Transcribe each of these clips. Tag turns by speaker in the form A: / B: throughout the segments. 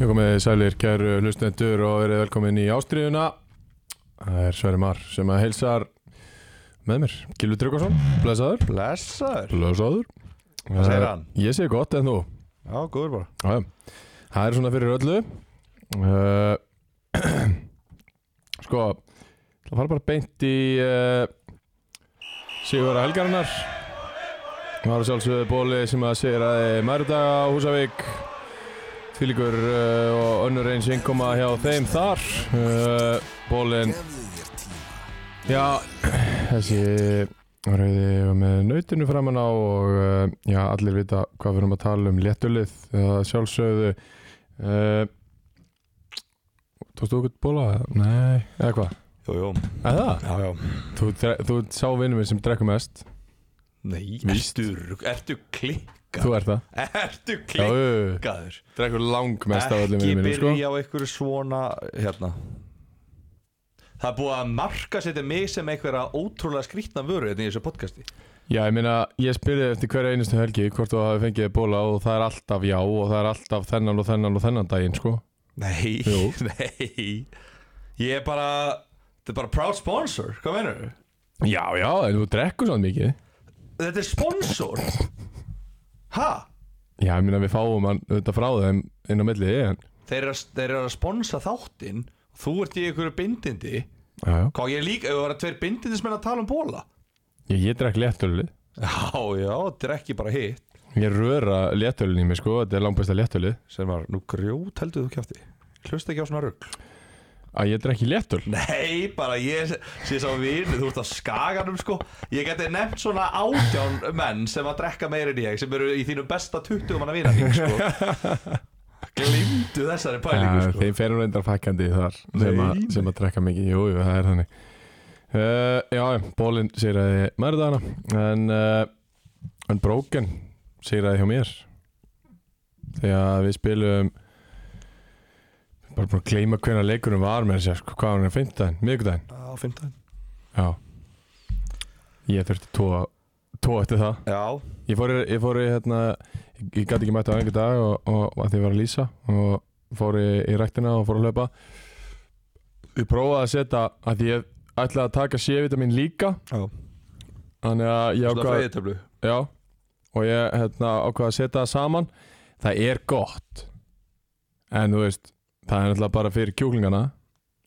A: Ég kom með sælir kæru hlustendur og verið velkomin í ástriðuna. Það er Sverri Mar sem að heilsar með mér. Gilvi Tryggvason, blessaður.
B: Blessaður
A: Blessaður.
B: Hvað segir hann?
A: Ég segi gott en þú.
B: Já, góður bara
A: Já, já. Það er svona fyrir öllu. Uh, sko, það fara bara beint í uh, Sigurvara Helgarinnar. Það var að sjálfsögðu bóli sem að segir að Mærdaga á Húsavík Fylgur uh, og önnur eins innkoma hjá þeim þar uh, Bólin Já, þessi rauði var með nautinu framann á og uh, já, allir vita hvað við erum að tala um léttulið eða sjálfsögðu uh, Tókstu okkur bóla? Nei, eða hvað?
B: Jú, jú
A: Eða það?
B: Já, já
A: Þú, dre- þú ert sá vinnum minn sem drekkum mest
B: Nei,
A: Víst.
B: ertu, rugg- ertu klikkað
A: Þú ert það
B: Ertu
A: Já, jú, jú.
B: klikkaður
A: drekkur langmest af öllum vinnum
B: Ekki
A: mínum sko
B: byrja á einhverju svona hérna Það er búið að marka setja mig sem einhverja ótrúlega skrýtna vöru hérna í þessu podcasti
A: Já, ég meina, ég spyrði eftir hverja einustu helgi hvort þú hafi fengið þér bóla og það er alltaf já og það er alltaf þennan og þennan og þennan daginn, sko.
B: Nei,
A: Jú.
B: nei Ég er bara Þetta er bara proud sponsor, hvað meinur
A: Já, já, en þú drekkur svona mikið.
B: Þetta er sponsor Ha?
A: Já, ég meina, við fáum hann þetta frá þeim inn á millið ég, en...
B: Þeir eru að, þeir eru að sponsa þáttinn Þú ert í einhverju bindindi
A: Já, já.
B: Hvað ég er líka, ef það var tveir bindindismenn að tala um bóla
A: Ég, ég drekk léttölið.
B: Já, já, þetta er ekki bara hitt
A: Ég röra léttölið í mig, sko, þetta er langbæsta léttölið.
B: Sem var, nú grjót heldur þú kjátti Hlusta ekki á svona rugg
A: Að ég drekki léttöl.
B: Nei, bara ég sé sá vini, þú ert að skaganum sko Ég geti nefnt svona átján menn sem að drekka meira en ég Sem eru í þínum besta 20 manna vina sko Glimdu þessari pælingu
A: Já,
B: sko
A: þeim fer hún reyndar fækandi þar sem, að,
B: Nei,
A: sem að drekka mikið, jú, jú, það er þannig uh, Já, bólinn sigraði mörðana en, uh, en bróken sigraði hjá mér þegar við spilum bara búin að gleyma hvernig leikurinn var með sér, sko, hvað var hann er fimmtudaginn, miðvikudaginn
B: Á fimmtudaginn
A: Já Ég þurfti tóa, tóa eftir það
B: Já,
A: Ég fór, í- ég fór í hérna ég- Ég gæti ekki mætt á einhver dag og, og, og að því ég var að lýsa og fór í, í rektina og fór að hlaupa Ég prófaði að setja að ég ætlaði að taka C-vitamin líka
B: já,
A: þannig að ég
B: svona
A: ákvað
B: fræðitöflu
A: já, og ég hérna, ákvað að setja það saman það er gott en þú veist, það er náttúrulega bara fyrir kjúklingana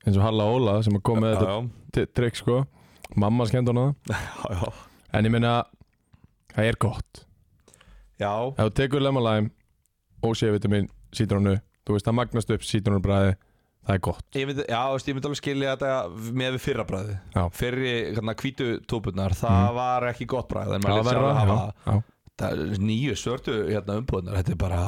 A: eins og Halla Óla sem að kom með þetta t- trikk sko mamma skemmt hana það.
B: Já, já,
A: en ég meina, það er gott
B: já
A: Ef þú tekur lemon lime og C-vitamin, sítrónu Þú veist, það magnast upp sítrónubræði Það er gott
B: Ég myndi, já, veist, ég myndi alveg skilja þetta með við fyrra bræði
A: Já. Mhm.
B: Fyrri hérna, hvítu tópunar, það var ekki gott bræði En maður lét sjálf hafa
A: já, já,
B: það, nýju svörtu hérna, umbúðunar Þetta er bara,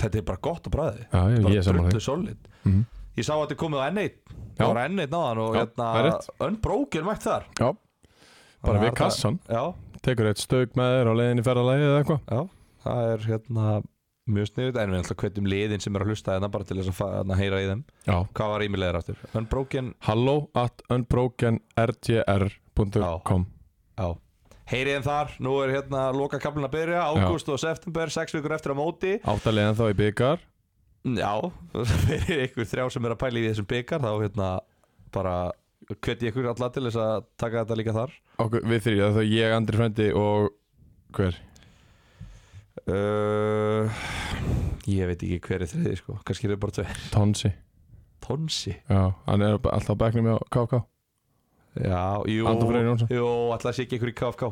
B: þetta er bara gott að bræði
A: já, ég, ég
B: Bara
A: er samanlega
B: drullu solid
A: Mhm.
B: Ég sá að þetta er komið á N1
A: Já.
B: Það var N1 náðan og
A: Já, það er
B: hérna,
A: rétt.
B: unbroken mætt þar
A: Já, bara
B: Þannig
A: við
B: að það-
A: kassan
B: Já,
A: Tekur eitt stauk með þér á leiðin í ferðalagi eða eitthvað
B: já, það er hérna mjög sniðut En við ætlum hvetjum liðin sem eru að hlusta hérna bara til þess að fa- hérna, heyra í þeim
A: Já
B: Hvað var ímilegir aftur? Unbroken,
A: Hello at unbrokenrtr.com
B: já Heyrið þeim þar, nú er hérna loka að byrja Ágúst og september, sex vikur eftir á móti
A: Áttalegin þá í byggar
B: Já, fyrir ykkur þrjá sem er að pæla í þessum byggar þá hérna bara hveti ykkur alla til þess að taka þetta líka þar
A: Okkur, Við þrý, það er þá ég, Andri Frendi og Hver?
B: uh, Ég veit ekki hver er þriði sko, kannski eru bara tveir
A: Tonsi
B: Tonsi
A: Já, hann er alltaf á bekknum hjá KK
B: Já, jú,
A: Anton Freyr Jónsson.
B: jú alltaf sé ekki ykkur í KFK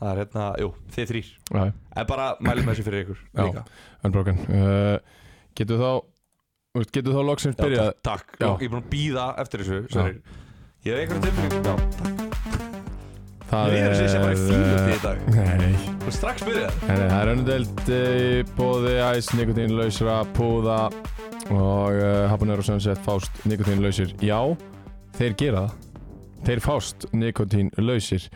B: Það er hérna, jú, þið þrýr
A: Já,
B: En bara mælum þessu fyrir ykkur
A: Já,
B: líka
A: unbroken uh, Getur þá þú veist, Getur þá loksins
B: Já,
A: byrjað
B: takk,
A: Já.
B: takk. Ég er búin að býða eftir þessu sorry. Ég hef einhverjum tilbyrjum Já, takk
A: Það
B: Mér líður sem ég sé bara í fílundi í dag.
A: Nei,
B: Þú ert strax byrjað
A: en það er önnudelt í bóði æs, nikotínlausra, púða eh, og uh, habanero sunset fást nikotínlausir. Já, þeir gera það. þeir fást nikotín lausir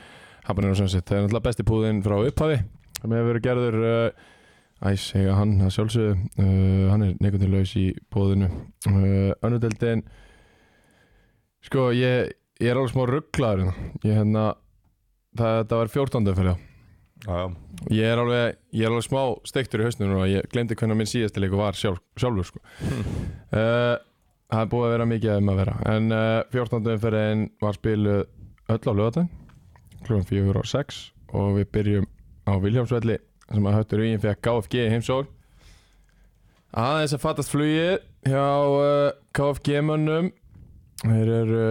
A: Habanero Sunset, það er náttúrulega besti púðinn frá upphafi sem hefur verið gerður uh, æs, hega hann að sjálfsögðu uh, hann er nikotín laus í púðinu uh, önnudeldin sko, ég, ég er alveg smá rugglaður hérna. ég hérna það, það var 14. fyrir
B: Já, já.
A: Ég er alveg, ég er alveg smá steiktur í hausnum og ég glemdi hvernig minn síðasti leiku var sjálf, sjálfur sko. uh, Það er búið að vera mikið um að vera En uh, 14. umferðin var spiluð öll á lögatæn Klúan 4 og 6 Og við byrjum á Viljámsvelli Sem að höttur íin fyrir KFG í heimsók Aðeins að fattast flugið Hjá uh, KFG mönnum Þeir eru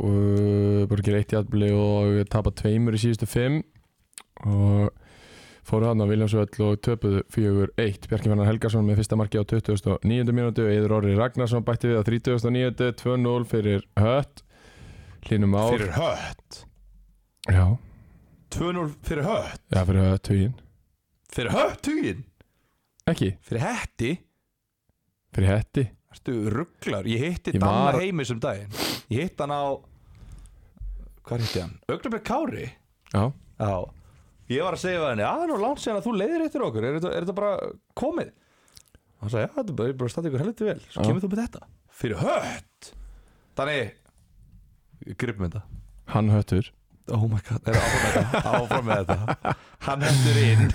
A: uh, Bara að gera eitt játbli Og tapa tveimur í síðustu fimm og fóru hann á Viljámsvöll og töpuðu 4-1 Bjarki Fannar Helgarsson með fyrsta marki á 29. mínútu Eður Orri Ragnarsson bætti við á 39. 2-0 fyrir Hött Hlínum ár
B: Fyrir hött
A: Já,
B: 2-0 fyrir hött
A: já, fyrir Hött hugin
B: Fyrir hött tugin
A: Ekki,
B: Fyrir hetti
A: fyrir Hetti
B: Ertu rugglar Ég hitti
A: Ég
B: Danna
A: var-
B: heimis um daginn Ég hitti hann á Hvað hitti hann? Ögnabjörg Kári
A: Já,
B: Já Ég var að segja við henni, að það er nú langt síðan að þú leiðir eftir okkur, er þetta, er þetta bara komið? Hann sagði, já, þetta er bara, ég er bara að staða ykkur helviti vel, svo
A: Já.
B: kemur þú með þetta. Fyrir hött! Þannig, ég grip með um þetta.
A: hann höttur
B: Oh my god, er áfram með þetta, áfram með þetta. Hann hendur inn,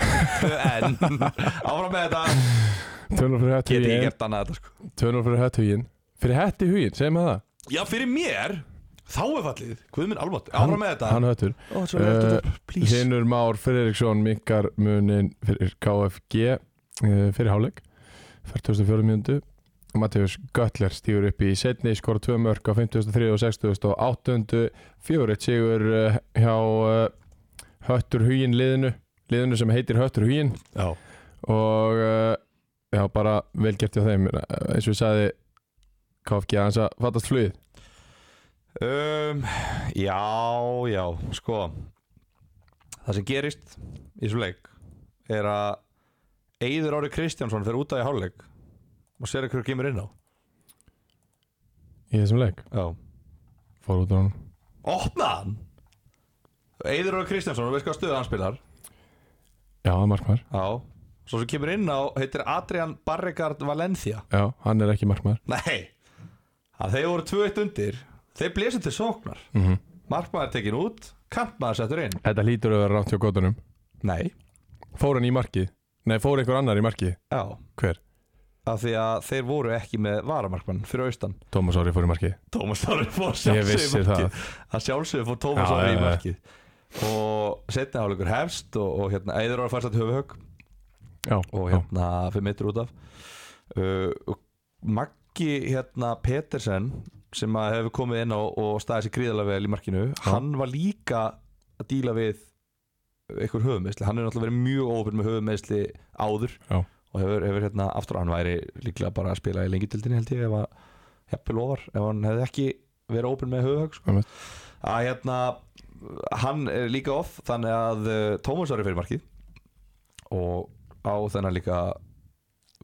B: en, áfram með þetta,
A: 2-0 fyrir Hött
B: get ég
A: hugin
B: gert annað þetta sko.
A: 2-0 fyrir Hött hugin Fyrir Hetti hugin, segjum við það
B: Já, fyrir mér, þá er fallið, guð minn almátt, áfram með þetta.
A: Hann höttur
B: Ó, svo er
A: Eh,
B: þetta upp, please.
A: Hinnur Már Fredriksson minkar munin fyrir KFG eh, fyrir hálfleik 44 mínútu Mattius Göttler stýur upp í setni skora tvö mörg á 53 og 60 og 8. fjórit sigur eh, hjá eh, Höttur Hugin liðinu liðinu sem heitir Höttur Hugin
B: Já,
A: og eh, já bara vel gert hjá þeim Eh, eins og ég sagði KFG aðeins að fattast flugið
B: Um, já, já, sko Það sem gerist í þessum leik er að Eyður Ári Kristjánsson fer út af í hálfleik og sér ykkur kemur inn á
A: í þessum leik
B: Já
A: fór út á hann
B: Opna hann Eyður Ári Kristjánsson, veist hvað stöðu hann spilar
A: já markmaður
B: Já Svo sem kemur inn á heitir Adrian Barricard Valencia
A: já hann er ekki markmaður
B: Nei að Þeir voru tvö eitt undir Þeir blésu til sóknar
A: mm
B: Markmaður tekin út, kantmaður settur inn
A: Þetta lítur að vera rátt hjá gotunum
B: Nei
A: Fór hann í markið? Nei, fór einhver annar í markið?
B: Já
A: Hver?
B: af því að þeir voru ekki með varamarkmann fyrir austan
A: Tómas Ári fór í markið
B: Tómas Þorri fór
A: Ég vissi
B: sjálfsögðu í
A: það.
B: markið að sjálfsögðu fór Tómas
A: Já,
B: Þorri í
A: já, já.
B: markið og setna hálfleikur hefst og, og hérna æður ára færstat höfuhögg
A: Já,
B: og
A: já.
B: hérna fyrir mittur út af uh, og Maggi hérna Petersen sem að hefur komið inn á og staðið sér gríðarlega vel í markinu hann var líka að díla við einhver höfumeisli, hann hefur náttúrulega verið mjög óopinn með höfumeisli áður
A: Já.
B: og hefur, hefur hérna aftur hann væri líklega bara að spila í lengjutildinni held ég ef að heppil ofar, ef hann hefði ekki verið óopinn með höfuhög sko.
A: Einmitt.
B: að hérna hann er líka off þannig að uh, Tómas var í fyrir markið og á þennan líka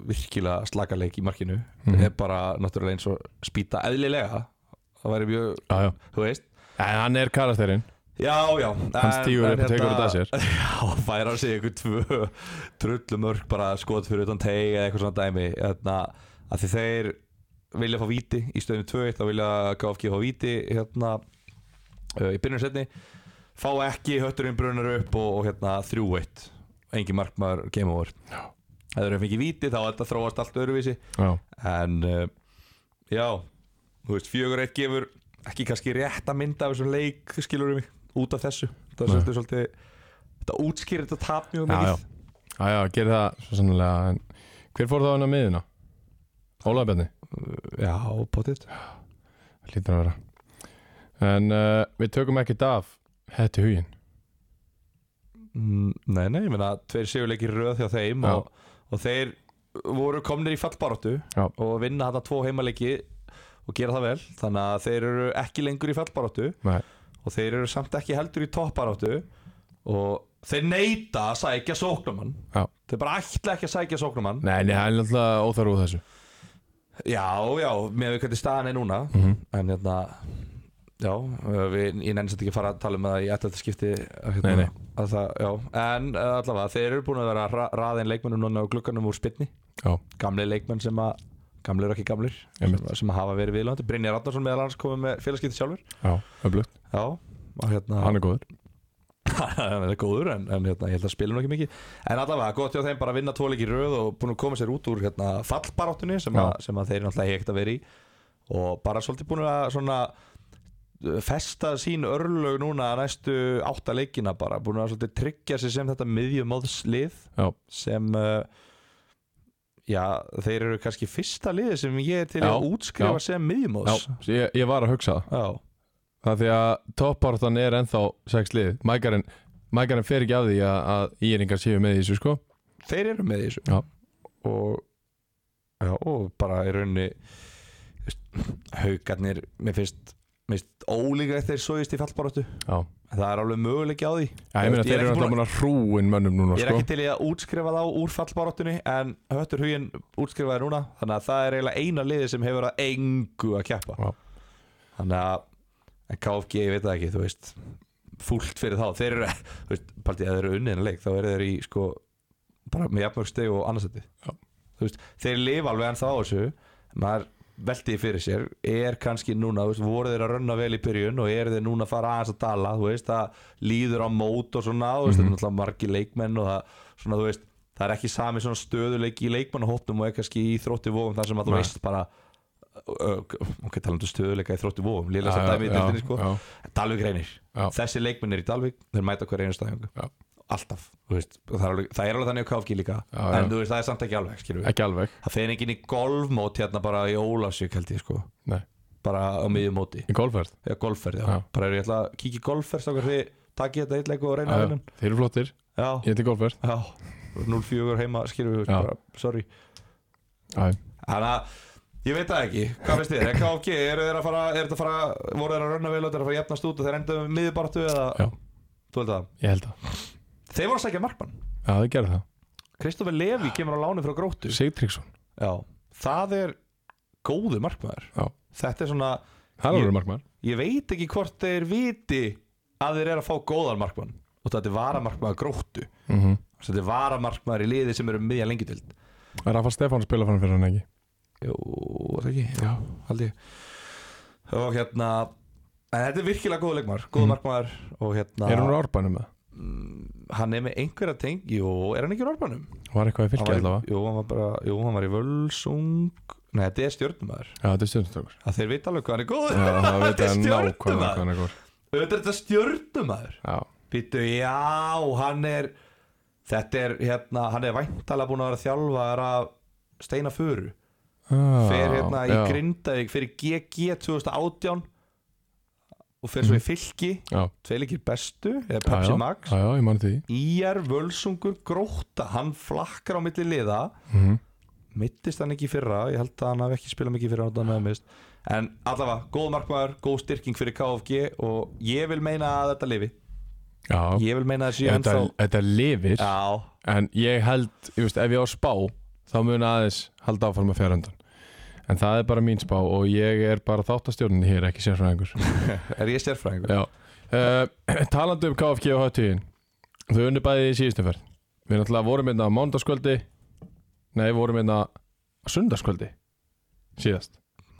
B: virkilega slakaleik í markinu
A: Mhm.
B: er bara náttúrulega eins og spýta eðlilega það væri mjög,
A: já, já.
B: þú veist
A: En hann er karakterinn
B: já, já hérna-
A: Hann stígur upp og tekur þetta að sér
B: já, færa sig ykkur tvö trullumörk bara skot fyrir utan teg eða eitthvað svona dæmi hérna, að því þeir vilja fá víti í stöðinu 2-1 þá vilja KFG fá víti hérna, uh, í byrjun setni fá ekki hötturinn brunar upp og, og hérna 3-1 engin markmaður game over ef þeir eru fengið víti þá er þetta þróast allt öðruvísi
A: Já,
B: en uh, já, þú veist, fjögur eitt gefur ekki kannski rétt að mynda af þessum leik skilur við mig, út af þessu það er
A: Nei.
B: svolítið svolítið þetta útskýrir þetta tap
A: já,
B: mjög mikið
A: já, já, já gerir það svo sannlega en Hver fór þá hann á miðuna? Ólaði Bjarni,
B: já potið
A: lítur að vera En uh, við tökum ekkert af Hætti hugin
B: mm, nei, nei, ég meina, tveir sigurleikir í röð hjá þeim
A: Já.
B: og, og þeir voru komnir í fallbaróttu
A: Já.
B: og vinna þetta tvo heimaleiki og gera það vel, þannig að þeir eru ekki lengur í fallbaróttu
A: Nei,
B: og þeir eru samt ekki heldur í topparóttu og þeir neyta að sækja sóknumann
A: Já.
B: þeir bara ætla ekki að sækja sóknumann
A: nei, nei hann er alltaf óþar úr þessu
B: Já, já, með við hvernig staðan er núna
A: mm
B: En hérna já, uh, við, ég nennist ekki að fara að tala um það í eftir þetta skipti uh, hérna,
A: Nei, nei.
B: Að það, já, en uh, allavega þeir eru búin að vera ra raðin leikmennum núna á glugganum úr spilni
A: Já.
B: gamli leikmenn sem að gamlir og ekki gamlir sem,
A: Einmitt.
B: sem að hafa verið viðlöndi Brynjar Adnarsson meðal hans komið með félagskipti sjálfur
A: Já, öflugt,
B: já, og hérna
A: hann er góður
B: hann er góður en, en hérna, ég held að spila nú ekki mikið en allavega gott hjá þeim bara að vinna tvo leiki í röð og búin að koma sér út úr hérna, fallbaráttunni sem, að, sem að þeir náttúrulega hegt að vera í og bara svolítið búin að svona uh, festa sín örlög núna næstu átta leikina bara búin að svolítið tryggja sér sem þetta miðjumóðslið
A: Já.
B: sem uh, já, þeir eru kannski fyrsta liðið sem ég er til
A: Já,
B: að útskrifa sem miðjumóðs
A: Já, ég, ég var að hugsa það
B: já,
A: Það því að toppartan er ennþá sex lið Mækarinn Mækarinn fer ekki af því að, að íringar séu með í þessu sko
B: þeir eru með í þessu
A: Já.
B: og já, og bara í rauninni þú veist, haugarnir, mér finnst mér finnst ólíka þeir svoðist í fallbaróttu
A: Já,
B: það er alveg möguleiki á því
A: Já ég meina
B: Ég er
A: þeir eru
B: ekki
A: alltaf
B: búin
A: búin að hrúin mönnum núna
B: ég er
A: sko
B: ekki til í að útskrifa þá úr fallbaróttunni en höttur huginn útskrifaði núna þannig að það er eiginlega eina liði sem hefur að engu að keppa
A: Já.
B: þannig að en KFG, ég veit það ekki, þú veist fúlt fyrir þá, þeir eru þú veist, partí, ef þeir eru unniðin leik, þá eru þeir í sko, bara með jafnmörgsteg og annarsætti
A: Já.
B: þú veist, þeir lifa alveg ennþá á þessu maður veltiði fyrir sér er kannski núna, þú veist, voru þeir að rönna vel í byrjun og eru þeir núna að fara aðeins að dala þú veist, það líður á mót og svona
A: Mhm.
B: þú veist, þetta er náttúrulega margi leikmenn og það svona, þú veist, það er ekki sami svona stöðuleiki í leikmannahóttum og er kannski í þrótti vóum þar sem að þú
A: Nei.
B: veist bara ö, ö, ok, talandu stöðuleika í þrótti vóum
A: Já,
B: lilla sem dæmi í
A: já,
B: deltinni, sko
A: já,
B: Dalvik reynir,
A: Já.
B: þessi leikmennir í Dalvik þeir mæta hver einu staðjöngu
A: Já.
B: alltaf, þú veist, og það er alveg, það er alveg þannig á KFG líka,
A: Já, já.
B: en þú veist, það er samt ekki alveg skilur við,
A: Ekki alveg
B: það fer enginn í golfmót hérna bara í Ólafsvík held ég sko
A: Nei.
B: bara á miðjum móti,
A: Í golfverð
B: eða golfferð, já,
A: Já.
B: bara er ég ætla að kíkja í golfferð, þá þið takið þetta eitthvað og reyna að vinna,
A: Þeir eru flottir,
B: já,
A: ég heiti golfverð
B: já 0-4 heima, skilur við,
A: Já.
B: bara, sorry
A: Já,
B: þannig að, ég veit það ekki, hvað finnst þið, er KFG, eru þeir að fara, er þetta að fara voru þeir að rönna vel og þeir að fara að jafnast út og þeir endaðu miðjubartu eða,
A: Já.
B: þú veit það
A: ég held það
B: Þeir voru að sækja markmann
A: Já, þeir gerðu það
B: Kristoffer Levi kemur á láni frá gróttu
A: Sigtryggsson,
B: Já, það er góðu markmaður
A: Já.
B: Þetta er svona,
A: það er
B: Ég-
A: alveg markmann
B: ég veit ekki hvort þeir viti að þeir eru að fá góðan markmann og þetta er varamarkmaður gróttu
A: mm
B: þetta er varamarkmaður í liði sem eru um miðja lengjutild
A: Rafa Stefán spila fann fyrir hann ekki
B: Jú, það ekki,
A: Já,
B: haldi ég Og hérna En þetta er virkilega góð leikmaður, góð
A: Mm.
B: markmaður og hérna,
A: Er hún úr árbænum með?
B: mm, hann er með einhverja teng, jú, er hann ekki úr orbanum?
A: Var eitthvað í fylgja
B: hann var,
A: allavega
B: í- jú, hann var bara, jú, hann var í Völsung Nei, þetta er stjörnumæður
A: Já, þetta er stjórnstökur
B: að Þeir vita alveg hvað hann er góð
A: Já, það veit
B: Þetta er
A: að nákvæmlega hvað
B: stjörnumæður
A: hann er góð
B: Þetta er þetta stjörnumæður
A: Já,
B: Býtu, já, hann er Þetta er, hérna, hann er væntalega búin að vera þjálfaðar af Steina Furu
A: Ah,
B: Fer hérna í
A: já,
B: Grindavík Fyrir GG 2018 Og fer svo í Fylki
A: Já.
B: Tveilikir bestu,
A: Mhm.
B: eða
A: já,
B: Pepsi
A: já.
B: Max
A: Já, já, ég mann því
B: IR Völsungur Gróta Hann flakkar á milli liða
A: Mhm.
B: mittist hann ekki í fyrra ég held að hann hafi ekki spilað mikið í fyrra hann hann en allavega, góð markmaður, góð styrking fyrir KFG og ég vil meina að þetta lifi
A: Já,
B: ég vil meina að þessi
A: þetta,
B: ennþá
A: þetta lifir
B: já,
A: en ég held, ég veist, ef ég á að spá þá mun aðeins halda áfram að fjara undan en það er bara mín spá og ég er bara þáttastjórnin hér, ekki sérfræðingur
B: er ég sérfræðingur
A: Já, uh, talandi um KFG og H-tíðin þau unni bæði í síðustu ferð við náttúrulega vorum einna á mándaskvöldi nei, vorum einna á sundarskvöldi síðast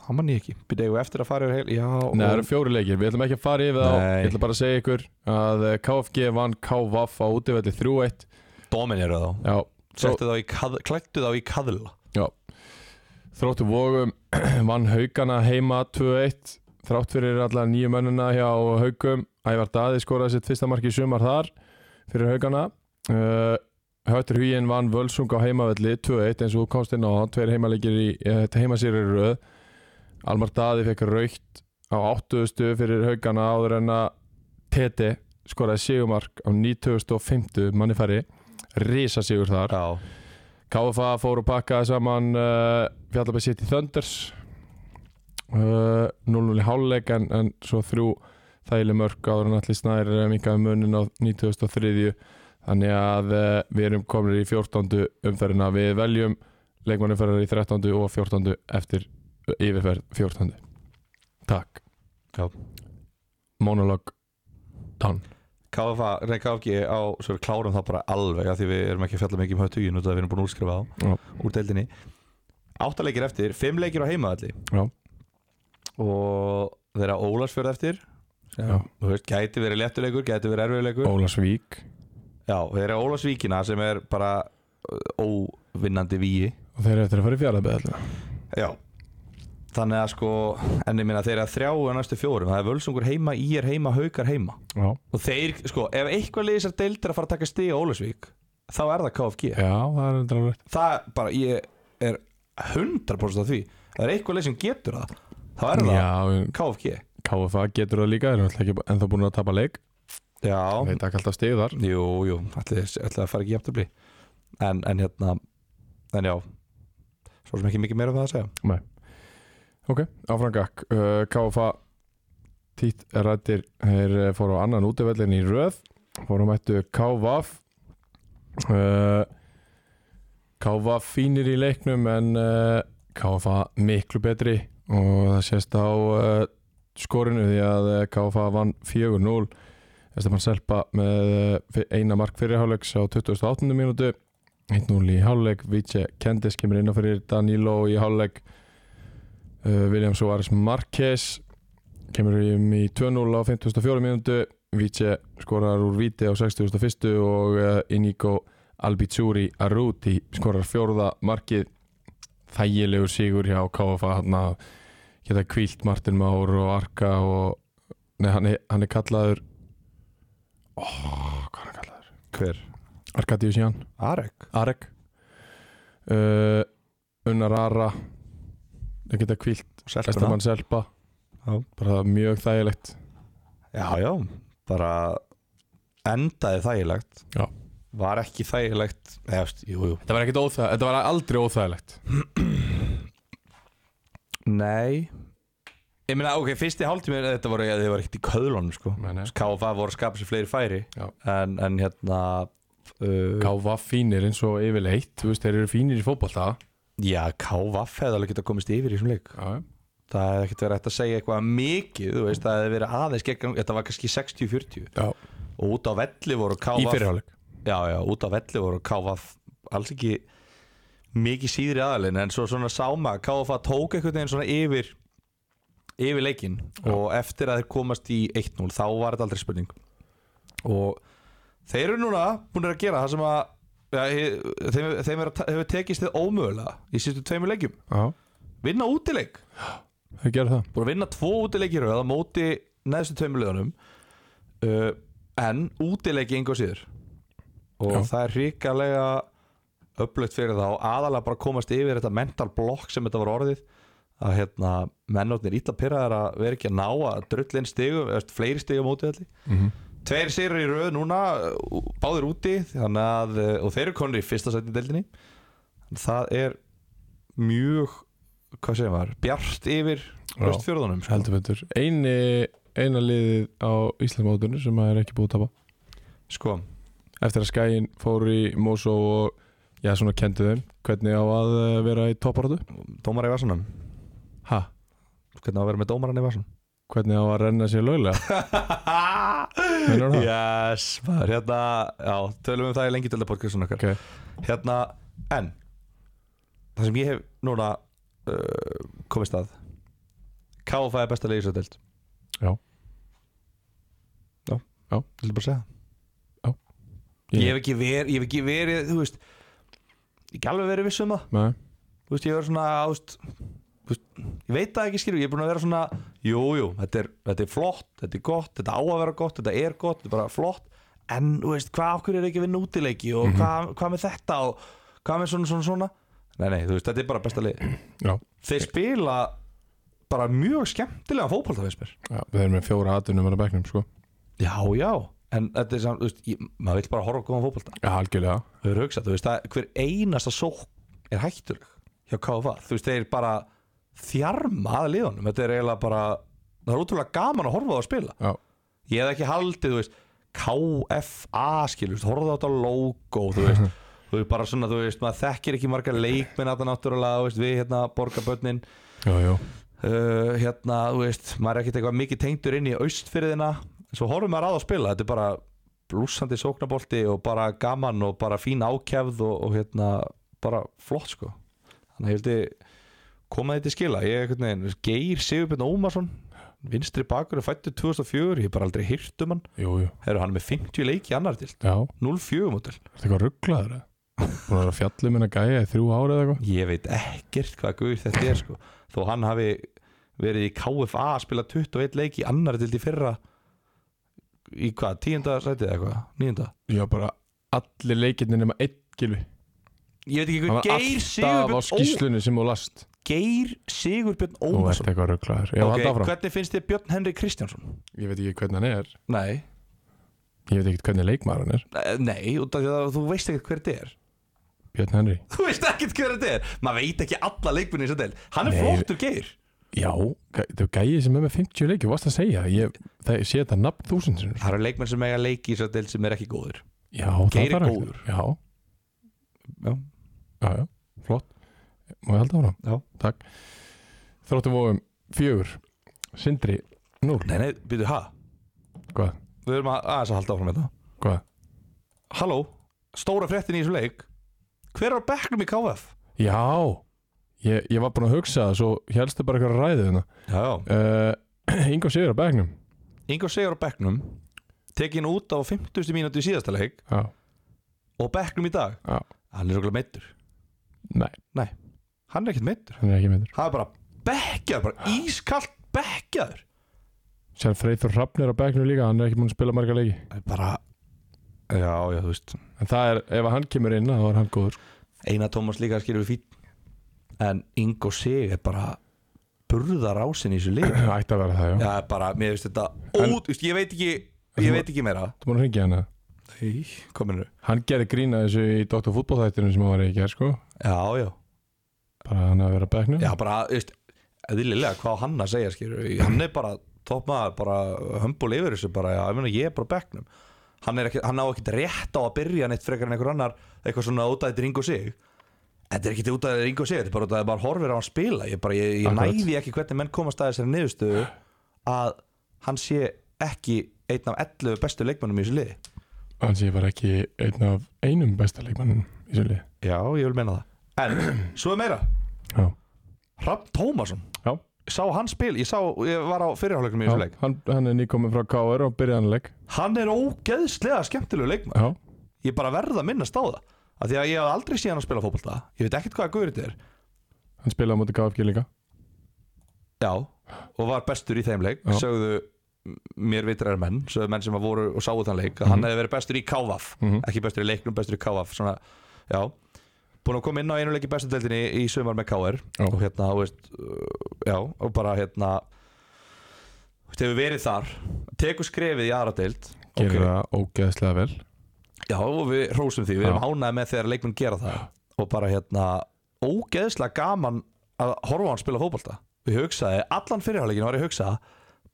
B: hann mann ég ekki, byrja ég eftir að fara yfir heil já,
A: Nei, það
B: og-
A: eru fjóri leikir, við ætlum ekki að fara yfir þá
B: Nei.
A: Ég ætla bara að segja ykkur að eh, KFG vann KVF á útivelli 3-1
B: domineru þá
A: Já, svo-
B: Settu þá í kaðl- klættu þá í kaðla
A: Þróttu Vógum vann haugana heima 2-1 þrátt fyrir alla nýju mönnuna hjá haugum Ævar Daði skoraði sitt fyrsta mark í sumar þar fyrir haugana uh, Höttur Hugin vann Völsung á heimavelli 2-1 eins og þú komst inn á tveir heimalegir í eh, þetta heimasýri röð Almar Daði fekk raukt á 80 fyrir haugana áður en að Tete skoraði sigumark á 9050 manni færi Risa sigur þar
B: já,
A: KFA fór og pakkaði saman uh, Fjallabæð City Thunders uh, 0-0 í háluleik en, en svo þrjú þægileg mörg áður en allir snær mingaði munin á 2003 þannig að uh, við erum komin í 14. umferðina við veljum leikmannumferðar í 13. og 14. eftir yfirferð 14. Takk
B: Já.
A: monolog down
B: KFA, nei KFG á, svo við klárum það bara alveg af því við erum ekki að fjalla mikið um höttugin út af því við erum búin að útskrifa
A: Já.
B: þá úr deildinni áttaleikir eftir, fimm leikir á heimaðalli
A: Já.
B: og þeirra Ólarsfjörð eftir sem,
A: Já.
B: þú veist, gæti verið léttuleikur, gæti verið erfiðleikur
A: Ólasvík
B: já, þeirra Ólarsvíkina sem er bara uh, óvinnandi víi
A: og þeir eru eftir að fara í fjárðabæð
B: já þannig að sko, enni minna þeirra þrjá og næstu fjórum, það er völsungur heima, í er heima haukar heima
A: Já,
B: og þeir, sko, ef eitthvað liðisar deildir að fara að taka stig á Ólasvík þá er það KFG
A: já það er þetta alveg
B: það bara, ég er 100% af því það er eitthvað leið sem getur það þá er það
A: Já,
B: KFG
A: KFA getur það líka, þeir eru náttúrulega ekki ennþá búin að tapa leik
B: já,
A: Þeir taka alltaf stig þar
B: jú, jú, ætli, ætli að fara ekki jafn að bli en, en hérna en já, svo sem ekki mikið meira um það að segja
A: Ok, áfram gakk uh, KFA Tít rættir Þeir eh, fóru á annan útivellin í röð Fóru mættu KVAF uh, KVAF fínir í leiknum En uh, KFA miklu betri Og það sést á uh, skorinu Því að eh, KFA vann 4-0 Esteban Selpa með eh, fi- eina mark fyrirhálegs á 28. mínútu 1-0 í háluleik Vítse Kendis kemur inn á fyrir Danilo í háluleik Uh, William Suárez Marquez kemur um í 2-0 á 54 minútu Více skorar úr Víti á 61 og uh, Inigo Albizuri Arruti skorar fjórða markið þægilegur sigur hjá KFA hann að geta kvílt Martin Már og Arka og nei, hann, er, hann er kallaður oh, hvað er hann kallaður?
B: hver?
A: Arkadius Jan
B: Arek?
A: Arek uh, Unnar Ara það geta kvílt
B: Selpuna?
A: Esteban Selpa
B: Já.
A: bara mjög þægilegt
B: já, já, bara endaði þægilegt
A: Já.
B: var ekki þægilegt eða, þú veist, jú, jú
A: þetta var, ekkert óþæg, þetta var aldrei óþægilegt
B: Nei Ég meina, ok, fyrsti hálftími þetta voru, þið voru ekkert í köðlunum sko
A: Nei, nei.
B: KFA voru að skapa sér fleiri færi
A: Já.
B: en, en hérna uh,
A: Káfa fínir eins og yfirleitt þú veist, þeir eru fínir í fótbolta
B: Já, KVF hefði alveg getað komist yfir í þessum leik
A: já,
B: Það hefði ekkert verið hægt að segja eitthvað mikið þú veist, það hefði verið aðeins gegn Þetta var kannski 60-40
A: já.
B: og út á velli voru KVF
A: í fyrirháleik
B: Já, já, út á velli voru KVF alls ekki mikið síðri aðalinn en svo svona sáma KVF tók einhvern veginn svona yfir yfir leikinn og eftir að þeir komast í 1-0 þá var þetta aldrei spurning og þeir eru núna búin að gera það sem að ja, þeim, þeim er, hefur tekist þið ómögulega í sístu tveimur leikjum
A: já,
B: vinna útileik
A: þau gerðu það
B: búin að vinna tvo útileikir að móti neðstu tveimur liðunum uh, en útileiki engu að síður og
A: Já.
B: það er hrikalega upplögt fyrir þá aðalega bara komast yfir þetta mental block sem þetta var orðið að hérna, mennotnir illa pyrraðar að vera ekki að ná að drull inn stigum, eða fleiri stigum útileiki
A: mm -hmm.
B: Tveir sérur í röð núna uh, Báðir úti þannig að, uh, Og þeir eru konur í fyrsta sæti í deildinni Það er mjög Hvað segir maður? Bjart yfir
A: Já.
B: Östfjörðunum sko.
A: heldur betur Eini, eina liðið á Íslandsmótunni sem að er ekki búið að tapa
B: sko,
A: eftir að skæin fór í Mosó og já, svona kendu þeim hvernig á að eh, vera í topparötu
B: Dómar í Vassanum
A: ha,
B: Hvernig á að vera með dómaran í Vassanum?
A: hvernig á að renna sér löglega Meinar það?
B: yes maður, hérna, já, Tölum um það í lengi til podcastun okkar
A: ok,
B: Hérna, en Það sem ég hef núna uh, komist að KFA er besta leiðisöldeld
A: Já.
B: Já
A: Já.
B: Þetta bara að segja
A: Já.
B: Ég, hef ekki verið, ég hef ekki verið, þú veist Ég hef ekki alveg verið viss um það
A: með
B: Þú veist, ég hef verið svona, þú veist, þú veist Ég veit það ekki skilur, ég er búin að vera svona Jú, jú, þetta er, þetta er flott, þetta er gott Þetta á að vera gott, þetta er gott, þetta er bara flott En, þú veist, hvað okkur er ekki vinna útileiki Og hvað, hvað með þetta og hvað með svona, svona, svona Nei, nei, þú veist, þetta er bara besta lið
A: já
B: Þeir spila bara mjög skemmtilega fótbolta finnst mér
A: Já, við erum með fjóra atunum að bekknum sko
B: Já, já, en þetta er samt, þú veist, ég, maður vill bara horfa á góðan fótbolta
A: Já, algjörlega
B: Við erum hugsað, þú veist, að hver einasta sók er hættuleg hjá KFA Þú veist, þeir bara þjarma að liðunum Þetta er eiginlega bara, það er útrúlega gaman að horfa á það að spila
A: Já,
B: Ég hef ekki haldið, þú veist, KFA skilur, þú veist, horfa á þetta logo, þú veist Þú veist, bara svona, þú veist, maður þekkir ekki marga leikminn að það náttúrulega, þú veist, við hérna borgarbönnin
A: já, já
B: uh, hérna, þú veist, maður er ekkert eitthvað mikið tengdur inn í austfyrðina svo horfum maður að að spila, þetta er bara blúsandi sóknabolti og bara gaman og bara fín ákjæfð og, og hérna bara flott sko þannig að ég vildi koma þetta til skila ég er einhvern veginn, Geir Sigurbjörn Ómarsson vinstri bakur er fættur 2004 ég er bara aldrei hýrt um hann
A: Jú, jú,
B: Heru, hann er með 50 leiki í annar til
A: já
B: 0-4 mótil
A: Er þetta eitthvað rugglaður eða? Búin að vera fjallið minna gæja í þrjú árið eða eitthvað?
B: ég veit ekkert hvað guð þetta er sko. þó hann hafi verið í KFA að spila 21 leik í annar til í fyrra í hvað, tíunda sætið eða eitthvað, níunda
A: Já, bara allir leikirnir nema einn gilvi
B: ég veit ekki
A: Hann var
B: hvað, Geir
A: alltaf á
B: Sigurbjörn Ó,
A: skýslunni sem þú last
B: Geir Sigurbjörn
A: Þú ert
B: Ómarsson
A: eitthvað rugglaður Já, okay, áfram
B: hvernig finnst þið Björn Henry Kristjánsson?
A: Ég veit ekki hvernig hann er
B: Nei,
A: Ég veit ekki hvernig leikmaður hann er
B: eh, nei, út af því að þú veist ekkert hver þetta er
A: Björn Henry
B: þú veist ekkert hver þetta er, maður veit ekki alla leikminni sem þetta er, hann er
A: Nei.
B: flottur Geir
A: Já, gæ- þetta er gæja sem er með 50 leiki Þú varst að segja það Ég það, ég sé þetta nafn þúsund sinur
B: það eru leikmenn sem eiga leiki í svo del sem er ekki góður
A: Já, það
B: Geir er
A: þarf ekki-
B: góður.
A: Já,
B: já,
A: já, já, flott Má ég halda áfram?
B: Já.
A: Takk Þróttum vóum fjögur Sindri, núl
B: nei, nei, byrju, ha
A: Hvað?
B: við erum að, aðeins að halda áfram hérna. með þetta
A: Hvað?
B: Halló, stóra fréttin í þessum leik Hver er á bekknum í KF?
A: Já, ég, ég var búinn að hugsa það svo helstu bara eitthvað ræðið hérna
B: Já, já
A: uh, Ingo Sigur á begnum
B: Ingo Sigur á bekknum Tekin út á 50. mínúti í síðasta leik
A: Já,
B: Og á bekknum í dag
A: Já.
B: Hann er okkur meittur
A: nei,
B: Hann er ekkert meittur
A: hann er ekki myndur
B: Hann er bara bekkjaður, bara ískalt bekkjaður
A: Sér Freyþór Hrafnir á begnum líka, hann er ekki búinn að spila marga leiki
B: Það er bara Já, já, þú veist
A: En það er, ef hann kemur inn, þá er hann góður
B: Einar Tómas líka skilur við fín En Ingo Sigur er bara Burðar ásinn í þessu leik
A: Ætti að vera það, já
B: Já, bara, mér veist þetta Ót, veist, ég veit ekki Ég veit ekki meira
A: Þú búinn að ringja hann
B: Nei, kominu
A: Hann gerði grína þessu í Dr. Fútbolþættinu sem hann var í gerð, sko
B: Já, já
A: Bara hann að vera á begnum
B: Já, bara, þú veist, eðlilega hvað á hann að segja, skilur Hann er bara toppmaður, bara hömbul yfir þessu bara, já, ég meina, ég er bara á bekknum Hann, er ekki, hann á ekkert rétt á að byrja neitt frekar en einhver annar eitthvað svona út að þetta ringu sig Þetta er ekkert út að þetta ringu sig, þetta er bara út að þetta bara horfir á hann spila Ég, bara, ég, ég
A: Akkurat.
B: næði ekki hvernig menn komast að þessari niðurstöðu að hann sé ekki einn af 11 bestu leikmönnum í þessu liði
A: Hann sé bara ekki einn af einum besta leikmannum í þessu lið
B: Já, ég vil meina það En, svo er meira
A: Já,
B: Rapp Tómasson
A: já,
B: Sá hann spil, ég, sá, ég var á fyrirháleiknum í
A: já.
B: þessu leik
A: Hann, hann er nýkomin frá KR og byrjaði hann leik
B: Hann er ógeðslega skemmtilegu leikmann
A: Já,
B: Ég bara verða að minnast á það af Því að ég haf aldrei séð hann að spila fótbolta Ég veit ekkert hvaða guður þetta er
A: hann spilaði á móti KFG líka
B: Já, og var bestur í þeim leik
A: Já.
B: Sögðu m- mér vitrar menn Sögðu menn sem að voru og sáu þann leik að Hann hefði verið bestur í KVAF
A: Mhm.
B: Ekki bestur í leiknum, bestur í KVAF Svona, já Búin að koma inn á einu leik í bestu deildinni í sumar með KR
A: Já.
B: Og hérna, þú veist uh, Já, og bara hérna þú veist, Hefur verið þar Tekur skrefið í aðra deild
A: gerir
B: Ok.
A: það ógeðslega vel
B: Já og við hrósum því, við
A: Já.
B: erum ánægð með þegar leikmenn gera það og bara hérna ógeðslega gaman að horfa á hann spila fótbolta Ég hugsaði, allan fyrirháleikin var ég að hugsa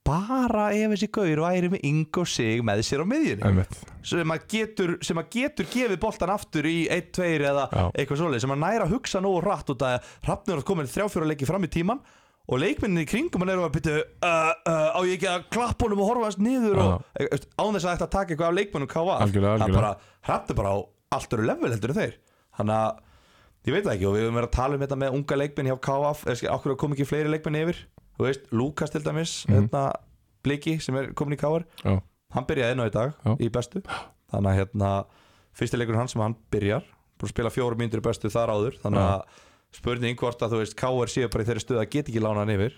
B: bara ef þessi gaur væri með yng og sig með sér á miðjunni
A: Einmitt.
B: sem að getur, sem að getur gefið boltan aftur í 1-2 eða
A: Já.
B: eitthvað svoleið sem að næra að hugsa nógu hratt út að Hrafnur er komin þrjáfjóra leiki fram í tíman og leikminni í kringum hann eru að byrja uh, uh, á ég ekki að klappa honum og horfa hans niður
A: Já.
B: og, e, veist, án þess að þetta taka eitthvað af leikmennum KVA
A: Algjörlega,
B: Hann
A: algjörlega.
B: bara, Hrafnur bara á allt eru level heldur en þeir þannig að ég veit það ekki og við höfum verið að tala um þetta með unga leikminn hjá KVA eða okkur kom ekki fleiri leikminn yfir þú veist, Lukas til dæmis
A: Mhm.
B: hérna, Bliki sem er komin í KVA
A: Já.
B: hann byrjaði enn á í dag
A: Já.
B: í bestu þannig að hérna, fyrsti leikur hann sem hann byrjar búin að spila fjórum myndir í bestu þar áður þannig að spurning hvort að þú veist KR séu bara í þeirri stöð að geta ekki lána hann yfir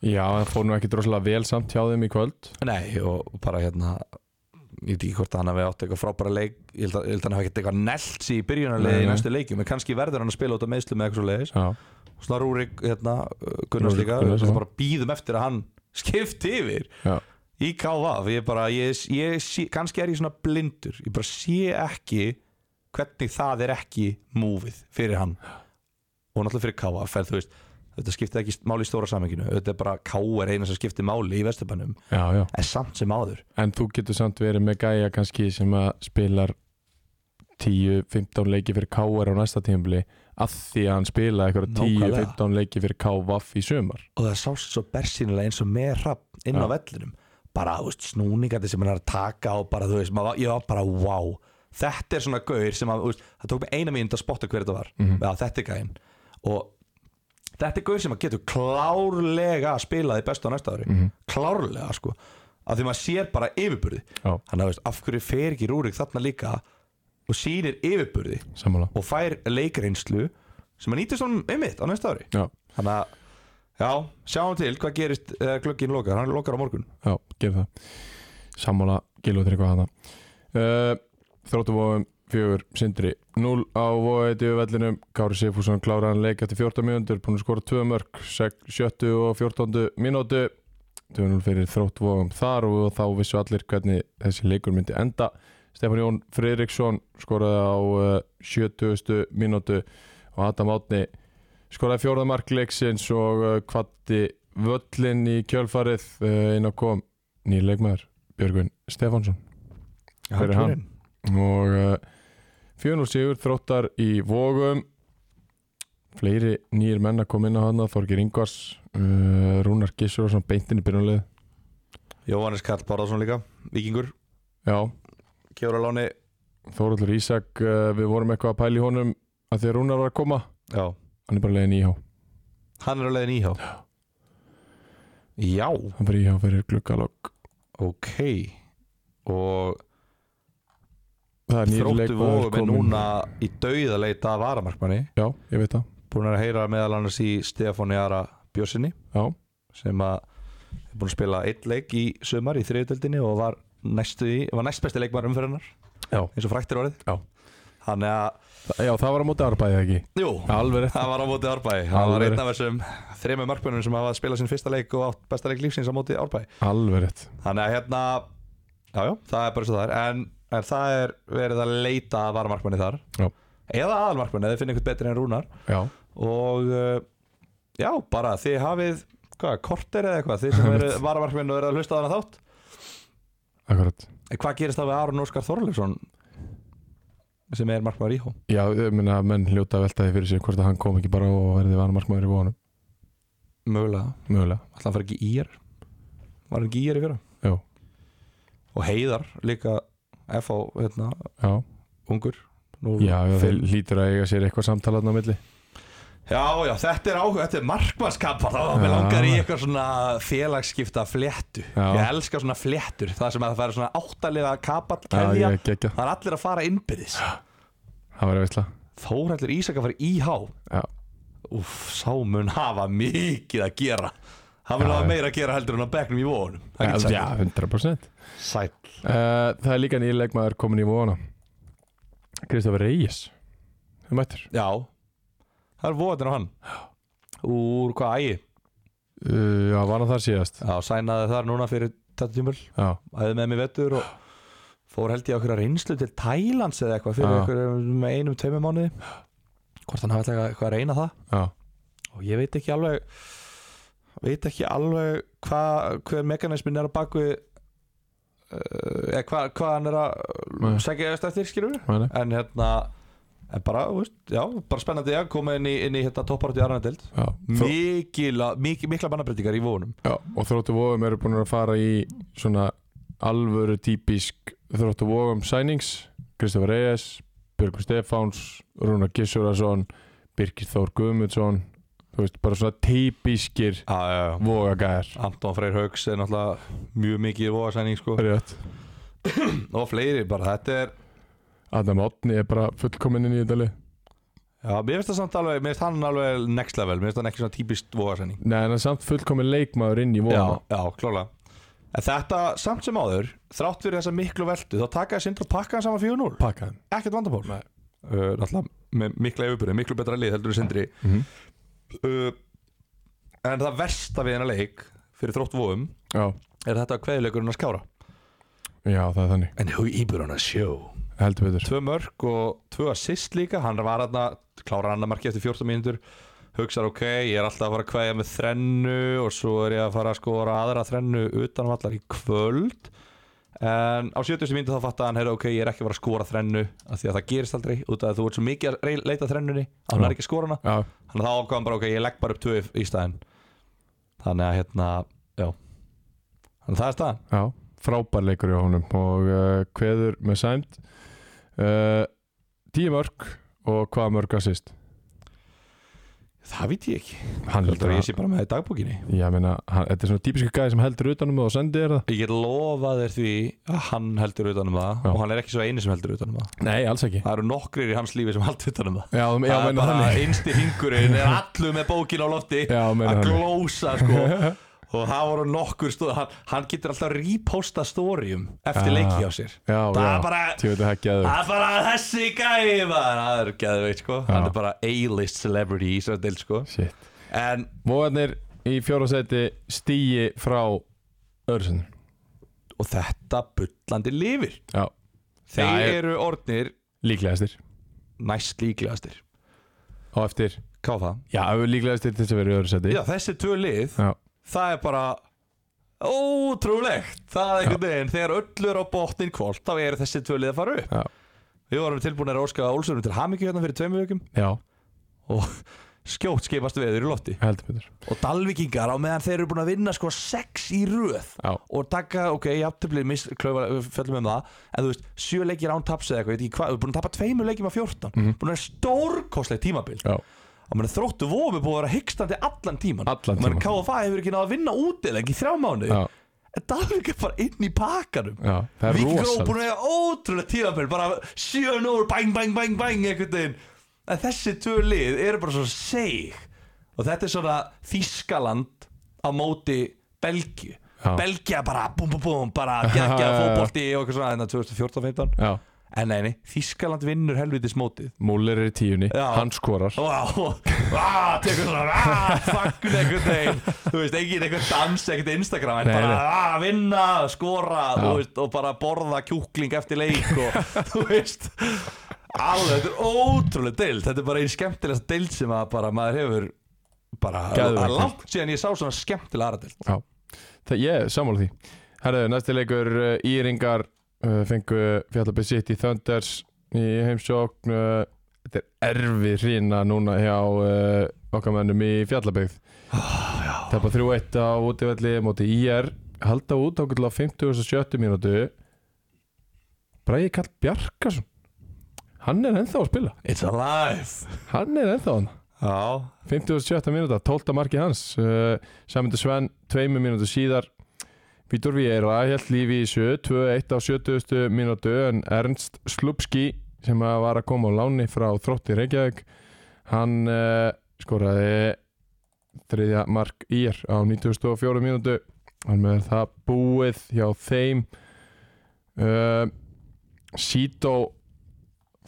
A: Já, það fór nú ekki droslega vel samt hjá þeim í kvöld
B: nei og bara hérna ég veit ekki hvort að hann hafi átt eitthvað frábæra leik ég held að, ég held að hann hafi ekkert eitthvað nelt sér í
A: Nei,
B: byrjunarlegi í
A: nei.
B: næstu leikjum en kannski verður hann að spila út af meðslu með eitthvað svo leiðis
A: Já,
B: Snar Rúrik, hérna, uh, Gunnars
A: Rúrik
B: líka
A: Gunnars,
B: við
A: já.
B: bara býðum eftir að hann skipti yfir
A: já,
B: í KVF ég bara, ég, ég sé, kannski er ég svona blindur ég bara sé ekki hvernig það er ekki múfið fyrir hann og náttúrulega fyrir KVF en þú veist, þetta skiptir ekki máli í stóra samenginu þetta er bara KR eina sem skiptir máli í Vesturbænum,
A: já, já
B: en samt sem áður
A: En þú getur samt verið með gæja kannski sem að spilar 10-15 leiki fyrir KR á næsta tímabili að því að hann spila eitthvað
B: Nákvæmlega.
A: 10-15 leiki fyrir KVF í sumar
B: og það sást svo bersýnilega eins og með hrapp inn á vellinum bara, þú veist, snúningandi sem hann er að taka og bara, þú veist, maður, var- ég var bara, wow þetta er svona gaur sem að, þú veist, það tók mig eina mínúti að spotta hver þetta var mm -hmm. þetta er gæinn og þetta er gaur sem að getur klárlega að spila því bestu á næsta ári klárlega, sko, af því maður sér bara yfirburði,
A: Já,
B: hann að, þú veist, af hverju fer ekki rúrik þarna líka og sýnir yfirburði
A: sammála
B: og fær leikreinslu sem að nýtist honum einmitt á næsta ári
A: Já,
B: Þannig að Já, sjáum til hvað gerist uh, glöggin lokar, hann lokar á morgun
A: já, gef það Sammála, gilu til eitthvað hana uh, Þróttu vóðum fjögur, sindri 0 á vóðið vellinum Kári Sifússon kláraði hann leik eftir 14 mínútur búin að skora 2 mörg, 7 og 14 mínútu 2-0 fyrir þróttu vóðum þar og þá vissu allir hvernig þessi leikur myndi enda Stefán Jón Friðriksson skoraði á uh, 70. mínútu og Adam Átni skoraði fjórða mark leiksins og uh, kvatti völlin í kjölfarið uh, inn á kom nýr leikmaður Björgvin Stefánsson Hver er hann? og uh, 400 sigur þróttar í vógum fleiri nýjir menn að koma inn á hana Þorgir Ingvars, uh, Rúnar Gissurarsson beintin í byrjunlið
B: Jóhannes Karl Bárðarsson líka, vikingur
A: já,
B: Kjóra Láni
A: Þóraldur Ísak uh, við vorum eitthvað að pæla í honum að því að Rúnar var að koma
B: Já,
A: hann er bara leiðin í íhá
B: hann er á leiðin íhá Já,
A: hann fyrir íhá fyrir gluggalokk
B: ok Og
A: það er nýr
B: þróttu
A: leikmaður
B: vóðum er
A: kominn.
B: núna í dauða leita að varamarkmanni
A: já, ég veit það,
B: Búin að heyra meðal annars í Stefáni Ara Björsinni
A: já,
B: sem að er búin að spila eitt leik í sumar í þriðutöldinni og var, næstu, í- var næst besti leikmaður umferðinnar
A: Já.
B: eins og fræktir orðið
A: Já.
B: Þannig að,
A: Þa- já, það var á móti árbæðið ekki
B: jú,
A: alveg rétt
B: Það var á móti Árbæi, það var
A: Alveg
B: einn af þessum þremur markmönnum sem hafa spilað sinn fyrsta leik og átt besta leik lífsins á móti Árbæi
A: Alveg rétt
B: Þannig að hérna, jájá, það er bara svo það er en, en það er verið að leita að vara markmanni þar
A: Já.
B: eða aðalmarkmanni, eða finna einhvern betri en Rúnar
A: Já,
B: og uh, já, bara þið hafið, hvað, korter eða eitthvað þið sem eru varamarkmenn og eru að hlusta á þarna þátt
A: akkurat
B: En Hvað gerist það við Aron Óskar Þorleifsson sem er markmaður íhó?
A: Já, ég meina að menn hljóta að velta því fyrir sér hvort að hann kom ekki bara og verði vanamarkmaður í vonum
B: Mögulega,
A: Mögulega,
B: alltaf hann fyrir ekki í er Var hann ekki í er í fyrra?
A: já,
B: og Heiðar líka FH hérna,
A: já
B: ungur nú,
A: Já, já þeir
B: fimm.
A: lítur að eiga sér eitthvað samtalaðna á milli
B: já, já, þetta er áhuga, þetta er markmannskapar þá
A: Já.
B: mér langar í eitthvað svona félagsskipta fléttu
A: Já.
B: ég elska svona fléttur, það sem að það færi svona áttaliða kapall
A: Já,
B: keðja,
A: ég gekkja,
B: það er allir að fara innbyrðis
A: það var veitla
B: Þóraldur Ísak að fara í IH
A: Já,
B: Úf, sá mun hafa mikið að gera hann mun
A: Já,
B: hafa
A: já.
B: meira að gera heldur en á bekknum í vonum
A: já, já 100% uh,
B: sæl
A: Það er líka nýlegmaður komin í vona Kristofur Reyes Þau mættur
B: já, það er votin á hann úr hvað ægi
A: uh, Já, var hann þar síðast
B: Já, sænaði þar núna fyrir þetta tímul
A: Já,
B: æði með mér vettur og fór held ég okkur að reynslu til Tælands eða eitthvað fyrir
A: Já.
B: okkur með einum tveimum mánuði hvort hann hafi ætlað eitthvað að reyna það
A: já,
B: og ég veit ekki alveg veit ekki alveg hva, hver mekanismin er á bakvið uh, eða hva, hvað hann er að
A: Nei.
B: uh, segja eftir skilur
A: mæli
B: en hérna en bara, þú veist, já, bara spennandi að koma inn í, inn í hérna topparötu í Arnadild
A: Já, þó,
B: mikila, mik, mikla mannabreitingar í vonum
A: já, og þróttu vóðum eru búin að fara í svona alvöru típisk þróttu vóðum sænings Kristofur Reyes, Björgur Stefáns Rúnar Gissurarsson Birgir Þór Guðmundsson þú veist, bara svona típiskir
B: já, já, já
A: vógagæðar
B: Anton Freyr Hauks er náttúrulega mjög mikið vóðasæning sko
A: Rétt.
B: og fleiri bara, þetta er
A: Adam Otni er bara fullkominn inn í þetta lið
B: já, mér finnst það samt alveg, mér finnst hann alveg next level, mér finnst hann ekki svona típist vóðasæning
A: Nei, en hann er samt fullkominn leikmaður inn í vóðum
B: já, klálega en þetta samt sem áður, þrátt fyrir þessa miklu veldu þá takaði sindra pakkaðan saman 4-0
A: pakkaðan
B: ekkert vandamál
A: Nei.
B: uh, náttúrulega með mikla yfirbyrði, miklu betra lið heldur en sindri
A: Mhm.
B: uh, en það versta við hennar leik fyrir þrótt vóðum
A: já.
B: er þetta kveðileikurinn að skára
A: já, það er þannig,
B: en hú íbyrðun að sjó
A: heldur betur
B: tvö mörg og tvö assist líka hann var hann klára annar marki eftir 14 mínútur hugsar ok, ég er alltaf að fara að kveðja með þrennu og svo er ég að fara að skora aðra þrennu utan vallar í kvöld En á 70. mínu þá fattaði hann, heyrðu, ok, ég er ekki að fara að skora þrennu af því að það gerist aldrei, út af að þú ert svo mikið að rey- leita að þrennunni, að hann
A: Já.
B: er ekki að skora hana
A: já,
B: Þannig að þá ákvæðan bara, ok, ég legg bara upp tvö í- í staðinn Þannig að hérna, já Þannig að það er staðan
A: já frábær leikur hjá honum og uh, kveður með sæmt uh, tíu mörg og hvað mörg að sýst
B: Það veit ég ekki
A: hann
B: Heldur
A: heldur
B: að ég
A: að
B: sé bara með það í dagbókinni
A: ég meina, hann, þetta er svona típisku gæði sem heldur utanum og sendir þér það
B: Ég get lofað þér því að hann heldur utanum það
A: Já.
B: Og hann er ekki svo eini sem heldur utanum það
A: nei, alls ekki já,
B: Það eru nokkrir í hans lífi sem heldur utanum það
A: já,
B: Það er
A: meina
B: bara
A: þannig
B: einsti hringurinn er allur með bókin á lofti
A: já, meina
B: að
A: þannig
B: glósa sko og það voru nokkur stóð hann, hann getur alltaf að reposta stórium eftir
A: Ah,
B: leiki á sér
A: já,
B: það
A: já,
B: er bara
A: tíu þetta hekki aður
B: Það er bara þessi gæði maður Það er geðveikt sko
A: Já.
B: Hann er bara A-list celebrity í Ísrael sko
A: shit
B: En
A: Móðarnir í fjóra seti stíi frá Örsun
B: Og þetta bullandi lifir
A: Já,
B: Þeir
A: Já, ég-
B: eru orðnir
A: líklegastir
B: næst líklegastir
A: og eftir
B: Hvað var það?
A: Já, líklegastir til þess að vera í öðru seti
B: Já þessi tvö lið
A: Já,
B: Það er bara Ótrúlegt Það er einhvern veginn Þegar öllur á botnin kvólt Þá eru þessi tvö lið að fara upp
A: já,
B: Við vorum tilbúinir að óska Ólsörum til hamingju hérna fyrir tveimur vökum
A: já
B: og skjótt skipast veður í lofti
A: heldur betur
B: og Dalvíkingar á meðan þeir eru búin að vinna sko sex í röð
A: Já,
B: og taka, ok, jafntöflið mis, klaufa, við fjöllum um það, en þú veist sjö leikir án taps eða eitthvað, ég veit ekki hvað, við erum búin að tapa tveimur leikjum af 14, mm -hmm. búin að vera stórkostleg tímabil,
A: já,
B: og meðan þróttu vómi búin að vera hyggstandi allan tíman
A: Allan
B: og meðan
A: tímann.
B: KFA hefur ekki náða að vinna útileg í þrjá mánu,
A: já,
B: en Dalvík er bara inn í pakkanum
A: já Það er
B: Víkingur á
A: rosalegt
B: búin að eiga ótrúlega tímabil bara 7-0, bang, bang, bang, bang einhvern veginn, en þessi tvö lið eru bara svo seig og þetta er svona Þískaland á móti Belgi
A: Já.
B: Belgia bara, búm, búm, búm, bara geggja fótbolti og eitthvað svona, þetta 2014-15
A: Já,
B: en neini, Þískaland vinnur helvitis mótið
A: Múller er í tíunni,
B: Já.
A: hann skorar
B: Vá, vá, tekur svona vá, Þakkun einhvern veginn Þú veist, engin einhvern dans, ekkert Instagram En
A: Nei,
B: bara
A: nei.
B: vá, vinna, skora
A: Já.
B: þú veist, Og bara borða kjúkling eftir leik Og þú veist Alveg, þetta er ótrúlega deild Þetta er bara einn skemmtilegast deild sem að bara maður hefur Bara,
A: Geðveikt.
B: að langt síðan ég sá svona skemmtilega aðra deild
A: Já, það ég er sammála því Herðu, næsti leikur uh, Íringar uh, fengu fjallabæð sitt í Thunders í heimsókn uh, Þetta er erfið hrína núna hjá uh, okkar mennum í fjallabæð Það er bara 3-1 á útivelli móti IR halda út ákveðlega á 50.70 mínútu Bræði Karl Bjarkarsson Hann er ennþá að spila
B: It's alive
A: Hann er ennþá hann
B: Já,
A: 57. minúta, 12. marki hans uh, Samindu Sven, 2 minútu síðar Vítor Vieira held lífi í sjö, 2-1 á 70. minútu en Ernst Slupski sem að var að koma á láni frá Þrótti Reykjavík hann uh, skoraði þriðja mark ír á 94. mínútu hann með það búið hjá þeim uh, Sito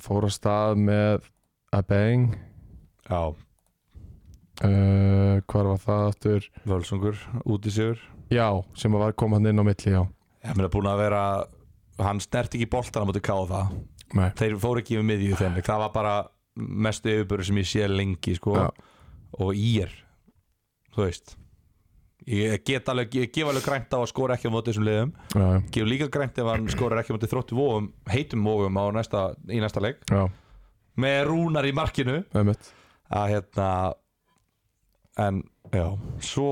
A: fór að stað með að beng
B: já,
A: uh, hvar var það aftur
B: völsungur, útisjögur
A: já, sem að var koma hann inn á milli já,
B: Ég meina búin að vera Hann snert ekki boltan á móti káða
A: nei,
B: þeir fóru ekki með miðju í þeim leik. það var bara mestu yfirböru sem ég sé lengi sko.
A: Já.
B: og ég er þú veist ég get alveg, ég gef alveg grænt á að skora ekki á móti þessum liðum,
A: já,
B: gef líka grænt ef hann skorar ekki á móti þróttu vóum, heitum vóum á næsta, í næsta leik,
A: já,
B: með rúnar í markinu
A: einmitt
B: að hérna en já, svo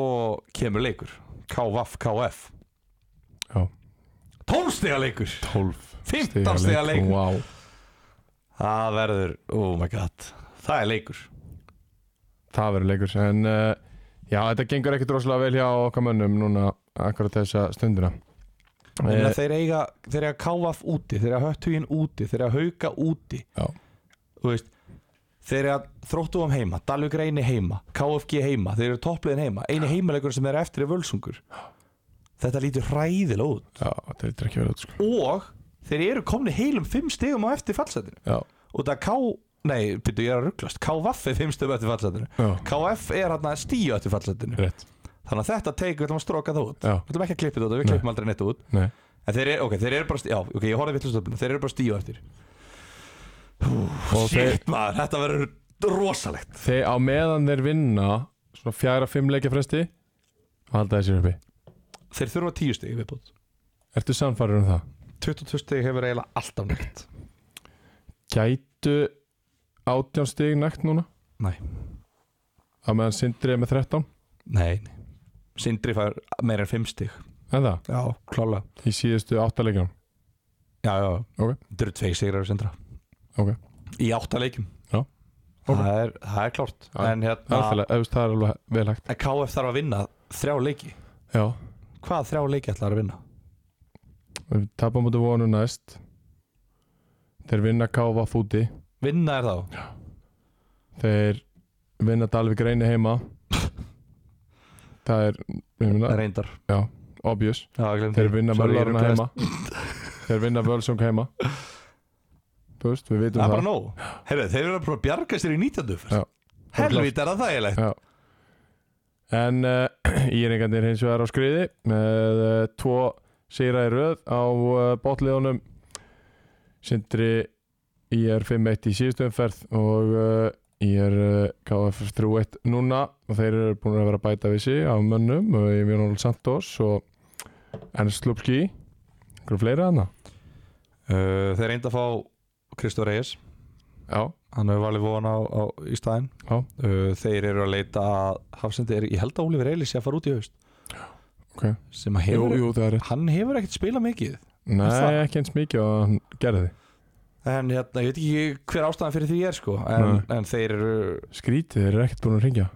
B: kemur leikur, KVF KF
A: Já.
B: 12 stiga leikur
A: 12
B: 15 stiga leikur
A: wow.
B: Það verður, oh my god Það er leikur
A: það verður leikur en uh, já, þetta gengur ekkit rosalega vel hjá okkar mönnum núna akkurat þessa stundina
B: Þannig
A: Eh,
B: að þeir eiga, þeir eiga káaf úti Þeir eiga höttuginn úti, þeir eiga hauka úti
A: Já.
B: Þú veist Þeir eiga þróttum heima, Dalvik reyni heima KFG heima, þeir eru toppliðin heima Einu heimalegur sem er eftir er völsungur Þetta lítur hræðilega út
A: já, þetta lítur ekki verið út sko.
B: Og þeir eru komni heilum fimm stigum á eftir fallsetinu
A: já,
B: Og það K, nei, byrju ég er að rugglast KVF er fimm stigum eftir fallsetinu
A: já,
B: KF er hann að stíu eftir fallsetinu
A: rétt
B: Þannig að þetta teik, við ætlum að stróka það út
A: Já.
B: Við ætlum ekki að klippa þetta út, við
A: Nei.
B: klippum aldrei neitt út
A: nei,
B: En þeir eru, ok, þeir eru bara stíu, já, ok, ég horfði vitlustöfluna, þeir eru bara stíu eftir
A: og þeir,
B: Shit maður, þetta verður rosalegt
A: þeir á meðan þeir vinna svona fjara fimm leikja fresti halda þessir uppi
B: Þeir þurfa tíu stíu viðbútt
A: Ertu samfærir um það?
B: 22 stig hefur eiginlega alltaf neitt
A: Gætu átján stig nægt núna?
B: Nei.
A: Að meðan Sindri er með 13?
B: Nei, nei. Sindri fær meira en 5 stig
A: En það?
B: Já, klálega
A: Í síðustu áttalegjum?
B: Já, já,
A: Ok.
B: þetta eru tvei sigrar í Sindra
A: Ok.
B: Í átta leikum
A: Já. Ok.
B: það, er, það er klárt
A: Já.
B: En
A: Það er
B: hérna,
A: alveg- ef þú veist, það er alveg vel hægt
B: en KF þarf að vinna þrjá leiki
A: Já
B: Hvað þrjá leiki ætlar að vinna?
A: Við tapum út af vonu næst Þeir vinna káfa fúti
B: Vinna er þá
A: Þeir vinna Dalvik reyni heima Það er, ég meina,
B: reyndar
A: obvious
B: Já, ég gleymdi
A: Þeir
B: því.
A: vinna hérna.
B: Sorry, ég
A: Möllarna
B: ruglaðist.
A: heima Þeir vinna Völsung heima Þú veist, við vitum
B: Það er
A: það,
B: bara nóg Herru, þeir eru að prófa að bjarga sér í 19.
A: Já.
B: fyrst Helvít er það þægilegt
A: En uh, íringarnir hins vegar á skriði með uh, tvo sigra í röð á uh, bátliðunum Sindri IR 5-1 í síðustu umferð og uh, IR uh, KF 3-1 núna og þeir eru búin að vera að bæta við sig af mönnum og ég mjög náttúrulega Santos og Ernst Lupski einhverju fleira hana Eh,
B: Uh, þeir reynda að fá Kristóf Reyes
A: Já,
B: hann hefur valið von á, á í staðinn
A: Já.
B: uh, þeir eru að leita að Hafsendi er, ég held að Ólífur Eilis sé að fara út í haust
A: ok
B: sem að
A: Jú,
B: hefur,
A: jú, það er rétt
B: hann hefur ekkert spilað mikið
A: Nei,
B: það-
A: ekki eins mikið og hann gerði
B: en hérna, ég veit ekki hver ástæðan fyrir því er sko en, en þeir eru
A: Skrítið, þeir eru ekkert búin að ringja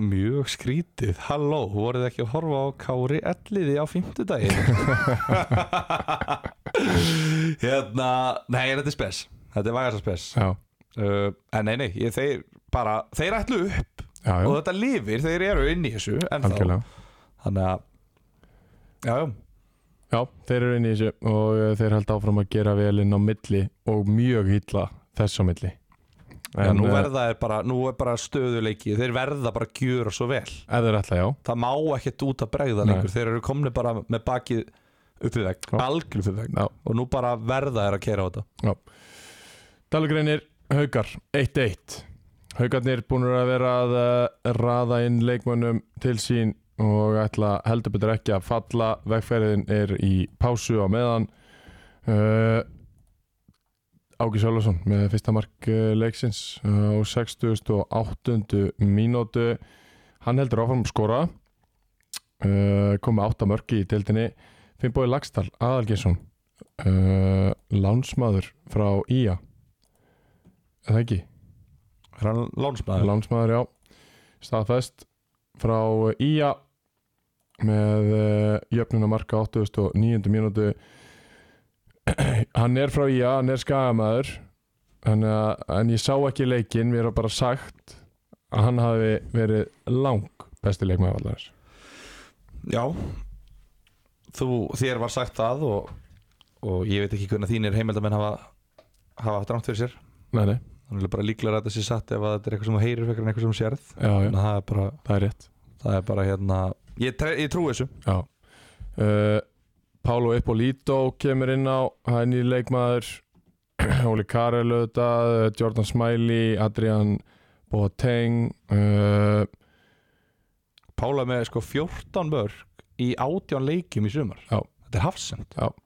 B: mjög skrítið halló, voruð þið ekki að horfa á Kári Elliði á fimmtudaginn hérna nei, þetta er spes, þetta er vagasa spes
A: Já,
B: uh, en nei, nei, ég, þeir bara, þeir ætlu upp
A: já, já,
B: og þetta lifir, þeir eru inn í þessu ennþá.
A: algjörlega
B: þannig að já, já,
A: Já, þeir eru inn í þessu og uh, þeir held áfram að gera vel inn á milli og mjög illa þess á milli
B: já
A: En
B: nú,
A: uh,
B: verða er bara, nú er bara stöðuleiki þeir verða bara að gjöra svo vel
A: ef þeir ætla, já
B: það má ekkert út að bregða
A: Nei.
B: lengur þeir eru komni bara með bakið upp við vegg,
A: Já.
B: algjör upp við vegg
A: Já.
B: og nú bara verða er að kera á þetta
A: Dalugreinir, Haukar, 1-1 Haukarnir búinur að vera að uh, raða inn leikmönnum til sín og ætla heldur betur ekki að falla vegferðin er í pásu á meðan uh, Áki Sjálfarsson með fyrsta mark uh, leiksins uh, á 68. mínútu hann heldur áfram að skora uh, komið átta mörki í deildinni Finnbói Lagstall, Aðalgesson uh, lánsmaður frá Ía er það ekki?
B: er hann lánsmaður?
A: Lánsmaður, já staðfest frá Ía með uh, jöfnuna marka 89. mínútu hann er frá Ía, hann er skagamaður en, en ég sá ekki leikinn, mér er bara sagt að hann hafi verið lang besti leikmaður allar
B: já þú, þér var sagt það og, og ég veit ekki hvernig þínir heimildamenn hafa, hafa haft rámt fyrir sér
A: Nei, nei,
B: þannig er bara líklega að þetta sé satt ef að þetta er eitthvað sem þú heyrir frekar en eitthvað sem þú sérð
A: já, já,
B: þannig að það er bara
A: það er rétt
B: Það er bara hérna Ég, tre- ég trúi þessu
A: Já uh, Pálo Ippolito kemur inn á það er nýr leikmaður Óli Karel auðvitað eh, Jordan Smiley, Adrian Boateng uh,
B: Pála með sko 14 mörg í 18 leikjum í sumar
A: Já.
B: Þetta er hafsend
A: Það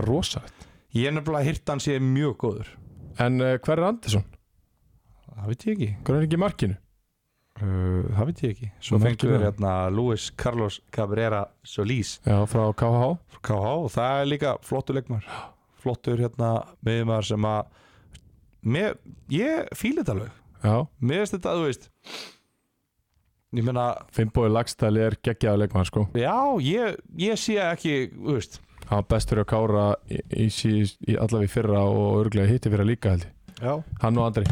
A: er rosalegt
B: Ég er nefnilega að hýrta hann sé mjög góður
A: En uh, hver er Andersson?
B: Það veit ég ekki
A: Hver er ekki í markinu?
B: uh, Það veit ég ekki Svo
A: Merkilega.
B: fengum við hérna Luis Carlos Cabrera Solís
A: Já, frá KH
B: frá KH og það er líka flottur leikmar Flottur hérna miðumar sem að mér, Ég fíla þetta alveg
A: Já,
B: Mér veist þetta, þú veist Ég meina,
A: Finnbói Lagstæli er geggjaður leikmaður sko
B: já, ég, ég sé ekki, þú veist
A: Hann var bestur hjá Kára í, í, í, í allavega í fyrra og örglega hitti fyrra líka held ég
B: Já
A: Hann og Andri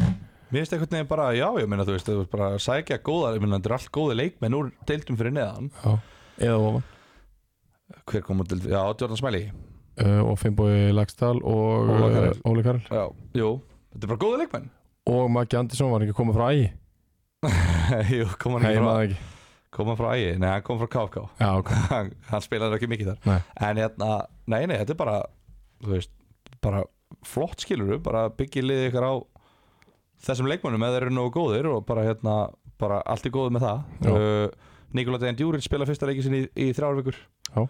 B: Mér finnst einhvern veginn bara, já, ég meina, þú veist, þú veist bara að sækja góða, ég meina, þetta er allt góði leikmenn úr deildum fyrir neðan.
A: Já. Eða ofan
B: Hver kom úr deildum? Já, Jordan Smiley.
A: uh, Og Finnbói Lagstæl og
B: Óla Karel.
A: eh, Óli Karel
B: Já. Jú, þetta er bara góði leikmenn.
A: Og Maggi Andersson var ekki að koma frá ægi
B: Jú, kom hann
A: Nei,
B: ekki
A: ég
B: frá,
A: maður ekki
B: kom hann frá ægi, nei, hann kom frá KFK.
A: Já, ok
B: hann, hann spilaði ekki mikið þar.
A: Nei.
B: En hérna, nei, nei, þetta er bara, þú veist, bara flott skilur bara byggja liðið ykkar á þessum leikmennum eða þeir eru nógu góðir og bara hérna, bara allt er góð með það.
A: Já.
B: Uh, Nikolaj Dejan Djúrin spila fyrsta leikin sinni í, í þrjárvíkur.
A: Já.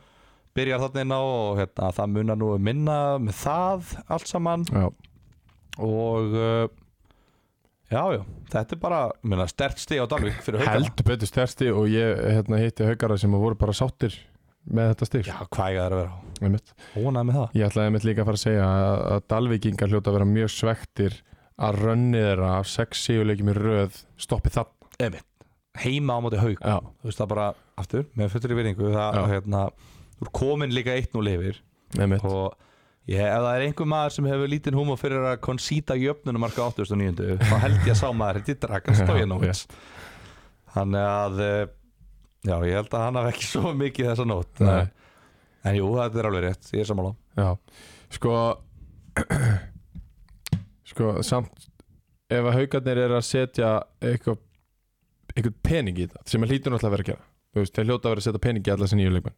B: byrjar þarna inn á og hérna, það munar nú um minna með það allt saman
A: Já,
B: og uh, já, já, þetta er bara minna, stert stig á Dalvik fyrir haugana
A: heldur betur sterti og ég hérna, hitti haugara sem voru bara sáttir með þetta stig
B: Já, hvað eiga þær að vera?
A: Einmitt.
B: Ónaði með það
A: Ég ætlaði einmitt líka að fara að segja að að Dalvíkingar hljóta að vera mjög svektir að rönni þeirra af 6 síguleikjum í röð stoppi það
B: Heima á móti haug
A: Já,
B: Þú veist það bara, aftur, með fullri virðingu það,
A: Já.
B: hérna, Þú er komin líka eitt nú lifir
A: einmitt
B: og ég, ef það er einhver maður sem hefur lítinn húmor fyrir að konsýta jöfnunum marka 8.900 þá held ég að sá maður þetta draka stóinovits þannig að eh, já, ég held að hann hafði ekki svo mikið þessa nót
A: Nei,
B: en jú, þetta er alveg rétt, ég er sammála
A: já Sko Sko, samt ef að haugarnir er að setja eitthvað eitthvað pening í það sem að hlýtur náttúrulega að vera að gera Þú veist, þeir hljóta að vera að setja pening í alla þessi nýju leikmenn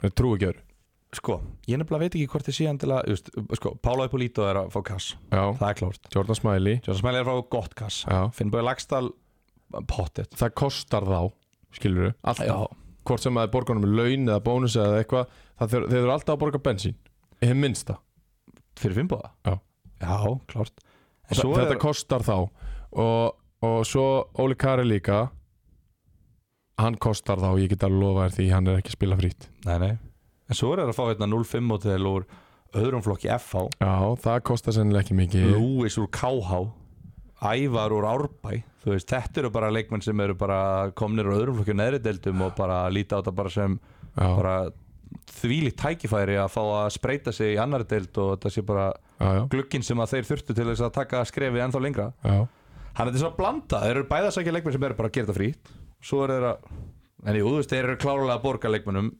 A: Þeir trú ekki öru
B: sko, ég nefnilega veit ekki hvort ég sé endilega just, sko, Pála Ippolito er að fá kass
A: Já,
B: það er klárt,
A: Jordan Smiley
B: Jónas Mæli er að fá gott kass
A: Já,
B: Finnböði Lagstall, pottet
A: það kostar þá skilur við, alltaf
B: já,
A: hvort sem að er borgunum laun eða bónus eða eitthvað það þeir, þeir eru alltaf að borga bensín hef minnsta
B: fyrir Finnbóða
A: Já.
B: já, klárt En
A: Þa,
B: svo
A: þetta kostar þá og, og svo Óli Kari líka hann kostar þá ég get alveg lofa þér því hann er ekki að spila frýtt
B: Nei, nei En svo er það að fá hérna 0-5 mótil úr öðrum flokki FH
A: já það kostar sennilega ekki mikið
B: Lúis úr KH Ævar úr Árbæ Þú veist, þetta eru bara leikmenn sem eru bara komnir úr öðrum flokki neðri deildum og bara líta á þetta bara sem
A: já,
B: bara þvílíkt tækifæri að fá að spreita sig í annari deild og þetta sé bara
A: já, já,
B: glugginn sem að þeir þurftu til þess að taka skrefið ennþá lengra
A: já,
B: Hann er þess að blanda, þeir eru bæða sækja leikmenn sem eru bara að gera þetta frýtt Svo eru þeir að, en jú, þú veist, þeir eru klárlega að borga leikmennum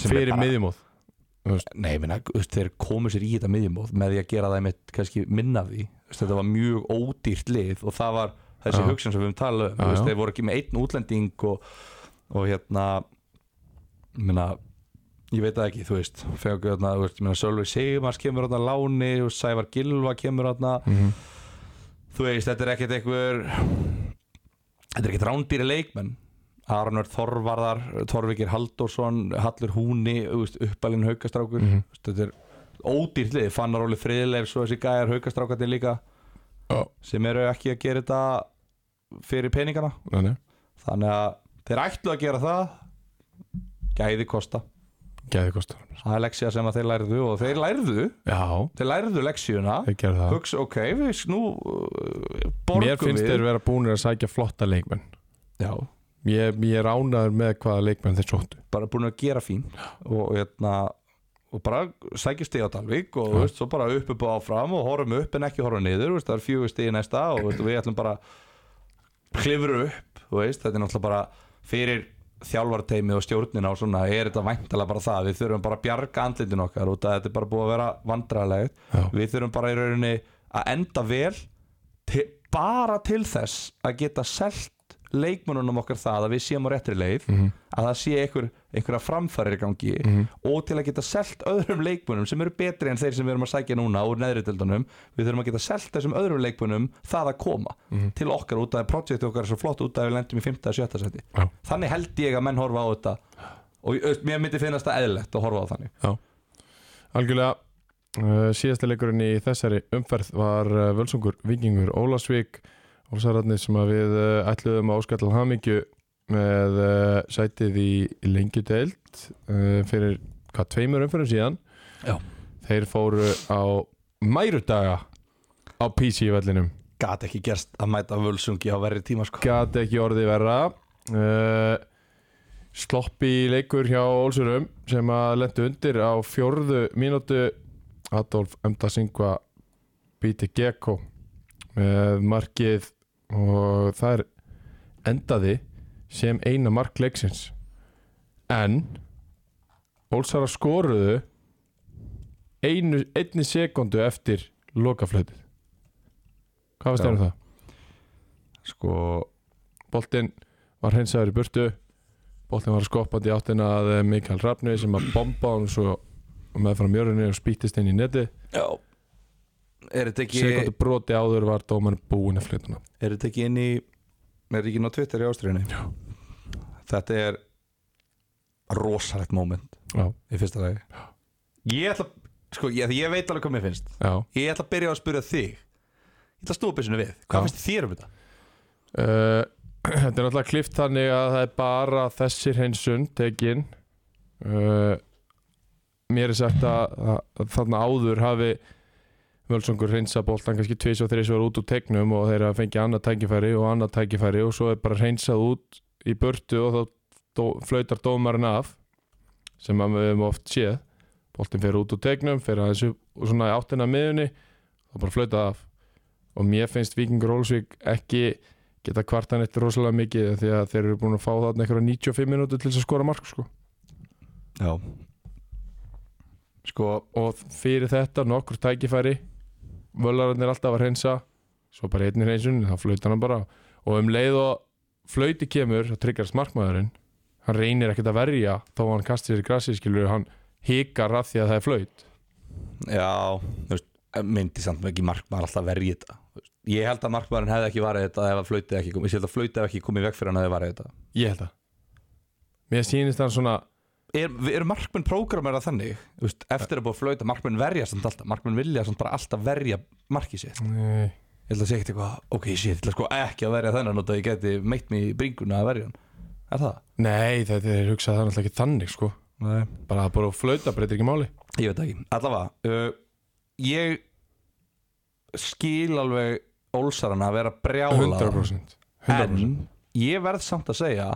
B: sem er
A: fyrir
B: bara-
A: miðjumóð
B: Nei, ég minna, þeir komu sér í þetta miðjumóð með því að gera það einmitt kannski minna af því Þú veist, þetta var mjög ódýrt lið og það var þessi
A: Já.
B: hugsun sem við höfum talað um
A: Já,
B: Þú veist,
A: já.
B: þeir voru ekki með einn útlending og, og hérna ég minna, ég veit það ekki þú veist, fengur þarna, þú veist, ég minna Sölvi Sigmars kemur þarna á láni og Sævar Gilva kemur þarna
A: Mhm.
B: þú veist, þetta er ekkert einhver þetta er ekkert rándýri leikmenn Aronur Þorvarðar, Þorvikir Halldórsson Hallur Húni, þú veist, uppalinn haukastrákur
A: Mhm.
B: Þú veist, þetta er ódýrt lið, Fannar Óli Friðleif svo þessi gæjar haukastrákandi líka
A: Já.
B: sem eru ekki að gera þetta fyrir peningana
A: Nei, nei,
B: þannig að þeir ætlu að gera það gæði kosta
A: gæði kostar
B: það er leksja sem að þeir lærðu og þeir lærðu,
A: já,
B: þeir lærðu leksjuna
A: þeir gerðu það
B: hugsa, ok, við nú uh,
A: mér
B: borgum
A: finnst
B: við
A: þeir vera búinir að sækja flotta leikmenn
B: Já,
A: ég, ég er ánæður með hvaða leikmenn þeir sóttu
B: bara búin að gera fín og, hérna, og bara sækja stig á Dalvík og þú veist, svo bara upp upp og áfram og horfum upp en ekki horfum niður þú veist, það er fjögur stig í næsta og þú veist, við ætlum bara að klifra upp þú veist, þetta er náttúrulega bara fyrir þjálfarteimið og stjórnina og svona er þetta væntalega bara það, við þurfum bara að bjarga andlitin okkar út að þetta er bara búið að vera vandræðilegt
A: Já.
B: við þurfum bara í rauninni að enda vel til, bara til þess að geta selt leikmönunum okkar það að við séum á réttri leið að það sé einhver, einhverja framfærir í gangi og til að geta selt öðrum leikmönum sem eru betri en þeir sem við erum að sækja núna úr neðritöldunum, við þurfum að geta selt þessum öðrum leikmönum það að koma til okkar út af projekti okkar er svo flott út af við lendum í 5. og 7. seti
A: Já.
B: þannig held ég að menn horfa á þetta og ég- mér myndi finnast það eðlilegt að horfa á þannig
A: Algjörlega uh, síðasta leikurinn í þessari umferð var uh, völsungur vikingur Ólasvík Ólsararni sem að við uh, ætluðum að óskall hamingju með uh, sætið í lengju deild uh, fyrir hvað tveimur umferðum síðan
B: Já.
A: þeir fóru á mærudaga á PC vellinum
B: gat ekki gerst að mæta völsungi á verri tíma sko.
A: gati ekki orðið verra uh, sloppi leikur hjá Ólsurum sem að lendu undir á fjórðu mínútu Adolf Emda Singva býti Gekko með markið og það er endaði sem eina mark leiksins en Ólsara skoruðu einu, einni sekundu eftir lokaflöðið hvað var
B: Já.
A: stefnum það?
B: sko,
A: boltinn var hreinsaður í burtu boltinn var skoppandi í áttina að eh, Mikael Rafni sem að bomba hann svo meðfram jörðinni og spýttist inn í neti
B: já er þetta ekki
A: sekundu broti áður var dómarinn búinn að flytuna
B: er þetta ekki inn í er þetta ekki inn á Twitter í ástriðinni þetta er rosalegt moment
A: Já,
B: í fyrsta lagi ég ætla, sko, ég, því ég veit alveg hvað mér finnst
A: já
B: ég ætla að byrja á að spyrja þig ég ætla að snúa byssinu við,
A: Já.
B: hvað finnst þér um þetta?
A: Uh, Þetta er náttúrulega klift þannig að það er bara þessir hreinsun tekin uh, Mér er sagt að, að þarna áður hafi Völsungur hreinsa boltan kannski tvis og þreis var út úr tegnum og þeir hafa fengið annað tækifæri og annað tækifæri og svo er bara hreinsað út í burtu og þá dó, flautar dómarinn af sem að við höfum oft séð boltin fer út úr tegnum, fer aðeins upp og svona í áttina að miðunni og bara flautað af og mér finnst Víkingur Ólsvík ekki geta kvartan eitt rosalega mikið því að þeir eru búin að fá þarna einhverja 95 minúti til þess að skora mark sko.
B: Já,
A: Sko, og fyrir þetta nokkur tækifæri völararnir er alltaf að hreinsa svo bara einni hreinsun, þá flautar hann bara og um leið og flauti kemur þá tryggast markmaðurinn hann reynir ekkert að verja þó að hann kasti sér í grassi skilur hann hikar að því að það er flaut
B: Já, þú veist, eh, myndi samt ekki markmaður alltaf verið þetta Þú veist, Ég held að markmaðurinn hefði ekki varðið þetta ef að flautið ekki komið, ég held að flautið hefði ekki komið í veg fyrir hann hefði varðið þetta
A: ég held að mér sýnist hann svona
B: Er, er markmenn prógramera þannig, þú veist, eftir að búið að flauta markmenn verja samt alltaf, markmenn vilja samt bara alltaf verja markið sitt
A: nei,
B: Ég held að segja eitthvað, ok, shit, ég ætla sko ekki að verja þennan og það ég geti meitt mig í bringuna að verja hann Er það?
A: nei þetta er hugsað það er náttúrulega ekki þannig sko
B: Nei
A: bara að bara flauta breytir ekki máli
B: Ég veit það ekki, allavega uh, Ég skil alveg ólsarana að vera brjála
A: 100%, 100%.
B: En ég verð samt að segja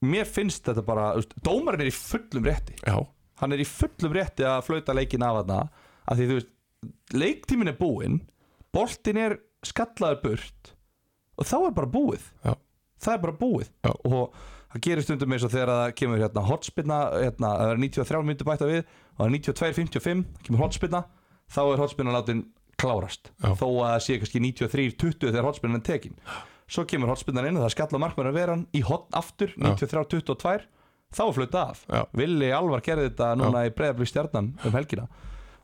B: Mér finnst þetta bara þú veist, Dómarinn er í fullum rétti
A: já
B: Hann er í fullum rétti að flauta leikin af hana Af því þú veist Leiktímin er búinn Boltin er skallaður burt Og þá er bara búið
A: Já.
B: Það er bara búið
A: Já.
B: Og það gerir stundum eins og þegar það kemur hérna hotspinna hérna, Það er 93 myndu bæta við Og það er 92.55 það Kemur hotspinna Þá er hotspinna látin klárast
A: Já.
B: Þó að það sé kannski 93.20 þegar hotspinna er tekin Svo kemur hotspinnan inn og það skallar markmann að vera hann Í hotn aftur 93.22 Þá er flöta af
A: Já.
B: Villi alvar gerði þetta núna í breyðablík stjarnan um helgina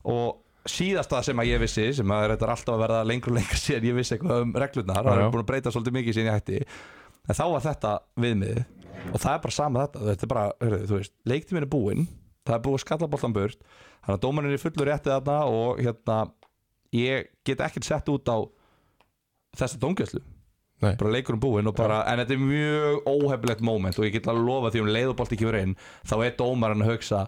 B: og síðasta sem að ég vissi sem að þetta er alltaf að verða lengur og lengur síðan ég vissi eitthvað um reglurnar það
A: Já,
B: er
A: já.
B: búin að breyta svolítið mikið síðan ég hætti en þá var þetta viðmið og það er bara sama þetta, þetta er bara, hörðu, þú veist leiktíminn er búinn, það er búið að skalla boltan burt þannig að dómarinn er í fullur rétti þarna og hérna, ég get ekkert sett út á þessa dómgjöslu
A: Nei.
B: bara leikurinn búinn og bara, en þetta er mjög óhefilegt moment og ég get alveg lofa því um leiðubolti kemur inn, þá er dómarinn að hugsa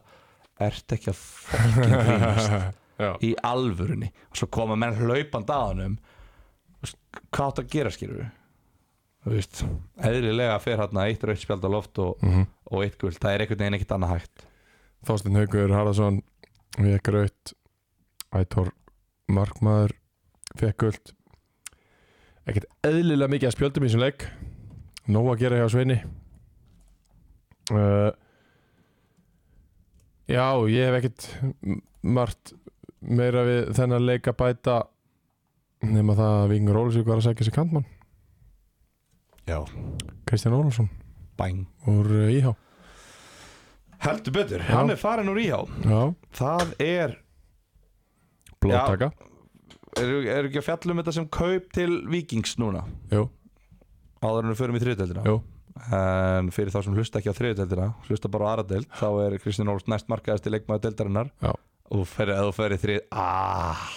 B: ert ekki að fokkin grínast
A: já,
B: í alvörunni og svo koma menn hlaupand að honum Þú veist, hvað átt að gera skilur við þú veist, eðlilega fer hérna eitt rautt spjald á loft og,
A: mm
B: og eitt guld, það er einhvern veginn ekkert annað hægt
A: Þorstein Haugur Harðarsson fekk raut Ætor Markmaður fekk guld ekkert eðlilega mikið að spjöldum í þessum leik nóg að gera hjá Sveini uh, Já, ég hef ekkert m- margt meira við þennan leik að bæta nema það að Vingur Ólfsvík var að sækja sér kantmann
B: Já.
A: Kristján Ólfsson
B: bæn
A: úr uh, IH
B: heldur betur,
A: Já.
B: hann er farin úr íhá
A: Já,
B: það er,
A: blóttaka
B: eru er ekki að fjalla um þetta sem kaup til vikings núna
A: Jú,
B: áður en við förum í þriðutöldina
A: jú,
B: en fyrir þá sem hlusta ekki á þriðutöldina hlusta bara á aðradöld, þá er Kristján Ólfs næst markaðasti leikmaður deildarinnar
A: Já.
B: og fer, ef þú ferði þrið aaaah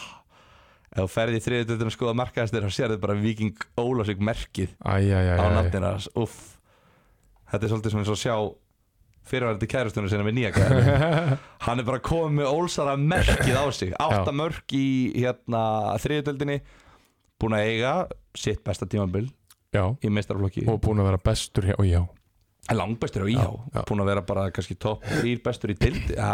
B: ef þú ferði í þriðutöldina skoða markaðastir þá sér þið bara Viking Ólafsvík merkið
A: æjæjæjæ
B: á nafnina hans, uff þetta er svolítið svona eins og sjá fyrirværandi kærustunum sinna með nýja kæri hann er bara komið með ólsara merkið á sig átta mörk í hérna þriðutöldinni búin að eiga sitt besta tímabil
A: Já,
B: í meistarflokki
A: og búin að vera bestur hjá IH
B: En langbestur á IH,
A: Já, já.
B: búin að vera bara kannski topp 3 bestur í deildi ja,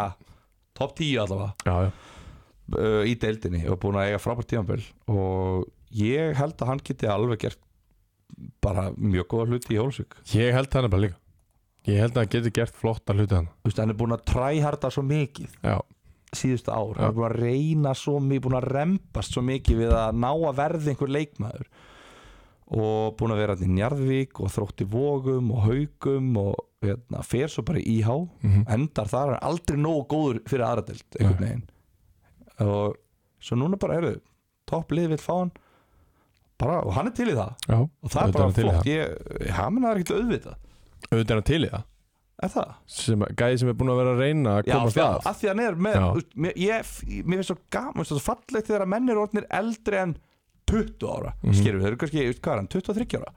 B: topp 10 allavega
A: Já, já,
B: uh, í deildinni og búin að eiga frábært tímanböl og ég held að hann geti alveg gert bara mjög góða hluti í Hólsvík
A: ég held það nefnilega líka Ég held að hann getur gert flotta hluti hann
B: Þú veist, hann er búin að træharda svo mikið
A: Já,
B: síðustu ár,
A: Já.
B: hann er búin að reyna svo mikið, búin að rempast svo mikið við að ná að verða einhver leikmaður og búin að vera hann í Njarðvík og þrótti vógum og haugum og hérna, fer svo bara í IH
A: mm
B: endar þar hann er aldrei nógu góður fyrir aðradelt einhvern veginn og svo núna bara heyrðu topp lið vill fá hann bara, og hann er til í það
A: já
B: og það er bara flott ég, hann er ekkert auðvitað
A: Auðvitað er hann til í það
B: Er það?
A: sem, gæði sem er búin að vera að reyna að komast
B: því
A: að
B: að sko, því hann er með,
A: Já.
B: þú veist, mér, ég, mér finnst svo gaman, þú veist, svo fallegt þegar að menn er orðnir eldri en 20 ára
A: Mhm.
B: mm -hmm. Skerum við, þau eru kannski, ég veist, hvað er hann, 23 ára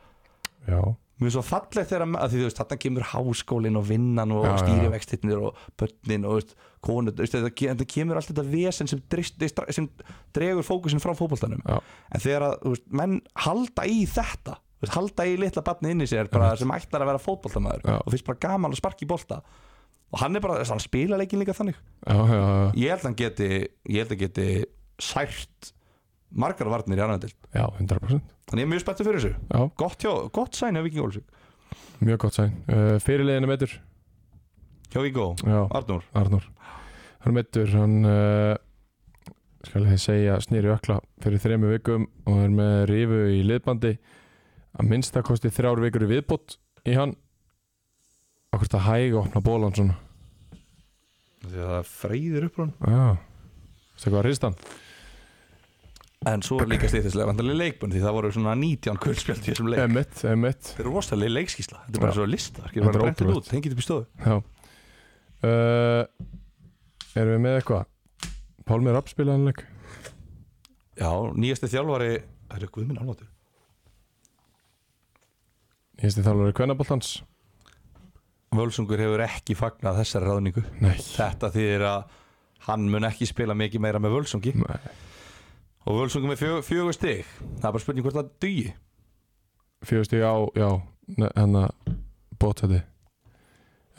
A: Já,
B: Mér finnst svo fallegt þegar að, að því þú veist, þarna kemur háskólin og vinnan og
A: Já, já.
B: stýrivextirnir og börnin og þú veist, konur, þú veist, þetta, ke- þetta kemur allt þetta vesen sem, drist, sem dregur fókusinn frá fótboltanum
A: Já.
B: en þegar að, þú veist, menn halda í þetta þú veist, halda í litla barni inn í sér bara, sem ætlar að vera fótboltamaður
A: Já.
B: og finnst bara gaman að sparka í bolta og hann er bara, hann spila leikin líka þannig
A: já, já, já,
B: ég held að hann geti, ég held að geti sært margar varnir í annan til
A: já 100%
B: þannig ég er mjög spettur fyrir þessu
A: Já,
B: gott, hjá, gott sæn hjá Viking Ólsvík
A: mjög gott sæn uh, Fyrirliðin er meittur
B: hjá Víkó,
A: Já,
B: Arnur
A: Arnór Hann er meittur, hann uh, skal ég segja snýri ökla fyrir þremu vikum og er með rifu í liðbandi að minnsta kosti þrjár vikur í viðbót í hann Akkur það hæg og opna bólan svona
B: því að það freyðir upp hún
A: Já Veistu hvað að hrista hann?
B: en svo er líka stýttislega vandalega leikbund því það voru svona 19 kvöldspjöld í þessum leik
A: Emmett, Emmett
B: þetta er rosalega leikskísla, þetta er bara
A: Já.
B: svo lista þetta
A: Þetta
B: er bara
A: er
B: brentið
A: ótrúlegt.
B: út, hengið upp í stofu
A: Já uh, Erum við með eitthvað? Pálmi Rapp spilaði hann leik
B: já, nýjasti þjálfari, það er guðminn alváttur
A: Nýjasti þjálfari Kvennaboltans
B: Völsungur hefur ekki fagnað þessari ráðningu
A: Nei
B: þetta þýðir að hann mun ekki spila mikið meira með Völsungi
A: Nei.
B: og Völsungur með fjögur, fjögur stig það er bara spurning hvort það dugi
A: Fjögur stíg á, já ne- Hennar bótæti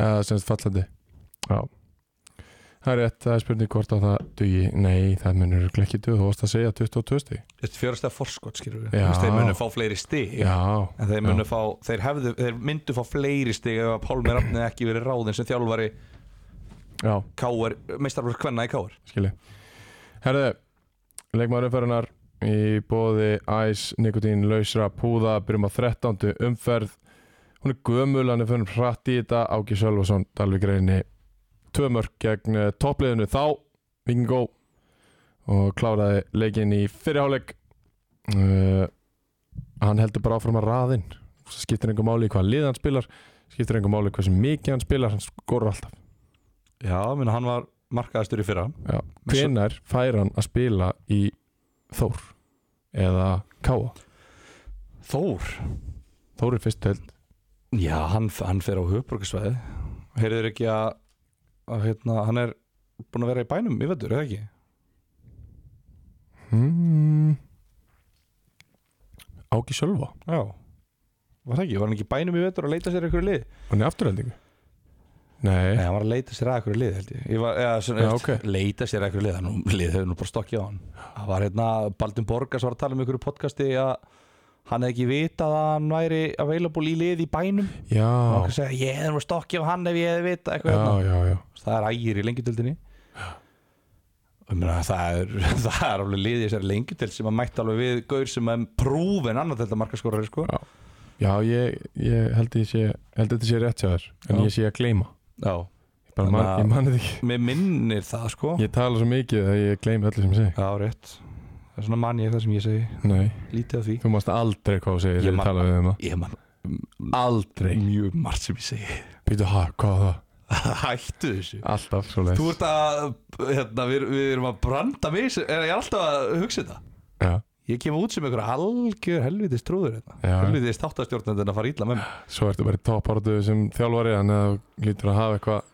A: Eða semst fallandi Já Það er rétt, það er spurning hvort að það dugi Nei, það munur örugglega ekki duð Þú varst að segja 22 stíg
B: Þetta er fjörastega forskot skilur við
A: Já.
B: Þú veist, Þeir munu fá fleiri stig
A: Já,
B: En þeir, munu fá, þeir, hefðu, þeir myndu fá fleiri stig Ef að Pálmi Rafnið ekki verið ráðin sem þjálfari
A: já,
B: KR, meistarflur kvenna í KR
A: skilji Herðu, leikmaður umferðunar í bóði æs, nikotín, lausra, púða byrjum á 13. umferð hún er gömul, hann er fyrir hratt í þetta Áki Sölvason, Dalvik reyni tvö mörg gegn eh, toppliðinu þá Vingó og kláraði leikinn í fyrirháleik uh, hann heldur bara áfram að raðinn það skiptir einhver máli í hvað lið hann spilar skiptir einhver máli hversu mikið hann spilar hann skorur alltaf
B: Já, minna, hann var markaðastur í fyrra
A: Já.
B: Með svo-
A: Hvenær fær hann að spila í Þór eða Káa?
B: Þór
A: Þór er fyrst held
B: Já, hann, hann fer á höfbrukarsvæði Heyrður ekki að, að hérna, hann er búin að vera í bænum í vettur, eða ekki?
A: hmm. Áki Sölva
B: Já Var það ekki? Var hann ekki í bænum í vettur að leita sér eitthvað lið?
A: Hann er afturheldingu Nei,
B: Nei, hann var að leita sér að eitthvað lið held ég, ég var, eða, svona,
A: Já,
B: ja,
A: ok.
B: Leita sér að eitthvað lið Nú, Lið hefur nú bara stokkið á hann Það var hérna, Baldin Borgars var að tala um ykkur í podcasti að hann hefði ekki vitað að hann væri available í lið í bænum og
A: já
B: hann segi, ég hefði nú stokkið á hann ef ég hefði vitað eitthvað
A: Já,
B: hérna.
A: já, já
B: Það er ægir í lengjutildinni Og ég meina, það, er, það er alveg lið í þessari lengjudild sem að mætti alveg við gaur sem að prúfin annað þetta markaskorari sko.
A: Já. Já, ég, ég held ég sé held þetta sé rétt hjá þér en
B: Já.
A: ég sé að gleyma
B: Já,
A: ég bara man,
B: Þannig að-
A: ég man þetta ekki
B: mér minnir það sko
A: Ég tala svo mikið að ég gleymi öllu sem ég segi
B: Já, rétt Það er svona mann ég það sem ég segi
A: Nei,
B: lítið af því
A: þú mást aldrei hvað þú segir
B: Ég
A: þegar
B: man-
A: ég tala við um það
B: ég man
A: Aldrei
B: mjög margt sem ég segi
A: Býtu, ha, hvað var það?
B: hættu þessu
A: Alltaf, svo leið
B: þú ert að, hérna, við, við erum að branda mig sem- er ég er alltaf að hugsa þetta
A: Já,
B: ég kem út sem einhver algjör helvitis trúður hérna.
A: Já.
B: helvitis þáttastjórnendin að fara ítla með mig
A: Svo ertu bara í topparötu sem þjálfari þannig að þú lítur að hafa eitthvað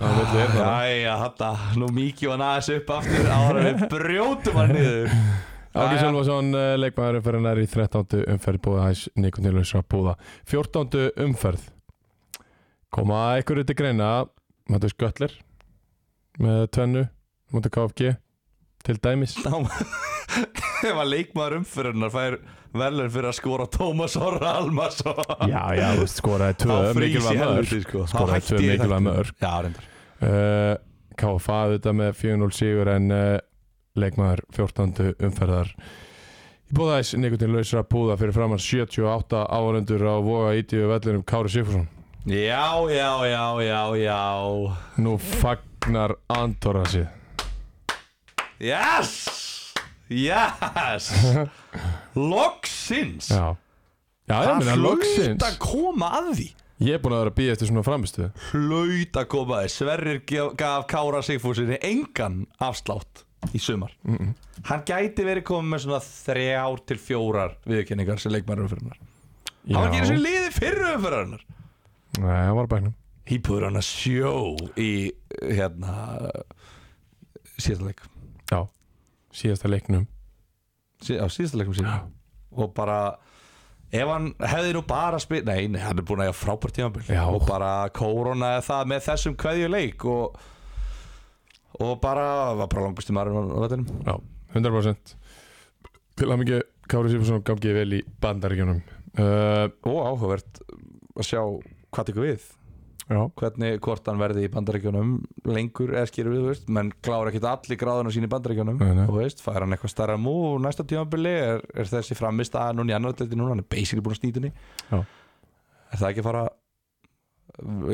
A: hérna. að vilja er það
B: Æja, þetta, nú mikið hann aðeins upp aftur ára við brjótum hann niður
A: Áki
B: Jæja.
A: Sjálfarsson, eh, leikmaður umferðinar í 13. umferð búið aðeins Nikonilusra búða 14. umferð koma einhverju til greina Matur Sköller með tvennu mútið KFG til dæmis
B: Ná- ef að leikmaður umfyrunar fær velur fyrir að skora Tómas Orra Almarsson
A: Já, já, þú skoraði tvö
B: Þá frýs
A: mikilvæg
B: ég
A: mörg
B: helviti, sko. Þá
A: skoraði
B: hætti
A: tvö
B: ég
A: mikilvæg
B: þættinum.
A: mörg
B: Já, reyndar
A: uh, KFA auðvitað með 4-0 sigur en uh, leikmaður 14. umferðar í bóðaðis Nikotin lausra búða fyrir framann 78 áhörendur á voga ítíu vellinum Kári Sigfússon
B: Já, já, já, já, já
A: nú fagnar Andorra sér
B: Yes Yes Loksins
A: já, já ég meina
B: hlaut
A: loksins
B: að koma að því
A: Ég er búin að vera að býja eftir svona framistu
B: Hlaut að koma þér Sverrir gef- gaf Kára Sigfúsinni engan afslátt í sumar Hann gæti verið komið með svona þrjár til fjórar viðurkenningar sem leikmæri umfyrirnar Hann var ekki eins og liði fyrir umfyrirnar
A: Nei, hann var á bæknum
B: Hýpur hann að sjó í hérna síðasta leik
A: Já, síðasta leiknum
B: sí, á síðasta leikum síðan og bara ef hann hefði nú bara spil nei, nei, hann er búin að hafa frábært tímabil
A: Já.
B: og bara kórónaði það með þessum kveðju leik og, og bara var bara langbæsti maður á vettinum
A: Já, 100% Til að mikið Kári Sýfursson gangið vel í bandaríkjunum uh,
B: og áhugavert að sjá hvað tekur við
A: Já,
B: hvernig hvort hann verði í bandaríkjunum lengur eða skýrur við, þú veist menn klára ekkit allir gráðuna sín í bandaríkjunum
A: Nei, nei.
B: þú veist, fær hann eitthvað starra mú og næsta tímabili er, er þessi framist að núna í annar delti núna, hann er basically búin að snýta henni
A: Já.
B: er það ekki að fara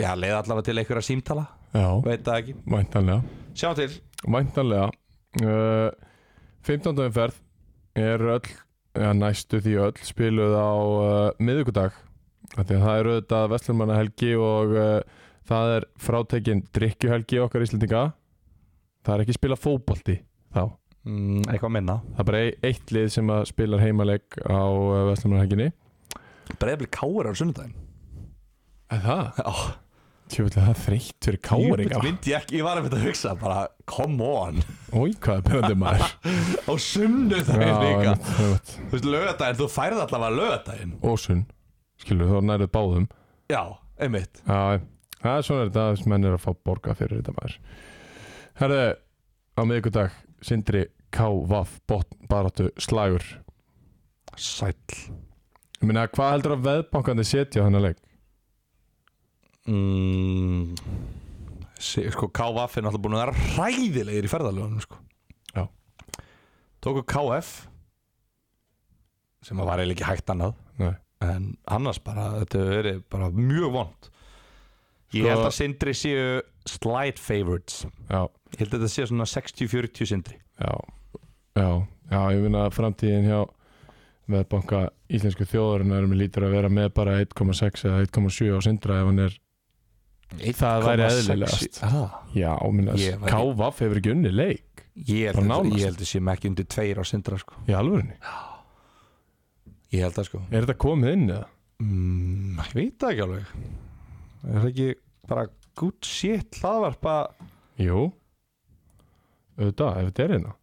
B: já, leiða allavega til einhverja símtala
A: já,
B: veit það ekki,
A: væntanlega
B: sjá til
A: Væntanlega uh, 15. umferð er öll, ja, næstu því öll spiluð á uh, miðvikudag Af því að það er auðvitað Vestlurmannahelgi og uh, það er frátekinn drikkjuhelgi okkar Íslendinga Það er ekki spila fótbolti þá
B: mm, eitthvað minna,
A: Það er bara e- eitt lið sem að spilar heimaleik á uh, Vestlurmannahelginni
B: breyfli káir á sunnudaginn
A: Er það?
B: Já,
A: Tjóðvill að það er þreytt fyrir káringa
B: djúpitt myndi ég ekki, ég var að að hugsa bara, come on,
A: Ói, hvað er byrjandi maður
B: á sunnudaginn líka
A: einmitt, einmitt.
B: þú veist, lögadaginn, þú færð allavega lögadaginn
A: Og sunn, skilur þú, þá nærið báðum
B: já, einmitt
A: Já, það er svona þetta að menn er að fá borga fyrir þetta maður Herðu, á miðvikudag Sindri K.Vaff Baráttu slagur
B: sæll
A: Ég meina, hvað heldur að veðbankandi setja á þennan leik?
B: mm, sí, sko KVF er náttúrulega búin að vera ræðilegir í ferðalögunum sko.
A: Já.
B: tóku KF sem að var eiginlega ekki hægt annað
A: Nei,
B: en annars bara, þetta hefur verið bara mjög vond ég
A: Sko-
B: held að Sindri séu slight favorites
A: já,
B: ég held að þetta séu svona 60-40 Sindri
A: já Já, já, ég meina að framtíðin hjá veðbanka íslensku þjóðarinnar með lítur að vera með bara 1,6 eða 1,7 á Sindra ef hann er Það væri eðlilegast.
B: ah,
A: Já, minna,
B: Ég var-
A: K.Vaff hefur ekki unni leik
B: ég held
A: Bara
B: að-
A: nánast.
B: ég held að séu með ekki undir tveir á Sindra sko.
A: í alvörinni
B: ég held að sko
A: Er þetta komið inn eða?
B: Mm, ég veit það ekki alveg Er það ekki bara good shit hlaðvarpa
A: Jú auðvitað, ef þetta er hérna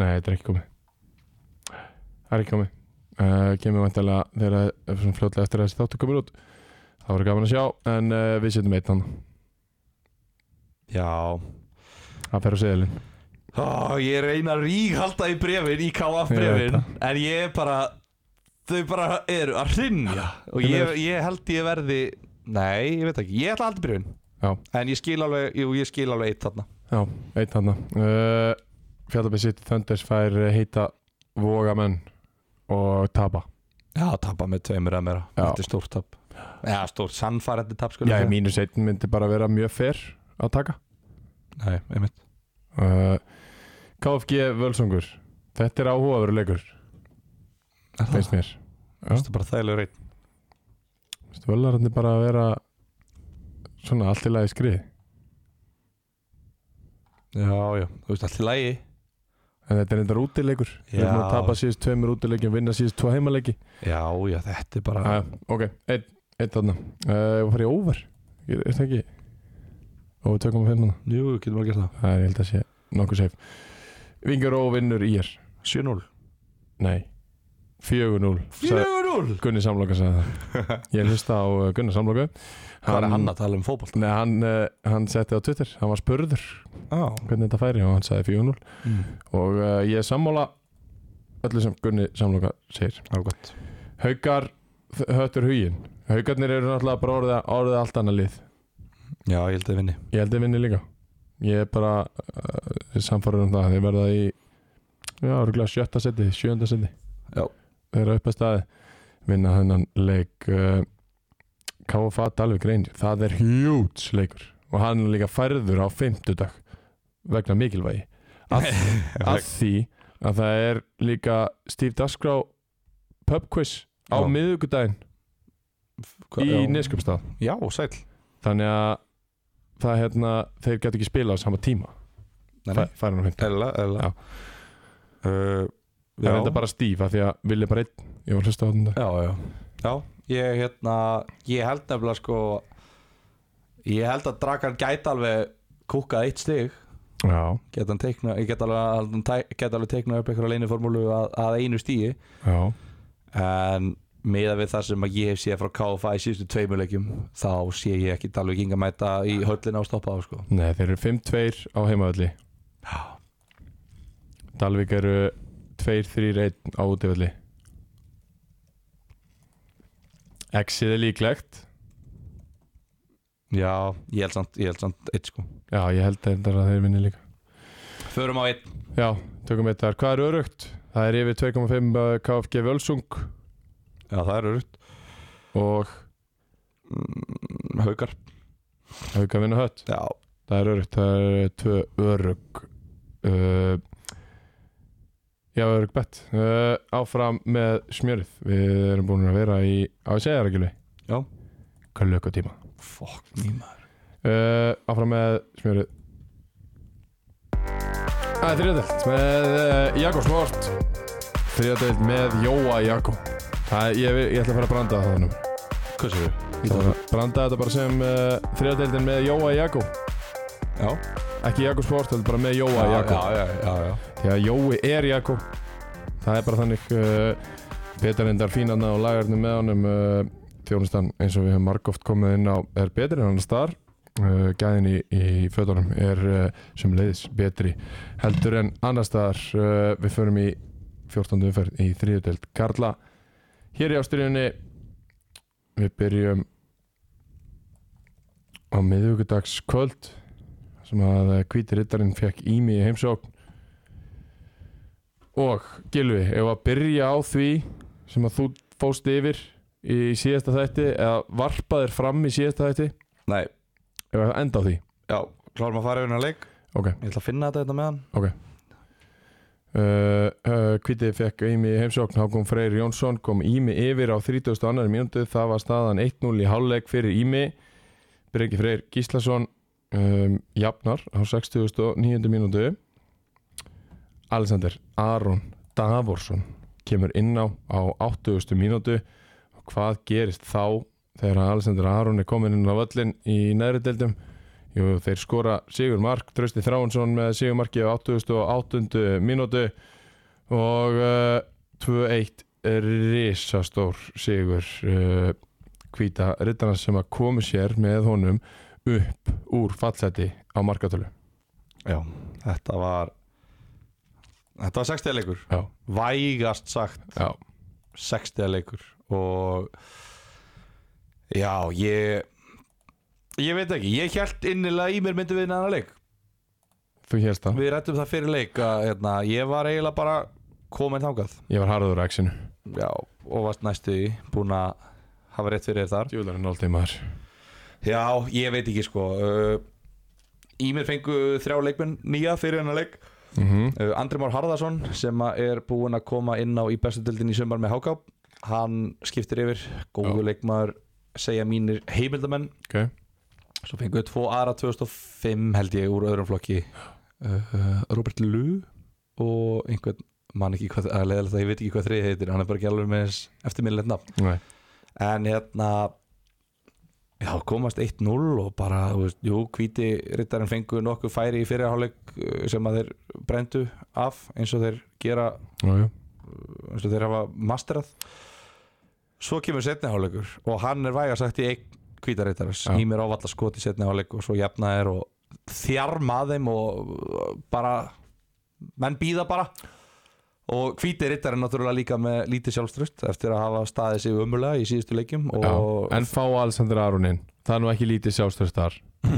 A: Nei, þetta er ekki komið Það er ekki komið uh, Kemur vantilega þegar ef svona fljótlega eftir að þessi þáttu komur út Það voru gaman að sjá En uh, við setjum einn hann
B: Já
A: Það fer á seðilinn
B: Ó, Ég reyna að ríghalda í brefin í KF brefin
A: Ég
B: En ég er bara Þau bara eru að hrynja Og
A: Ég
B: ég,
A: meina-
B: ég held ég verði Nei, ég veit ekki, ég ætla aldrei brefin
A: Já.
B: En ég skil alveg, jú, ég skil alveg eitt þarna
A: Já, einn hann uh, Fjallabæð sitt Thunders fær eh, heita Vogamenn og tapa
B: Já, tapa með tveimur að meira
A: Já.
B: Þetta er stórt tap Já, stórt sannfærandi tap sko
A: Já, mínus einn myndi bara vera mjög fer að taka
B: Nei, einmitt
A: uh, KFG Völsungur Þetta er áhugaveruleikur
B: Er það?
A: finnst mér Já.
B: Þetta er bara þægilega reynd
A: Vistu, völararnir bara að vera svona allt í lagi skrið
B: Já, já, þú veist, allt í lagi
A: en þetta er endar útileikur við
B: Já.
A: erum að tapa síðust tveimur útileikjum vinna síðust tvo heimaleiki
B: Já, já, þetta er bara
A: ah, ok, einn ein þarna uh, og farið over er, er það ekki over 2,5 þarna?
B: Jú, getum að gera það
A: það er ég held að sé nokkuð safe Vingar og vinnur í er
B: 7-0
A: nei 4-0 sagði-
B: 4-0
A: Gunni Samloka sagði það ég hlusta á uh, Gunni Samloka
B: Hvað er hann að tala um fótboll?
A: Nei, hann, uh, hann setti á Twitter, hann var spurður
B: Já
A: hvernig þetta færi og hann sagði 4-0 og uh, ég er sammála öllu sem Gunni samloka segir
B: Það er gott
A: Haukar þ- höttur hugin Haukarnir eru náttúrulega bara orðið, orðið allt annað lið
B: Já, ég held að vinni
A: ég held að vinni líka ég er bara uh, samfarið um það þeir verða í já, örgulega sjötta seti, sjönda seti
B: Já.
A: þeir eru upp að staði vinna þennan leik uh, KFA Dalvik Rangers það er huge leikur og hann er líka færður á fimmtudag vegna mikilvægi að, að því að það er líka Steve Dasgrá pub quiz á
B: Já.
A: miðvikudaginn
B: Hva,
A: í
B: já.
A: Neskjöpstað
B: Já, sæl
A: þannig að það er hérna, þeir getur ekki spilað á sama tíma Fæ, færi nú hreint.
B: Ella, ella
A: Já.
B: uh,
A: það
B: já.
A: er enda bara stíf af því að vilja bara einn ég var að hlusta á þetta
B: Já, já Já, ég, hérna, ég held nefnilega sko Ég held að Dragan gæti alveg kúkað eitt stig
A: já,
B: Gæti hann teikna, ég get alveg, hann tæ- gæti alveg teiknað upp einhverja leiniformúlu að, að einu stíi
A: já,
B: En miða við það sem að ég hef séð frá KFA í síðustu tveimuleikjum Þá sé ég ekki alveg ginga mæta í höllina og stoppa á sko
A: nei, þeir eru 5-2 á heimavalli
B: Já.
A: Dalvik eru 2-3-1 á útivalli Exið er líklegt
B: Já, ég held samt, ég held samt eitt sko
A: já, ég held þetta að þeir vinni líka
B: Förum á eitt
A: Já, tökum eitt þar. Hvað er örugt? Það er yfir 2,5 KFG Völsung
B: Já, það er örugt
A: og
B: Mm, Haukar
A: Hauka vinna hött.
B: Já,
A: Það er örugt, það er eh, tvö örug. Uh, já, örug bett. Uh, áfram með smjörið. Við erum búin að vera í, á að segja það ekki leið.
B: Já.
A: Kalöku tíma.
B: fokk nýma
A: Uh, áfram með smjörið. Það er þriðadelt með uh, Jakob Smort. Þriðadelt með Jóa Jakob. Það, ég, ég ætla að fara að branda það nú.
B: Hvað séu?
A: Bara- Branda þetta bara sem uh, þriðadeildin með Jóa Jakó
B: Já
A: Ekki Jakó Sport, heldur bara með Jóa Jakó
B: já, já, já, já.
A: Því að Jói er Jakó Það er bara þannig uh, betarindar fínarna og lagarnir með honum uh, Þjónustan eins og við höfum margóft komið inn á er betri en annars þar uh, Gæðin í, í fötunum er uh, sem leiðis betri heldur en annars þar uh, Við förum í 14. umferð í þriðadeild Karla Hér í ástriðunni Við byrjum á miðvíkudags kvöld sem að hvíti rittarinn fekk ími í heimsókn og Gilvi, ef að byrja á því sem að þú fóst yfir í síðasta þætti eða varpaðir fram í síðasta þætti
B: Nei,
A: ef að enda á því
B: já, klárum að fara yfir hennar leik
A: ok,
B: Ég ætla að finna þetta hérna með hann
A: Uh, uh, Kvítið fekk Ími í heimsókn Hákon Freyr Jónsson kom Ími yfir á 32. mínútu það var staðan 1-0 í hálfleik fyrir Ími Breki Freyr Gíslason um, jafnar á 69. mínútu Alexander Aron Davorsson kemur inn á á 80. mínútu og hvað gerist þá þegar að Alexander Aron er komin inn á völlin í neðri deildum Jú, þeir skora Sigur Mark, Trausti Þráinsson með Sigur Marki á 88. mínútu og uh, 2-1 risastór Sigur uh, hvíta rittarna sem að komu sér með honum upp úr fallseti á markatölu.
B: Já, þetta var Þetta var 60 leikur
A: Já,
B: Vægast sagt
A: já,
B: 60 leikur Og Já, ég Ég veit ekki, ég held innilega í mér myndi við hennar leik
A: þú hérst það.
B: Við rættum það fyrir leik að hérna, ég var eiginlega bara komin þangað
A: Ég var harður á exinu.
B: Já, og varst næstu í búin að hafa rétt fyrir þér þar
A: Júlarinn alltaf maður.
B: Já, ég veit ekki sko uh, Í mér fengu þrjá leikmenn nýja fyrir hennar leik
A: Mm
B: uh, Andri Már Harðarsson sem að er búinn að koma inn á í bestu deildin í sömbar með Háká Hann skiptir yfir, góðu leikmaður segja mínir heimildamenn
A: Ok,
B: Svo fengu við tvo aðra 2005 held ég úr öðrum flokki uh, Robert Lu og einhvern mann ekki hvað, að leiðilegt að ég veit ekki hvað þriði heitir hann er bara ekki alveg með þess eftirminnlegt nafn
A: nei,
B: en hérna já, komast 1-0 og bara, þú veist, jú, hvíti rittarinn fengu nokkuð færi í fyrirháleik sem að þeir brendu af eins og þeir gera,
A: já, já.
B: eins og þeir hafa masterað svo kemur setni háleikur og hann er vægast sagt í einn hvítarittarins,
A: Já.
B: ja. ímir ávalla skot í setni háleik og svo jafna er og þjarma að þeim og uh, bara menn býða bara og hvíti rittarinn náttúrulega líka með lítið sjálfströst eftir að hafa staðið sig umulega í síðustu leikjum
A: já.
B: og
A: En fá Alexander Aron inn. Það er nú ekki lítið sjálfstöðst þar.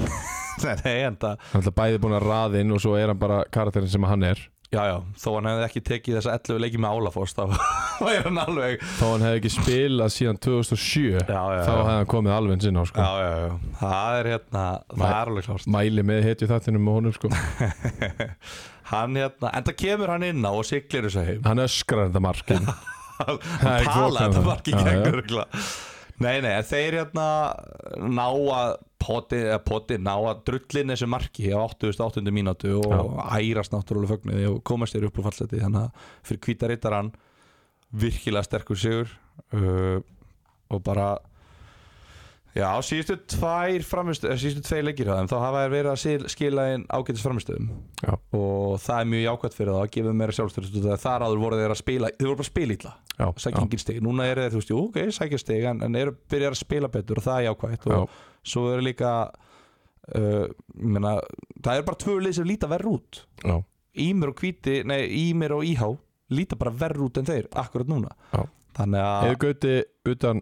B: Nei, nei, en það
A: Hann er alltaf bæði búin að raða inn og svo er hann bara karakterin sem hann er.
B: Já, já, þó hann hefði ekki tekið þessa 11 leiki með Álafoss þá væri hann alveg
A: Þá hann hefði ekki spilað síðan 2007
B: Já, já,
A: þá
B: já.
A: hefði hann komið alveg eins inn á sko.
B: Já, já, já, það er hérna það
A: Nei.
B: er alveg klárt
A: Mæli með hetju þættinum með honum sko.
B: Hann hérna, en það kemur hann inn á og siglir þessu heim
A: Hann öskrar þetta markin
B: Hann
A: Það er
B: tala
A: klokkan
B: þetta
A: það.
B: marki
A: Já, já.
B: gengur Nei, nei, en þeir hérna ná að poti, eða poti ná að drullin þessu marki á 88. mínútu og ærast náttúrulega fögnuði og komast þér upp úr fallseti þannig að fyrir hvítarittaran virkilega sterkur sigur uh, og bara já, síðustu tvær framistöð, síðustu tvei leikir hjá þeim þá hafa þér verið að sil- skila inn ágætis framistöðum
A: Já.
B: og það er mjög jákvæmt fyrir það að gefa meira sjálfstöð þar áður voru þeir að spila, þeir voru bara að spila illa
A: Já,
B: sækja engin stig, núna eru þeir þú veist, jú, ok, sækja stig en, en eru byrjar að spila betur og það er jákvægt
A: já,
B: og svo eru líka uh, ég meina, það eru bara tvö lið sem líta verð út
A: já,
B: Ímir og Hvíti, nei, Ímir og Íhá líta bara verð út en þeir, akkurat núna
A: Já.
B: þannig að
A: Eða Gauti utan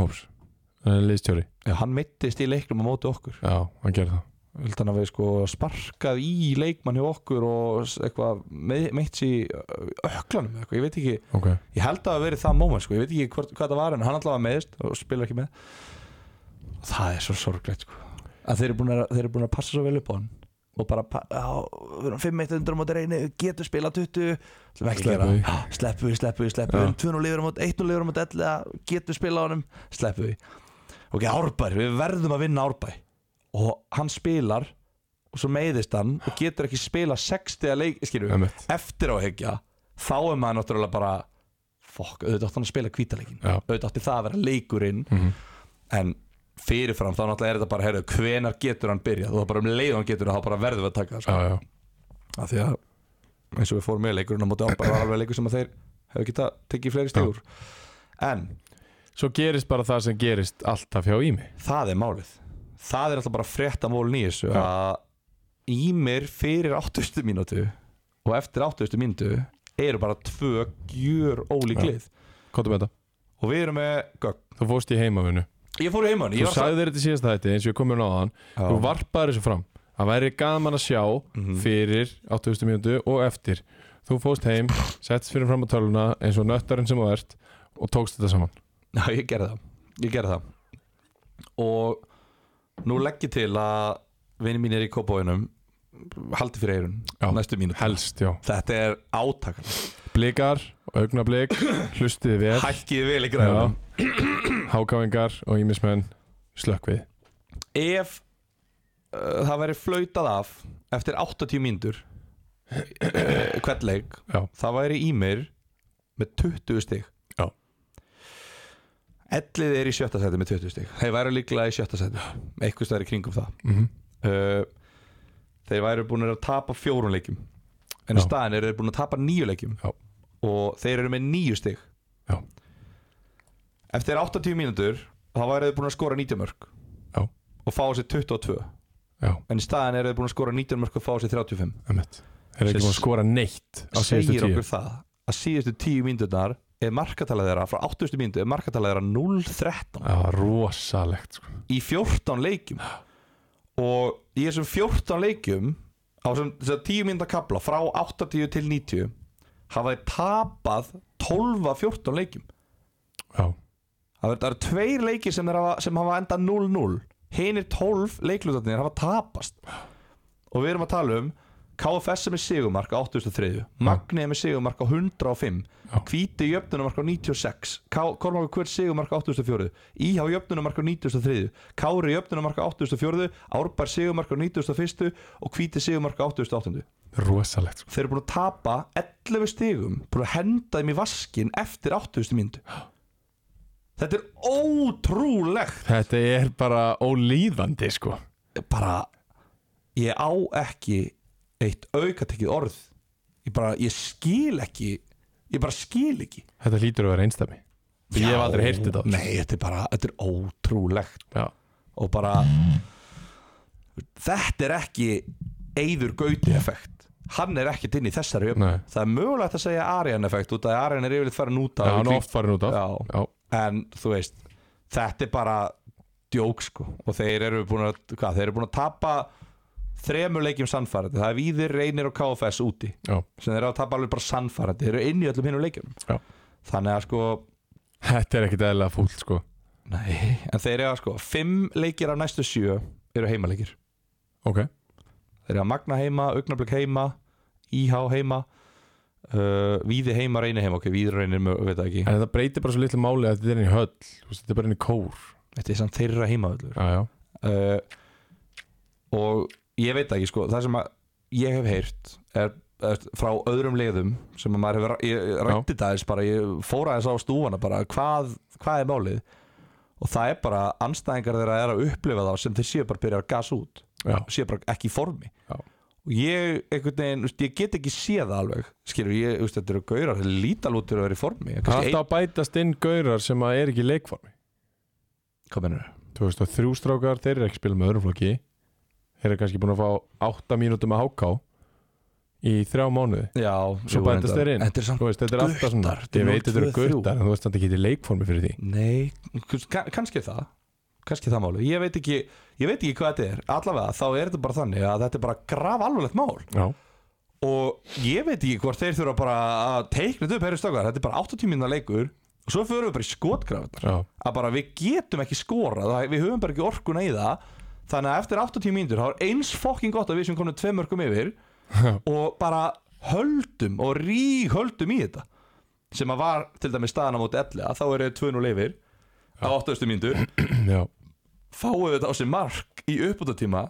A: hóps eh, Liðstjóri,
B: já, hann mittist í leiknum á móti okkur
A: já, hann gerði það
B: Vildi hann að við sko sparkað í leikmann hjá okkur og s- eitthvað me- meitt í öklanum eða eitthvað, ég veit ekki
A: Ok,
B: Ég held að það hafi verið það moment sko. Ég veit ekki hvort, hvað það var en hann allavega meðist og spilar ekki með Það er svo sorgleitt sko. að þeir eru búin að, þeir eru búin að passa svo vel upp á hann og bara, pa- já, við erum 5-1 undur á móti reyni, getur spila 20 sem ekki
A: Sleppu
B: gera,
A: því.
B: Já, sleppu við, sleppu við, sleppu
A: Já.
B: við 2-0 lifur á móti, 1-0 lifur á móti 11 getur spila á honum, sleppu við ok, árbær, við verðum að vinna árbær og hann spilar og svo meiðist hann og getur ekki spila 60 leik, skilju
A: emmett
B: eftir á að higgja þá er maður náttúrulega bara fokk, auðvitað átti hann að spila kvítaleikin
A: Já,
B: auðvitað átti það að vera leikurinn
A: Mhm.
B: en fyrirfram þá náttúrulega er þetta bara heyrðu, hvenar getur hann byrjað og það bara um leið hann getur það þá bara verðum við að taka það
A: já,
B: sko.
A: já,
B: af því að eins og við fórum með leikurinn á móti ábæð var alveg leikur sem að þeir hefur getað tekið fleiri stígur en
A: Svo gerist bara það sem gerist alltaf hjá Ími
B: það er málið það er alltaf bara frétta mólin í þessu
A: Já.
B: að í mér fyrir 80 mínútu og eftir 80 mínútu eru bara tvö gjör ólík
A: Já.
B: lið
A: Kottum þetta,
B: og við erum með gögn
A: þú fórst í heimavinu
B: ég fór í heimann
A: Þú sagðir þetta í síðasta þætti eins og ég komið náðan Þú varpaðir þessu fram Það væri gaman að sjá
B: Mhm.
A: fyrir 8000 mínútu og eftir Þú fóst heim, settist fyrir fram á tölvuna eins og nöttarinn sem þú ert og tókst þetta saman
B: já, ég gerði það ég gerði það og nú legg ég til að vinni mín er í kópáinum haldi fyrir eirun
A: Já.
B: næstu mínútu
A: Helst, já
B: þetta er átakalegt
A: Blikar, augnablík, hlustið vel
B: hækkið vel í
A: Já.
B: græðum
A: Hákáingar og ímismenn slökkvið
B: ef uh, það væri flautað af eftir 80 mínútur uh, hvern leik
A: Já.
B: það væri í mér með 20 stig
A: Já.
B: Ellið er í sjötta seti með 20 stig Þeir væru líklega í sjötta seti Eitthvað stæðar í kringum það
A: mm
B: uh, Þeir væru búin að tapa fjórun leikjum En í
A: Já.
B: staðan eru þeir búin að tapa nýju leikjum
A: Já.
B: Og þeir eru með nýju stig
A: Já.
B: Eftir 80 mínútur Þá væru þeir búin að skora 90 mörg
A: Já.
B: Og fá sér 22
A: Já,
B: En í staðan eru þeir búin að skora 19 mörg og fá sér 35
A: emmett Þeir eru ekki
B: Sem
A: búin að skora neitt á síðustu
B: segir
A: tíu
B: okkur það að síðustu tíu mínúturnar er markatalað þeirra frá 80. mínútu er markatalað þeirra 0-13
A: Já, rosalegt sko.
B: í 14 leikjum og í þessum 14 leikjum á þessum þessum 10 mínúta kapla frá 80 til 90 hafa þeir tapað 12 af 14 leikjum
A: Já,
B: það eru- það eru tveir leiki sem, þeir hafa, sem hafa endað 0-0 hinir 12 leiklutarnir hafa tapast og við erum að tala um KFS er með sigumark á 83 Magni er með sigumark á 105
A: Já.
B: Hvíti jöfnunumark á 96 Kormáku Kvöld sigumark á 84 Íhá jöfnunumark á 93 Kári jöfnunumark á 84 Árbær sigumark á 91 og Hvíti sigumark á 88
A: rosalegt sko.
B: Þeir eru búin að tapa 11 stigum búin að henda þeim í vaskin eftir 8000 myndu Þetta er ótrúlegt
A: Þetta er bara ólíðandi sko.
B: bara ég á ekki eitt aukatekið orð ég bara, ég skil ekki ég bara skil ekki
A: Þetta hlýtur að vera einstami Ég hef aldrei heyrt þetta áður.
B: Nei, þetta er bara, þetta er ótrúlegt
A: Já,
B: og bara þetta er ekki eyður gauti effekt hann er ekkert inn í þessari jöfn
A: Nei.
B: það er mögulegt að segja Arian effekt út af að Arian er yfirleitt farin út af
A: Já,
B: í
A: hann er
B: kring-
A: oft farin út af
B: Já. en þú veist þetta er bara djók sko og þeir eru búin að, hvað, þeir eru búin að tapa þremur leikjum sannfærandi það er Víðir, Reynir og KFS úti
A: já,
B: sem þeir eru að tapa alveg bara sannfærandi þeir eru inn í öllum hinnum leikjum
A: Já.
B: þannig að sko,
A: Þetta er ekkit eðlilega fúlt sko.
B: nei, en þeir eru að sko fimm leikir af næstu sjö eru heimaleikir
A: Ok,
B: þeir eru að Magna heima, Augnablik heima IH heima uh, Víði heima reynir heima, ok, Víði reynir mö- veit það ekki,
A: En þetta breytir bara svo litlu máli að þetta er inn í höll þú veist, Þetta er bara inn í kór
B: þetta er samt þeirra heima öllur
A: já, já.
B: uh, og ég veit það ekki sko, það sem að ég hef heyrt er, er frá öðrum liðum sem að maður hefur ra- ég- ég rætti þetta aðeins bara, ég fór aðeins á stúfana bara, hvað, hvað er málið og það er bara, anstæðingar þeirra er að upplifa það sem þeir séu bara að byrja að gasa út
A: Já.
B: séu bara ekki í formi
A: Já.
B: og ég, einhvern veginn, þú veist, ég get ekki séð það alveg, skilur, ég, þú veist, þetta eru gaurar þetta lítal út fyrir að vera í
A: Það
B: formi
A: er
B: Kannski
A: alltaf að bætast inn gaurar sem að er ekki í leikformi
B: ein- hvað mennur
A: Þú veist að þrjú strákar, þeir eru ekki spilað með öðrum flokki Þeir eru kannski búin að fá 8 mínútur með háká Í þrjá mánuði
B: Já,
A: Svo
B: jú,
A: bætast
B: reyndar.
A: þeir inn.
B: Þetta er samt,
A: Þú veist, þetta er alltaf svona
B: Guttar, þetta
A: Ég
B: er
A: veit þetta eru
B: 0-2-3.
A: gautar en þú veist þetta ekki í leikformi fyrir því
B: nei, kus- ka- kannski það kannski það máli, ég veit ekki ég veit ekki hvað þetta er, allavega þá er þetta bara þannig að þetta er bara graf alvarlegt mál
A: Já,
B: og ég veit ekki hvort þeir þurfa bara að teikna þetta upp herri stökkar, þetta er bara 80 mínúna leikur og svo förum við bara í skotgrafnar
A: já,
B: að bara við getum ekki skorað það- við höfum bara ekki orkuna í það þannig að eftir 80 mínútur þá er eins fokking gott að við sem komum tvei mörgum yfir og bara höldum og rík höldum í þetta sem að var til dæmis staðan á móti 11 þá eru 2-0 yfir á 80 mínútur
A: já,
B: fáum við þetta á sér mark í uppbútatíma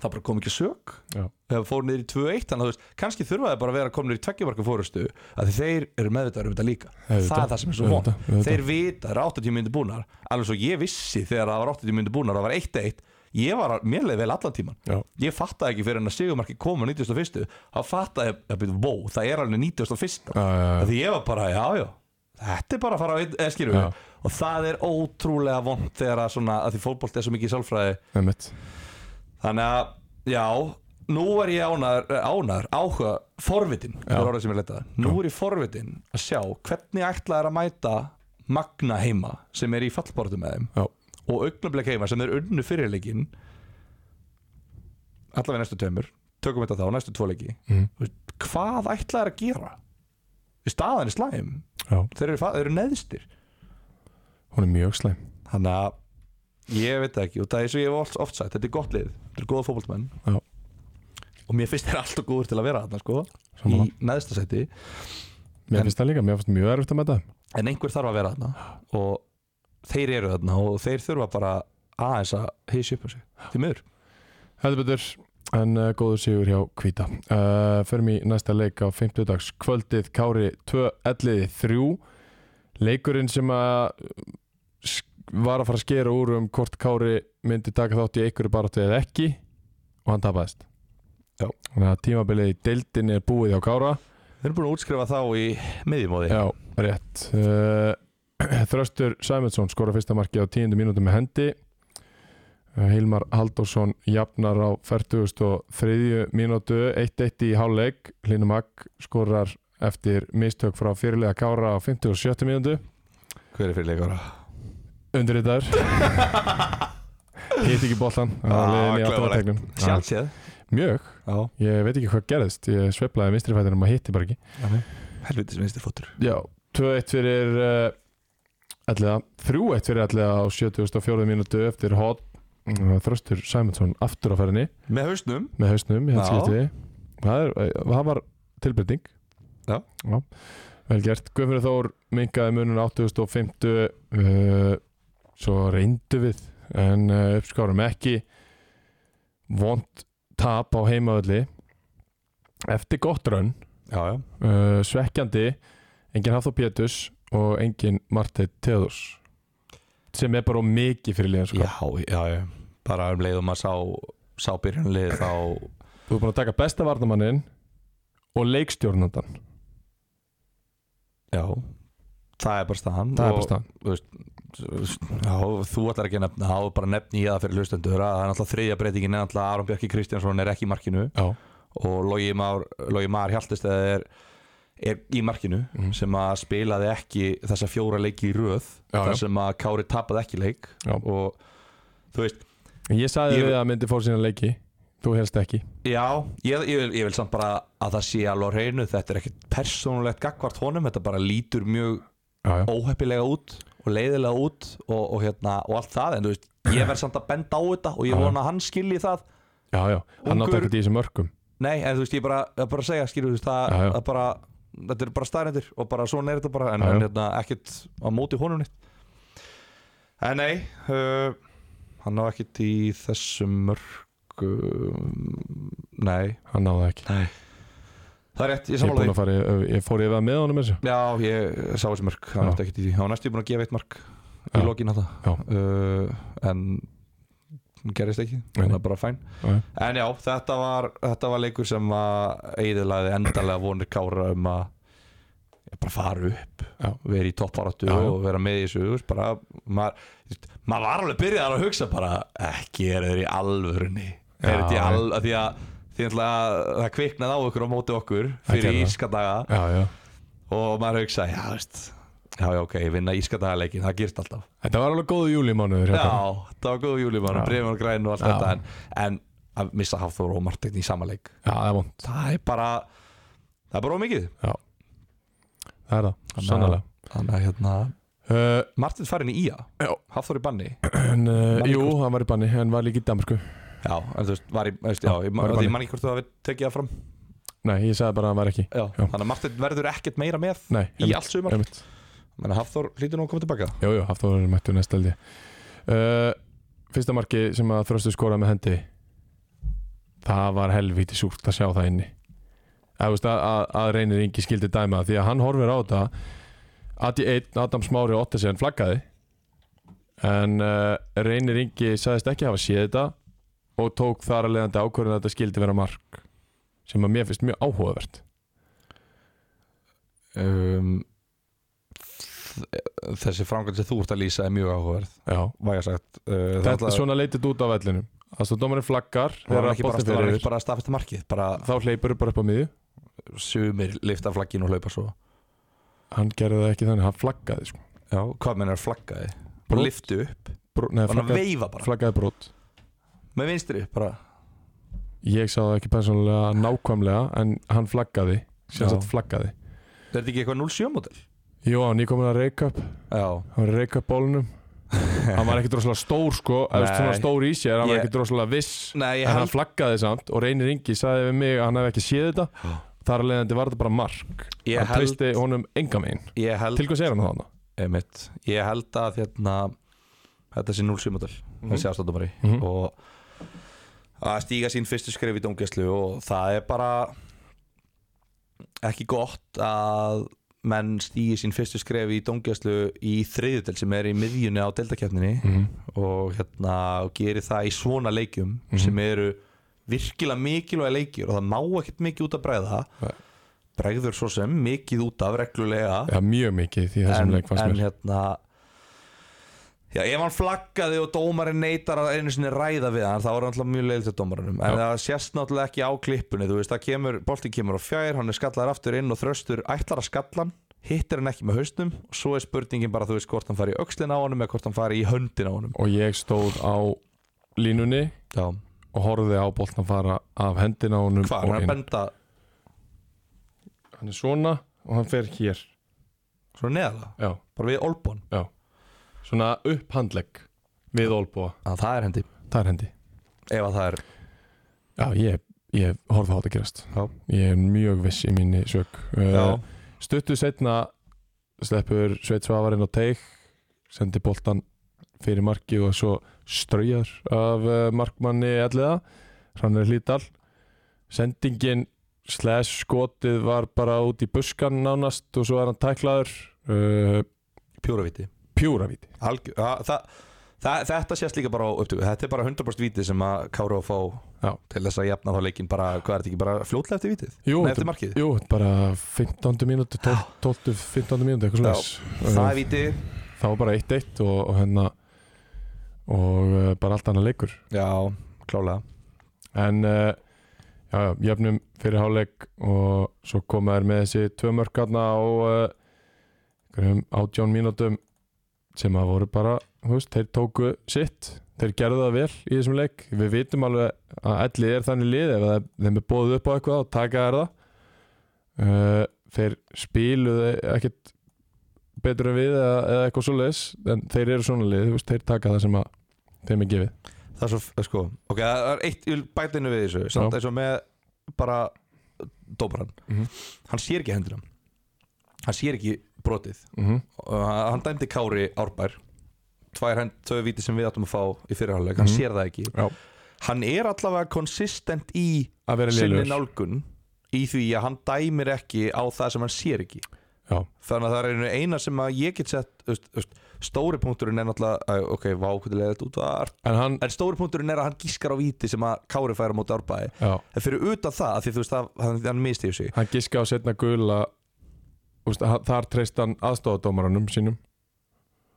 B: það bara kom ekki sök
A: já,
B: þegar fór niður í 2-1 þannig að þú veist, kannski þurfaði bara að vera komnir í tveggjumarka fórustu að þeir eru meðvitaður um þetta líka
A: Auðvitað,
B: það er það sem er svo von
A: auðvitað, auðvitað.
B: þeir vita það eru 80 myndir búnar alveg svo ég vissi þegar það var 80 myndir búnar það var 1-1 ég var mér leið vel allan tíman
A: já,
B: ég fattaði ekki fyrir en að Sigurmarki kom á 91. þá fattaði ég, að byrja, vó, það er alveg 91.
A: já, já, já.
B: Því ég var bara, já, já Þetta er bara að fara á einn, skýrum
A: Já.
B: við Og það er ótrúlega vond þegar að svona að því fótbolt er svo mikið í sálfræði
A: Einmitt.
B: Þannig að, já Nú er ég ánar, ánar, áhuga Forvitin, það er orðið sem ég leitaði Nú er ég forvitin að sjá hvernig ætla er að mæta Magna heima sem er í fallbortu með þeim
A: Já.
B: og augnablik heima sem er unnu fyrirleikin allavega næstu tveimur tökum þetta þá, næstu tvoleiki
A: Mhm.
B: mm. hvað ætla er að gera Í staðan er slæm
A: já,
B: þeir eru, fa- þeir eru neðstir
A: hún er mjög slæm
B: þannig að ég veit það ekki og það er svo ég hef oft, oft sagt, þetta er gott lið þetta eru góða fótboltmenn
A: Já.
B: og mér finnst þeir alltaf góður til að vera þarna sko í
A: Sammála.
B: neðsta seti
A: Mér
B: En-
A: finnst það líka, mér finnst mjög erfitt að með það
B: en einhver þarf að vera þarna og þeir eru þarna og þeir þurfa bara aðeins að hysja upp á sig því miður
A: Heldur betur, en uh, góður sigur hjá Kvíta uh, Förum í næsta leik á 50 dags kvöldið Kári 2, 11, 3 Leikurinn sem að uh, sk- var að fara að skera úr um hvort Kári myndi taka þátt í einhverju baráttu eða ekki og hann tapaðist
B: Já.
A: Þannig að tímabilið í deildin er búið hjá Kára
B: þeir eru búin að útskrifa þá í miðjumóði
A: Já, rétt uh, Þröstur Sæmundsson skora fyrsta marki á tíundu mínútu með hendi Uh, Hilmar Halldórsson jafnar á 43. mínútu 1-1 í hálfleik Linum Agg skorar eftir mistök frá fyrirlega Kára á 57. mínútu
B: hver er fyrir leikara?
A: undirritaður hitt ekki boltan
B: Ah,
A: ah,
B: sjálfséð
A: mjög,
B: já,
A: ég veit ekki hvað gerðist ég sveiflaði mistrifætinum að hitti bara ekki
B: helviti sem minnst er fótur
A: Já, 2-1 fyrir uh, allega, 3-1 fyrir allega á 74. mínútu eftir hot Þröstur Sæmundsson aftur á færinni
B: með hausnum
A: með hausnum í hans
B: Já.
A: skipti það, er, eh, það var tilbyrting
B: Já.
A: Vel gert, Guðfyrir Þór minkaði munun 8.50 uh, svo reyndu við en uh, uppskárum ekki vond tap á heimaðalli eftir gott raun
B: já, já
A: uh, svekkjandi engin Hafþór Péturs og engin Marteinn Teodors sem er bara of mikið fyrir liðan sko.
B: Já, já, já, bara um leið og maður sá sá byrjunlið þá
A: þú er búin að taka besta varnamannin og leikstjórnandan
B: já, það er bara staðan
A: það er
B: og-
A: bara staðan
B: Já, þú ætlar ekki að nefna, þá er bara nefni ég það fyrir hlustendur að það er náttúrulega þriðja breytingin er náttúrulega að Aron Bjarki Kristjánsson er ekki í markinu
A: já,
B: og Logi Már, Logi Már Hjaltistæð er, er í markinu
A: Mhm.
B: sem að spilaði ekki þessa fjóra leiki í röð
A: Já,
B: þar
A: já.
B: sem að Kári tapaði ekki leik
A: Já.
B: og þú veist,
A: en ég sagði
B: Ég-
A: við að myndi fór sína leiki þú helst ekki
B: Já, ég, ég, vil, ég vil samt bara að það sé alveg á hreinu Þetta er ekkit persónulegt gagvart honum Þetta bara lítur mjög
A: já, já.
B: óheppilega út og leiðilega út og, og, hérna, og allt það En þú veist, ég verð samt að benda á þetta og ég
A: Já.
B: vona að hann skilji það
A: Já, já. hann
B: Ungur-
A: átti ekkert í þessum örkum
B: Nei, en þú veist, ég bara, ég bara að segja skilju þú veist, það,
A: Já, já.
B: það bara þetta eru bara staðrendir og bara svona er þetta bara
A: Já,
B: en
A: já.
B: hann hérna ekkert á móti honum nýtt en nei uh, hann á ekkert í þessum mörgum nei,
A: Hann náði ekki
B: nei það er rétt, ég
A: Ég, er
B: samála
A: búinn
B: því
A: að fara, í- ég fór yfir að með honum þessu
B: Já, ég sá þessi mörg hann
A: Já.
B: átti ekkert í því, hann var næstu búin að gefa eitt mörg í
A: Já.
B: lokin að
A: Já.
B: það uh, en hún gerist ekki,
A: Nei,
B: hann
A: nei.
B: er bara fæn
A: Já.
B: en já, þetta var, þetta var leikur sem að eiðilaði endalega vonir kára um að já, bara fara upp
A: Já.
B: vera í topparáttu
A: Já, já.
B: og vera með í þessu þú veist, bara, maður, þú veist, maður var alveg byrjaðar að hugsa bara ekki er þeir í alvörunni
A: Já,
B: er þetta í
A: já.
B: al, að því að því að það kviknaði á okkur á móti okkur
A: gerði
B: fyrir
A: það.
B: ískadaga
A: Já, já
B: og maður hugsa, já, veist já, já, ok, vinna ískatagaleikin, það gerst alltaf
A: Þetta var alveg góðu júlimánuður
B: já, það var góð júli bara,
A: Já.
B: brefum og græn og allt
A: Já.
B: þetta en, en að missa Hafþór og Martin í sama leik
A: já, það er vond
B: það er bara það er bara ómikið
A: Það er það,
B: Þannig að-
A: sannlega
B: þannig að hérna,
A: uh,
B: Martin farin í IA
A: Já.
B: Hafþór í banni
A: en, uh,
B: Danmörku.
A: Jú, hann var í banni, en var líka í Danmarku
B: já, en þú veist, var í, veist, já,
A: Já, var
B: ég
A: í
B: man-
A: banni.
B: ég man ekki hvort þú hafi tekið það fram
A: Nei, ég sagði bara að hann var ekki
B: já.
A: Já.
B: þannig að Martin verður ekkert meira með
A: Nei,
B: í allt sumar,
A: einmitt.
B: menn að Hafþór hlýtur nú að koma tilbaka
A: Jú, jú, haft voru mættu næst eldi uh, Fyrsta marki sem að þröstu skoraði með hendi Það var helvíti súrt að sjá það inni Eða, veist, að, að, að reynir Ingi skildi dæma það, Því að hann horfir á þetta Adi 1, Adam Smári og Ottesen flaggaði En uh, reynir Ingi sagðist ekki hafa séð þetta Og tók þar að leiðandi ákvörðin að þetta skildi vera mark Sem að mér finnst mjög áhugavert
B: um, þ- þessi framkvæmd sem þú ert að lýsa er mjög áhugaverð
A: Já
B: væga sagt uh,
A: Þetta er svona leitit út á vellinum Aðstofdómarinn flaggar
B: var hann
A: þegar
B: ekki bara,
A: boltinn
B: var
A: fer
B: hann
A: yfir.
B: ekki bara að staðfesta markið bara
A: þá hleypur bara upp á miðju
B: sumir lifta flagginu og hlaupa svo
A: hann gerði það ekki þannig, hann flaggaði sko.
B: já. hvað menn er flaggaði
A: Brot.
B: bara liftu upp,
A: Bro, nei,
B: bara
A: flaggaði,
B: veifa bara
A: flaggaði brot
B: með vinstri bara
A: ég sá það ekki persónulega nákvæmlega en hann flaggaði, sem
B: Já.
A: sagt flaggaði
B: er þetta ekki eitthvað 07 mótil
A: Jó, hann er komin að reyka upp
B: já,
A: hann var að reyka upp bólunum hann var ekki droslega stór sko eða þú veist,
B: Nei.
A: svona stór í sér, hann var
B: Ég-
A: ekki droslega viss
B: nei ég
A: en hann
B: held,
A: flaggaði samt og reynir Ingi sagði við mig að hann hef ekki séð þetta
B: Já.
A: þar að leiðandi var þetta bara mark
B: ég
A: hann
B: held,
A: treysti honum enga megin
B: ég held
A: til hvað segir hann það hann?
B: einmitt, ég held að hérna, þetta sé 07 mótil þessi aðstændumari
A: Mhm.
B: og að stíga sín fyrstu skrif í dómgæslu og það er bara ekki gott að menn stígi sín fyrstu skref í dómgæslu í þriðjutel sem er í miðjunni á deltakefninni og hérna og gerir það í svona leikjum
A: Mhm.
B: sem eru virkilega mikilvæg leikjur og það má ekkert mikið út að bregða
A: Nei.
B: bregður svo sem mikið út af reglulega
A: Já, mjög mikið í þessum leik fannst
B: en
A: mér
B: hérna Já, ef hann flaggaði og dómarinn neytar að einu sinni ræða við hann, þá er hann alltaf mjög leiðilegt til dómarinum, en
A: Já.
B: það sést náttúrulega ekki á klippinu, þú veist, það kemur, boltinn kemur á fjær, hann er skallaður aftur inn og þröstur ætlar að skalla hann, hittir hann ekki með hausnum og svo er spurningin bara, þú veist, hvort hann fari í öxlin á honum eða hvort hann fari í höndin á honum
A: og ég stóð á línunni
B: Já,
A: og horfði á boltan fara af hendina á honum og
B: hvað, hann er að
A: inn.
B: benda
A: hann er svona og hann fer hér
B: svona neðalega,
A: já,
B: bara við olbón
A: já. svona upp handlegg við olbúa,
B: að það er hendi,
A: það er hendi
B: ef að það er
A: já, ég, ég horfði á þetta gerast
B: Já.
A: ég er mjög viss í minni sök
B: Já,
A: Uh, stuttu setna sleppur Sveit Svavarinn á teik sendi boltan fyrir marki og svo straujar af uh, markmanni elliða Rannir Hlítal sendingin slash skotið var bara út í buskan nánast og svo er hann tæklaður uh,
B: pjúraviti
A: pjúravíti
B: Algjör, það, það, það, þetta sést líka bara á upptöku Þetta er bara 100% vítið sem að Káru að fá
A: Já.
B: til þess að jafna þá leikinn bara, hvað er þetta ekki, bara fljótlega eftir vítið?
A: Jú,
B: Nei,
A: þetta-
B: eftir markið?
A: Jú, bara 15. mínúti 12-15 mínúti, eitthvað
B: Já.
A: slags
B: Það er vítið,
A: það var bara 1-1 og, og hérna og uh, bara allt annað leikur
B: já, klálega
A: En uh, já, já, jöfnum fyrir háleik og svo koma þær með þessi tvö mörkarna á uh, einhverjum átján mínútum sem að voru bara, þú veist, þeir tóku sitt, þeir gerðu það vel í þessum leik við vitum alveg að allir er þannig lið ef það- þeim er bóðið upp á eitthvað og taka þær það uh, þeir spiluðu ekkit betur en við eða, eða eitthvað svoleiðis en þeir eru svona lið, þú veist, þeir taka það sem að þeim er gefið
B: Það er svo, sko, ok, það er eitt bætinu við þessu, samt
A: Já.
B: eins og með bara dóparan
A: Mhm.
B: Hann sér ekki hendina hann sér ekki brotið
A: Mhm.
B: og hann hann dæmdi Kári Árbær tvær hend, tvö viti sem við áttum að fá í fyrirháleik, hann sér það ekki
A: Mhm. Já.
B: hann er allavega konsistent í
A: Að vera
B: sinni
A: lélegur.
B: nálgun í því að hann dæmir ekki á það sem hann sér ekki
A: Já,
B: þannig að það er einu eina sem að ég get sett þú veist, þú veist, stóri punkturinn er náttúrulega æ, ok, vá, hvernig leðið þetta út var
A: en hann
B: en stóri punkturinn er að hann gískar á viti sem að Kári færa móti árbæði
A: já,
B: en fyrir utan það, af því þú veist það, hann, hann misti þessu
A: hann giska á setna gula úst, þar treyst hann aðstofadómaranum sínum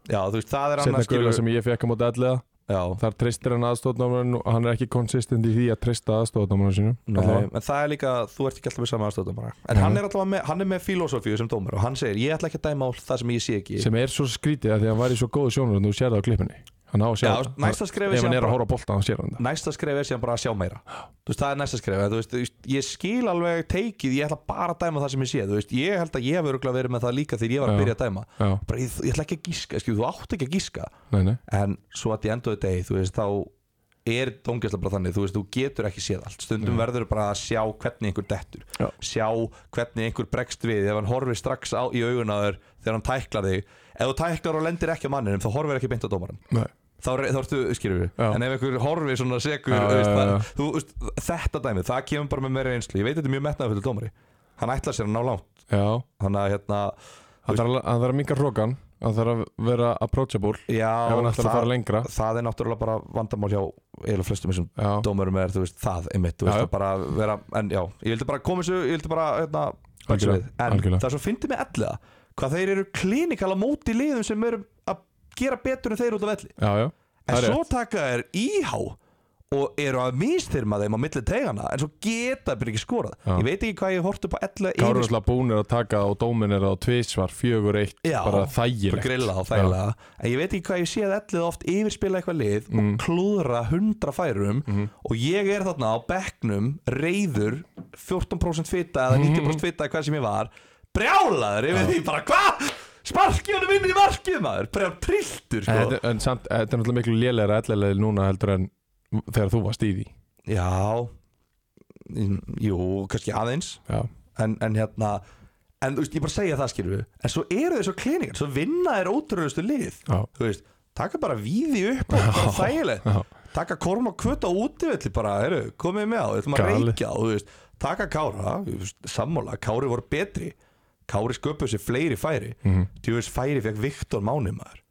B: já, þú veist, það er
A: setna
B: annars
A: gula
B: skilur
A: sem ég fekk á móti allega
B: já,
A: þar treystir hann aðstofadómaranum og hann er ekki konsistent í því að treysta aðstofadómaranum sínum
B: Nei, en það er líka, þú ert ekki alltaf með sama aðstofdómara En
A: Nei.
B: hann er alltaf með, hann er með filosofíu sem dómar Og hann segir, ég ætla ekki að dæma á það sem ég sé ekki
A: sem er svo skrítið að því að hann var í svo góðu sjónur en þú sér það á klippinni hann á að sjá
B: Já,
A: þetta.
B: næsta skref er
A: ef hann
B: síðan
A: er að
B: bara-
A: horfa á bolta hann sér hann það
B: Næsta skref er síðan bara að sjá meira Þú veist, það er næsta skref en þú veist, þú veist, Ég skil alveg teikið, ég ætla bara að dæma það sem ég sé Þú veist, ég held að ég hef örgulega verið með það líka Þegar ég
A: Já.
B: var að byrja að dæma
A: já,
B: bara, ég, ég ætla ekki að gíska, skil, þú átt ekki að gíska
A: nei, nei,
B: En svo að ég endaði degi, þú veist, þá er dómgæsla bara þannig, þú veist, þú getur ekki séð allt stundum verður bara að sjá hvernig einhver dettur
A: Mm. Já.
B: sjá hvernig einhver bregst við ef hann horfir strax á, í augun á þér þegar hann tæklar þig, ef þú tæklar og lendir ekki á manninum, þá horfir ekki beint á dómaran
A: nei.
B: þá, er- þá ertu, skilur við,
A: Já.
B: en ef einhver horfir svona segur,
A: Já,
B: þú veist,
A: já, já.
B: það, þú veist, þetta dæmið, það kemur bara með meira einslu, ég veit þetta er mjög metnaðfullu dómari hann ætlar sér að ná langt,
A: já,
B: þannig að hérna
A: hann þarf að- hann þarf að minga hrókan hann þarf að vera approachable
B: já,
A: ef hann ætlar að fara lengra
B: það er náttúrulega bara vandamál hjá eða flestum þessum
A: já,
B: dómurum er, þú veist, það einmitt, þú
A: Já,
B: veist,
A: já.
B: að bara vera, en já, ég vildi bara koma þessu, ég vildi bara, hérna, bæta
A: Algjörlega,
B: við, en
A: algjörlega.
B: það er svo fyndið með elliða, hvað þeir eru klinikala móti liðum sem eru að gera betur en þeir út af elli,
A: já, já,
B: en
A: Það er
B: svo taka þeir íhá og eru að mistyrma þeim á milli tegana, en svo geta þeir ekki skorað,
A: Já.
B: ég veit ekki hvað ég hortu upp á elliða yfir-
A: Kárusla búnir að taka og dómin er á tvísvar, fjögur eitt,
B: Já,
A: bara
B: bara
A: þægilegt
B: grilla og þægilega en ég veit ekki hvað ég sé að ellið oft yfirspila eitthvað lið
A: Mm.
B: og klúðra 100 færum og ég er þarna á bekknum reyður 14% fita
A: Mm.
B: eða 90% fita eða hvað sem ég var brjálaður yfir því bara hvað sparkið honum inn í markið maður brjál trilltur
A: en,
B: sko
A: þetta, en samt, þetta er náttúrulega miklu lélegra ellilegir núna heldur en þegar þú varst í því
B: já Mm, jú, kannski aðeins
A: já,
B: en, en hérna en þú veist, ég bara segja það skilur en svo eru þeir svo klinikar, svo vinna þeir ótrúðustu lið
A: já,
B: þú veist, taka bara víði upp og bara þægilegt
A: já.
B: taka korm og kvöt á útivelli bara, heru, komið með á, við ætlum að
A: Galið.
B: reykja og þú veist, taka Kára, þú veist, sammála Kári voru betri, Kári sköpuð sér fleiri færi,
A: Mhm.
B: mm. veist færi fekk Viktor Máni maður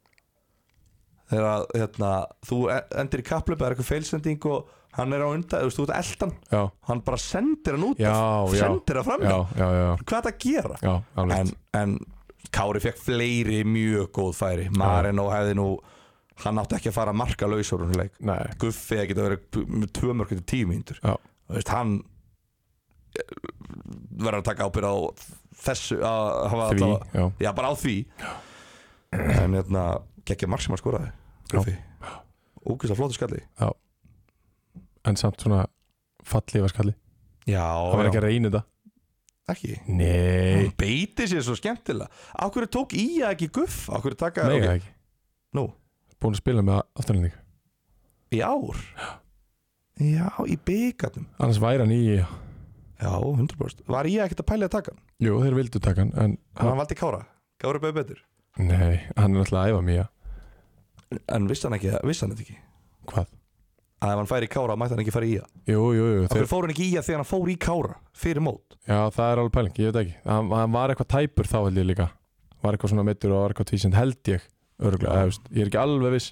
B: þegar að, hérna, þú en- endir í kaplöpa, er eitthvað feilsending og hann er á undan, þú veist, þú ert eldan
A: já,
B: hann bara sendir hann út
A: já,
B: af,
A: já
B: sendir hann fram
A: já,
B: í.
A: já, já,
B: hvað er það að gera
A: já, alveg
B: en, en Kári fekk fleiri mjög góð færi Marino hefði nú hann átti ekki að fara að marka lausur hún leik
A: nei,
B: Guffi hefði geta verið p- með tvö mörgur til tíu mínútur
A: já,
B: Þú veist, hann eh, verður að taka ábyrð á þessu að hafa
A: því,
B: allavega-
A: já
B: já bara á því en hérna gekkja mark sem hann skoraði Guffi ógust að flóta skalli
A: en samt svona fallið var skalli
B: já,
A: það var
B: já.
A: ekki að reyna þetta
B: ekki
A: nei,
B: hann beiti sér svo skemmtilega á hverju tók í að ekki Guff á hverju taka
A: nei,
B: ok,
A: okay. ekki
B: nú
A: búin að spila með afturlending
B: Í ár? Já, í byggarnum
A: annars væri hann í,
B: Já, 100% Var ég ekkert að pæla í að taka hann?
A: jú, þeir vildu taka hann en,
B: En hann valdi Kára Kára beðið betur
A: nei, hann er náttúrulega að æfa mjög
B: En vissi hann ekki, vissi hann þetta ekki
A: hvað,
B: Að ef hann færi í Kára mætti hann ekki fara í að
A: jú, jú, jú
B: Af
A: þeir,
B: hverju fór hann ekki í að þegar hann fór í Kára Fyrir mót
A: Já, það er alveg pæling, ég veit ekki Hann, hann var eitthvað tæpur þá held ég líka Var eitthvað svona meittur og var eitthvað tvísind held ég Örgulega, veist, ég er ekki alveg viss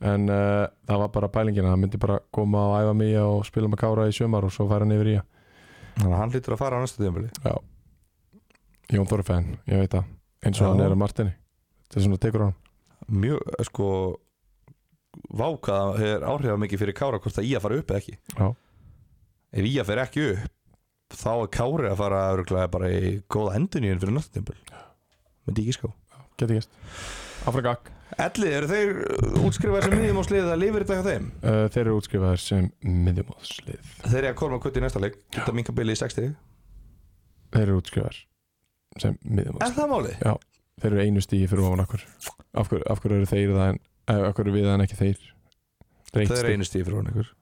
A: En uh, það var bara pælingin að Hann myndi bara koma og æfa mig og spila með Kára í sömar Og svo færa hann yfir í að
B: Þannig að hann hlýtur að fara á næsta tíðanbili
A: Jón Þorfæðin, ég veit það Eins og
B: Já.
A: hann er að Martini Þetta er svona tekur á hann
B: Mjög, eh, sko Vákað er áhrifað mikið fyrir Kára Hvort að í að fara upp eða ekki
A: Já.
B: Ef í að fer ekki upp Þá er Kári að fara örugglega bara í góða enduníun fyrir næsta tíðanbili Myndi ekki sko. ská
A: Geti gæst Afra Gakk,
B: Ellið, eru þeir uh, útskrifaðir sem miðjumóðslið að lifir þetta hjá þeim?
A: uh, þeir eru útskrifaðir sem miðjumóðslið
B: Þeir eru að korma kvöti í næsta leik Geta minka bilið í 60
A: Þeir eru útskrifaðir sem miðjumóðslið
B: Er það málið?
A: Þeir eru einu stíði fyrir ofan okkur Af hverju, af hverju eru þeir það en eh, Af hverju eru við það en ekki þeir
B: Það
A: Reynstíð
B: er einu stíð fyrir hún ykkur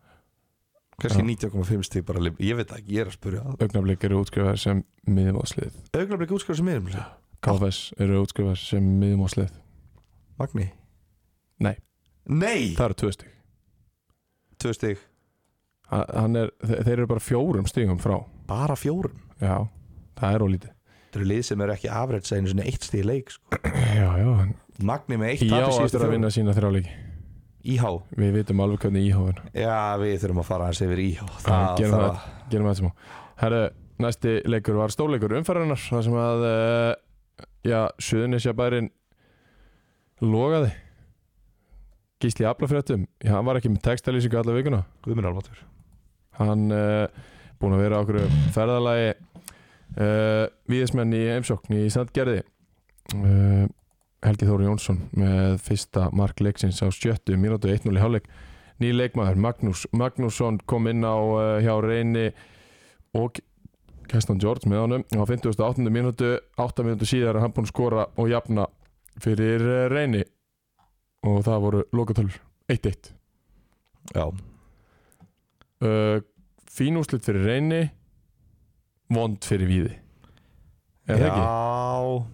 B: Kanski 90,5 stíð bara lif Ég veit það ekki, ég er að spurja
A: augnablik eru útskrifaðar sem miðumóðslið
B: Augnablik útskrifað sem miðjumóðslið
A: KFS eru útskrifar sem miðum á sleð
B: Magni
A: Nei.
B: Nei,
A: Það eru tvö stík
B: tvö stig
A: er, þe- Þeir eru bara fjórum stígum frá
B: Bara fjórum
A: Já, það er ólítið
B: Þetta eru lið sem eru ekki afrætsa einu sinni eitt stig í leik sko.
A: Já, já, en
B: Magni með eitt
A: Íhá
B: tap í síðustu
A: eftir að
B: fjórum.
A: vinna sína þrjáleiki
B: Íhá
A: Við vitum alveg hvernig Íhá er
B: Já, við þurfum að fara aðeins yfir Íhá
A: Já, gerum Gerum við þetta smá Herru, næsti leikur var stórleikur umferðarnar þar sem að uh, já, Suðunisja bærin logaði Gísli Aflafréttum, já, hann var ekki með textalýsingu alla vikuna
B: Guðminn Almatur
A: hann uh, búin að vera á okkur ferðalagi uh, viðismenn í heimsókn í Sandgerði uh, Helgi Þóri Jónsson með fyrsta mark leiksins á sjöttu mínútu 1-0 í hálfleik ný leikmaður Magnús Magnússon kom inn á uh, hjá Reyni og Kestan George með honum á 58. mínútu 8 mínútu síðar er hann búin að skora og jafna fyrir uh, Reyni og það voru lokatölur 1-1
B: Já,
A: uh, fín úrslit fyrir reyni vond fyrir víði er það ekki?
B: Já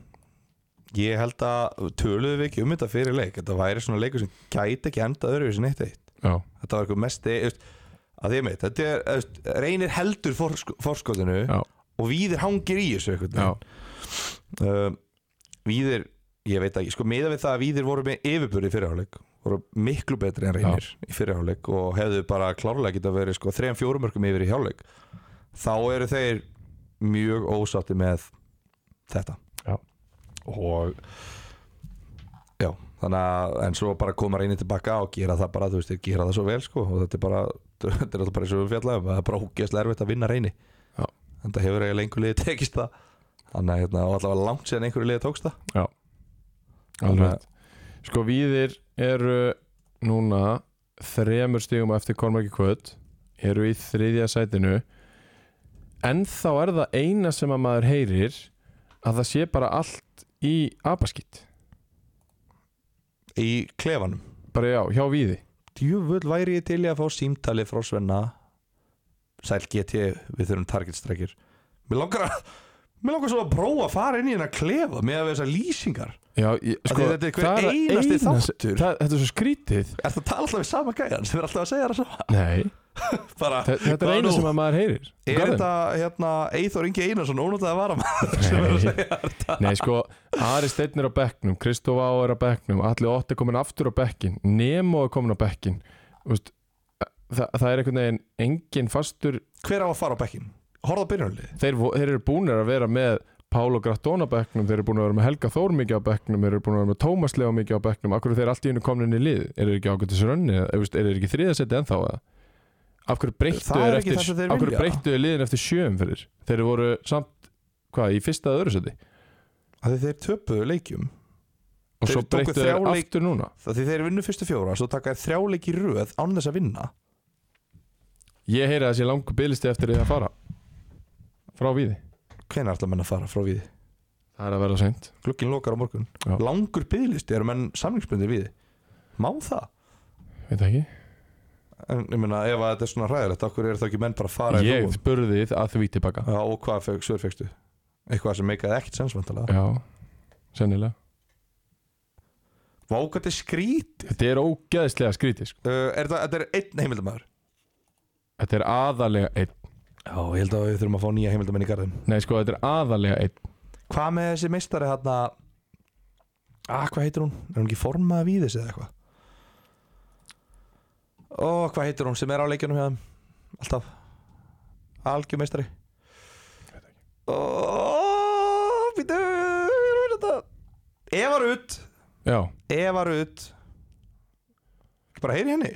B: Ég held að töluðum við ekki um þetta fyrir leik Þetta væri svona leikur sem gæti ekki enda öðruvísin eitt eitt
A: Já,
B: Þetta var eitthvað mesti veist, að því að mitt, þetta er veist, reynir heldur forsk forskotinu
A: Já.
B: og víðir hangir í þessu eitthvað
A: já,
B: uh, Víðir, ég veit ekki, sko meða við það að Víðir voru með yfirbörði í fyrirháleik voru miklu betri en reynir í fyrirháleik og hefðu bara klárlega geta verið sko 3-4 mörgum yfir í hjáleik þá eru þeir mjög ósátti með þetta
A: Já.
B: og já, þannig að en svo bara koma reynir tilbaka og gera það bara, þú veist, þeir gera það svo vel sko og þetta er bara, þetta er alltaf bara eins og við fjallaðum það er bara ógeðslega erfitt að vinna reyni
A: Já.
B: en það hefur eiginlega lengur liðið tekist það Þannig að hérna, og allavega langt síðan einhverju liði tókst það
A: alveg
B: Þannig að-
A: rétt. Sko víðir eru núna þremur stígum eftir Kormaki Kvöt eru í þriðja sætinu en þá er það eina sem að maður heyrir að það sé bara allt í apaskitt
B: Í klefanum
A: bara já, hjá víði
B: Djúvöld væri ég til í að fá símtali frá Svenna Sæl GT, við þurfum targetstrækir Mér langar að Mér langar svo að prófa að fara inn í hérna klefa með að við þessar lýsingar
A: já, ég,
B: Af
A: sko,
B: því þetta er hver
A: það það
B: einasti
A: eina sem-
B: þáttur.
A: það, þetta er svo skrítið
B: Er það tala alltaf við sama gæjan sem er alltaf að segja það sama
A: Nei,
B: Bara,
A: þe- þetta
B: hvað
A: er eina
B: nú?
A: sem að maður heyrir
B: Er
A: Garðin.
B: þetta hérna Eithor Ingi Einarsson ónótað að vara
A: Nei, nei sko Ari Steinn er á bekknum, Kristof Á er á bekknum Alli Ott er komin aftur á bekkin Nemo er komin á bekkin Vist, það, það er einhvern veginn engin fastur,
B: Hver á að fara á bekkin? Horða byrjunarlið
A: þeir, vo- þeir eru búinir að vera með Pálo Grattón á bekknum, þeir eru búin að vera með Helga Þór mikið á bekknum, þeir eru búin að vera með Tómas Leo mikið á bekknum, akkur þeir eru allt í einu komin inn í lið eru þeir ekki ákvæmtis rönni, eða, þú veist, eru þeir ekki þriðasetti ennþá eða? af hverju breyttu
B: Það er
A: þeir
B: ekki það sem
A: eftir,
B: þeir
A: af hverju
B: vilja.
A: breyttu þeir liðin eftir sjöum fyrir, þeir voru samt, hvað, í fyrsta eða öðru seti
B: Af því þeir töpuðu leikjum
A: og
B: Þeir
A: svo
B: tóku
A: breyttu þeir
B: þrjá leik-
A: aftur núna
B: Það því þeir vinnu fyrstu fjóra Svo taka þeir þrjáleik í röð án þess að vinna
A: Ég heyri að þessi langu byggðlisti eftir því að fara Frá víði
B: Hvenær ætla menn að fara frá við?
A: Það er að vera seint
B: Glukkin lokar á morgun
A: Já.
B: Langur byggðlisti eru menn samlingsbundir við Má það?
A: Veit ekki
B: En ég meina ef að þetta er svona hræðilegt Akkur eru það ekki menn bara að fara í
A: Ég
B: rúm?
A: spurði þið að því tilbaka
B: Já, Og hvað feg, svör fegstu? Eitthvað sem meikaði ekkert sensmæntalega
A: Já, sennilega
B: Vákvæmt er skrít
A: Þetta er ógeðslega skrítið sko.
B: uh, er það, Þetta er einn heimildamæður
A: Þetta er aðalega einn
B: Já, ég held að við þurfum að fá nýja heimildamenn í garðin
A: Nei sko, þetta er aðalega einn
B: Hvað með þessi meistari hérna Ah, hvað heitir hún? Er hún ekki formað við þessi eða eitthvað? Ó, hvað heitir hún sem er á leikjunum hjá þeim? Alltaf Algjör meistari Ó, býtu ég er að finna þetta Eva Rutt
A: Já,
B: Eva Rutt Ekki bara heyri henni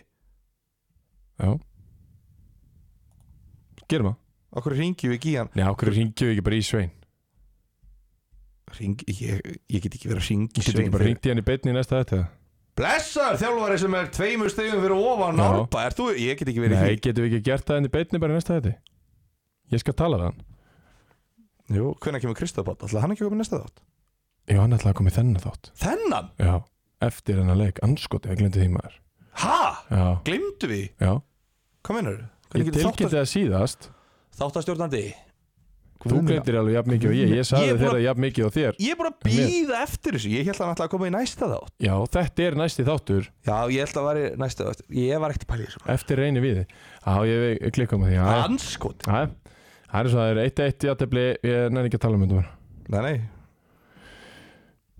A: já Gerum það
B: Okkur ringi við ekki í hann
A: Nei, okkur ringjum við ekki bara í Svein
B: Ring, ég, ég get ekki verið að ringi
A: Getum við ekki bara ringt í hann í beinni í næsta þetta
B: Blessar þjálfari sem er tveimur stegum fyrir ofan
A: Já.
B: Norba, er þú, ég get ekki verið í
A: Nei, getum við ekki gert það henni í beinni bara í næsta þetta Ég skal tala við hann
B: Jú, hvenær kemur Kristofbátt? Ætlaði hann ekki að koma í næsta þátt?
A: Já, hann ætlaði að koma í þennan þátt
B: Þennan?
A: Já, eftir hennar leik, anskoti, ég glemdi því maður
B: Ha?
A: Já,
B: Glimtu við?
A: já
B: Hvað meinar?
A: Ég tilkynnti það síðast
B: Þáttastjórnandi
A: Þú gleymdir alveg jafn mikið og ég, ég sagði
B: Ég er búin
A: þér að jafn mikið og þér
B: Ég er búin að býða eftir þessu Ég held að hann ætlaði að koma í næsta þátt
A: Já, þetta er næsti þáttur
B: Já, ég held að væri næsta þátt Ég var ekkert að pæla í þessu
A: eftir reyni við Já, ég klikka um því Já, já.
B: Anskot
A: Já, Það er svo að það er 1-1 játefli, ég nenni ekki að tala um þetta bara
B: Nei, nei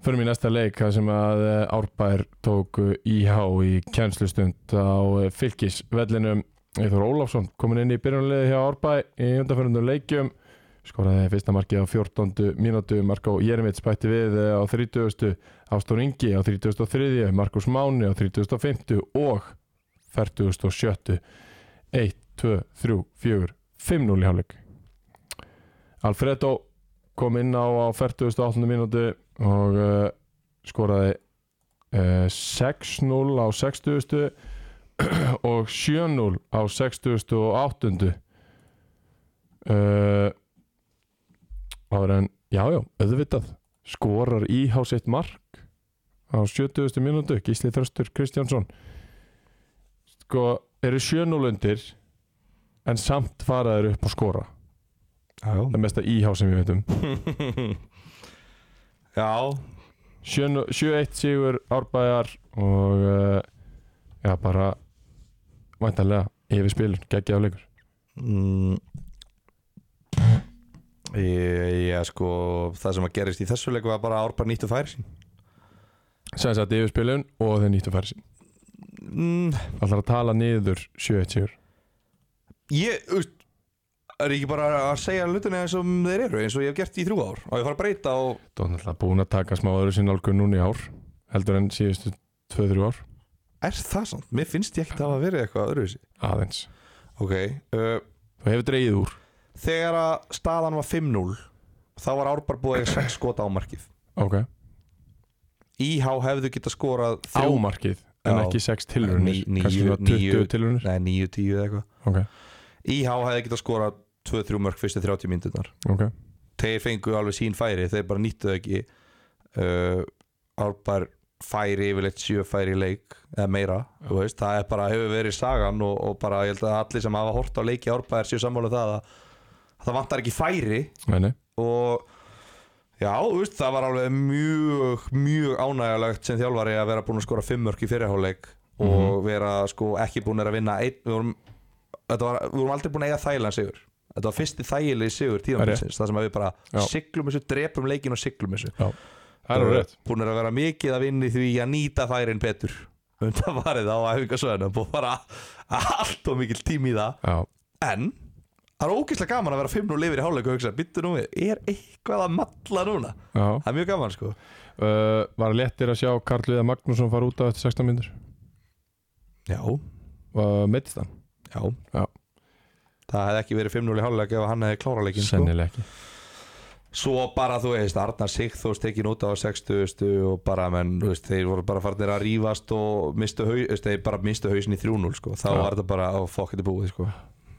A: Förum í næsta leik, það sem að eh, Árbær tók eh, IH í kjænslustund á eh, fylkisvellinum Eithor Ólafsson komin inn í byrjunarliði hjá Árbær í undanförundum leikjum skoraði fyrsta markið á 14. mínútu Marko Jeremits bætti við eh, á 30. Ástór Ingi á 33. Markus Máni á 35. og 47. 1, 2, 3, 4, 5, 0 í hálfleik Alfredo kom inn á á 48. mínútu og uh, skoraði uh, 6-0 á 60. og 7-0 á 60. og 8. Uh, áður en, jájá, auðvitað skorar IH sitt mark á 70. mínútu Gísli Þröstur Kristjánsson sko, eru 7-0 undir en samt faraður upp og skora það er mesta IH sem ég veit um
B: Já,
A: 7-0 7-1 sigur árbæjar og uh, já bara væntanlega yfir spilun, geggja á leikur
B: Mm. Ég, ég sko það sem að gerist í þessu leik var bara að Árbær nýttu færi sín
A: sem sagt yfir spilun og þeir nýttu færi sín
B: mm.
A: allar að tala niður 7-1 sigur
B: Ég, veist er ég ekki bara að segja hlutina eins og þeir eru eins og ég hef gert í þrjú ár og ég fara að breyta og
A: það er náttúrulega búin að taka smá öðru sinna álgun núna í ár heldur en síðustu 2-3 ár
B: er það samt? Mér finnst ég ekkert að hafa verið eitthvað öðruvísi
A: aðeins
B: Ok, uh,
A: þú hefur dreigið úr
B: þegar að staðan var 5-0 þá var Árbær búið að eiga 6 skota á markið
A: ok
B: IH hefðu getað skorað þrjú-
A: ámarkið en
B: Já.
A: ekki 6 tilrunir
B: Ní- níu-
A: kannski svona 20
B: níu-
A: tilrunir
B: Nei, 9-10 eða eitthvað
A: ok,
B: IH hefðu getað skorað 2-3 mörg fyrstu 30 myndunar
A: ok
B: þeir fengu alveg sín færi þeir bara nýttu það ekki uh, Árbær færi yfirleitt sjö færi í leik eða meira, þú veist, það er bara hefur verið sagan og, og bara ég held að allir sem hafa hort á leiki Árbær séu sammála um það að, að það vantar ekki færi
A: Nei, nei.
B: og já, þú veist, það var alveg mjög, mjög ánægilegt sem þjálfari að vera búin að skora fimm mörk í fyrirháleik og
A: Mhm.
B: vera sko ekki búin að vinna einn, við vorum, þetta var, við vorum aldrei búin að eiga þægilegan sigur þetta var fyrsti þægilegi sigur tíðanbilsins það sem að við bara
A: Já.
B: siglum þessu, drepum leikin og siglum þessu
A: Já. það er alveg rétt
B: búin að vera mikið að vinna í því að nýta færin betur undanfarið á æfingasöðunum og bara allt og mikil tími í það
A: já,
B: En það er ógeðslega gaman að vera 5-0 yfir í hálfleik og hugsa, byttu nú við, er eitthvað að matla núna?
A: já
B: Það er mjög gaman sko
A: Uh, var léttir að sjá Karl Viðar Magnússon fara út á eftir 16 minnur
B: Já,
A: uh, meittist hann?
B: já,
A: Já.
B: Það hefði ekki verið 5-0 í hálfleik ef hann hefði klára leikin sko.
A: sennilega ekki
B: Svo bara þú veist, Arnar Sigþós tekin út á 60 og bara, menn, þú veist, þeir voru bara farnir að rífast og mistu haus, þú veist, þeir bara mistu hausin í 3-0 sko, þá
A: Já.
B: var þetta bara oh, fuck, þetta er búið sko uh,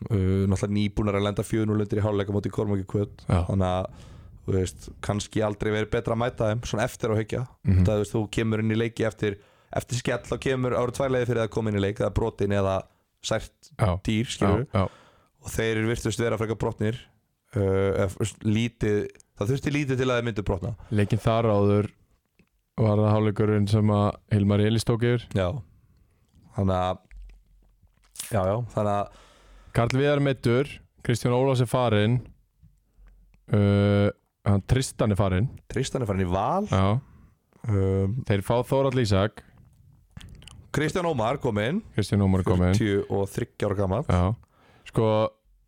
B: Náttúrulega nýbúnar að lenda 4-0 undir í hálfleika móti Kormaki Kvöld
A: já,
B: þannig að þú veist, kannski aldrei verið betra að mæta þeim svona eftir á hyggja mm
A: Mhm.
B: -hmm. það, þú, veist, þú kemur inn í leiki eftir eftir skell þá kemur ára tværlega fyrir það að koma inn í leik það er brotin eða sært
A: já,
B: dýr
A: já,
B: skilur,
A: já,
B: og þeir eru virtust vera frekar brotnir uh, ef, þú veist, lítið, það þurfti lítið til að þeir myndu brotna
A: leikin þar áður var það hálfleikurinn sem að Hilmar Elís tók yfir
B: já. þannig að já, já, þannig að
A: Karl Viðar meittur, Kristján Ólafs er farinn uh, hann Tristan er farinn
B: Tristan er farin í val
A: já,
B: um,
A: þeir fá Þórald Ísak
B: Kristján Ómar kom inn
A: Kristján Ómar er kominn
B: 43 ára gammal
A: já, sko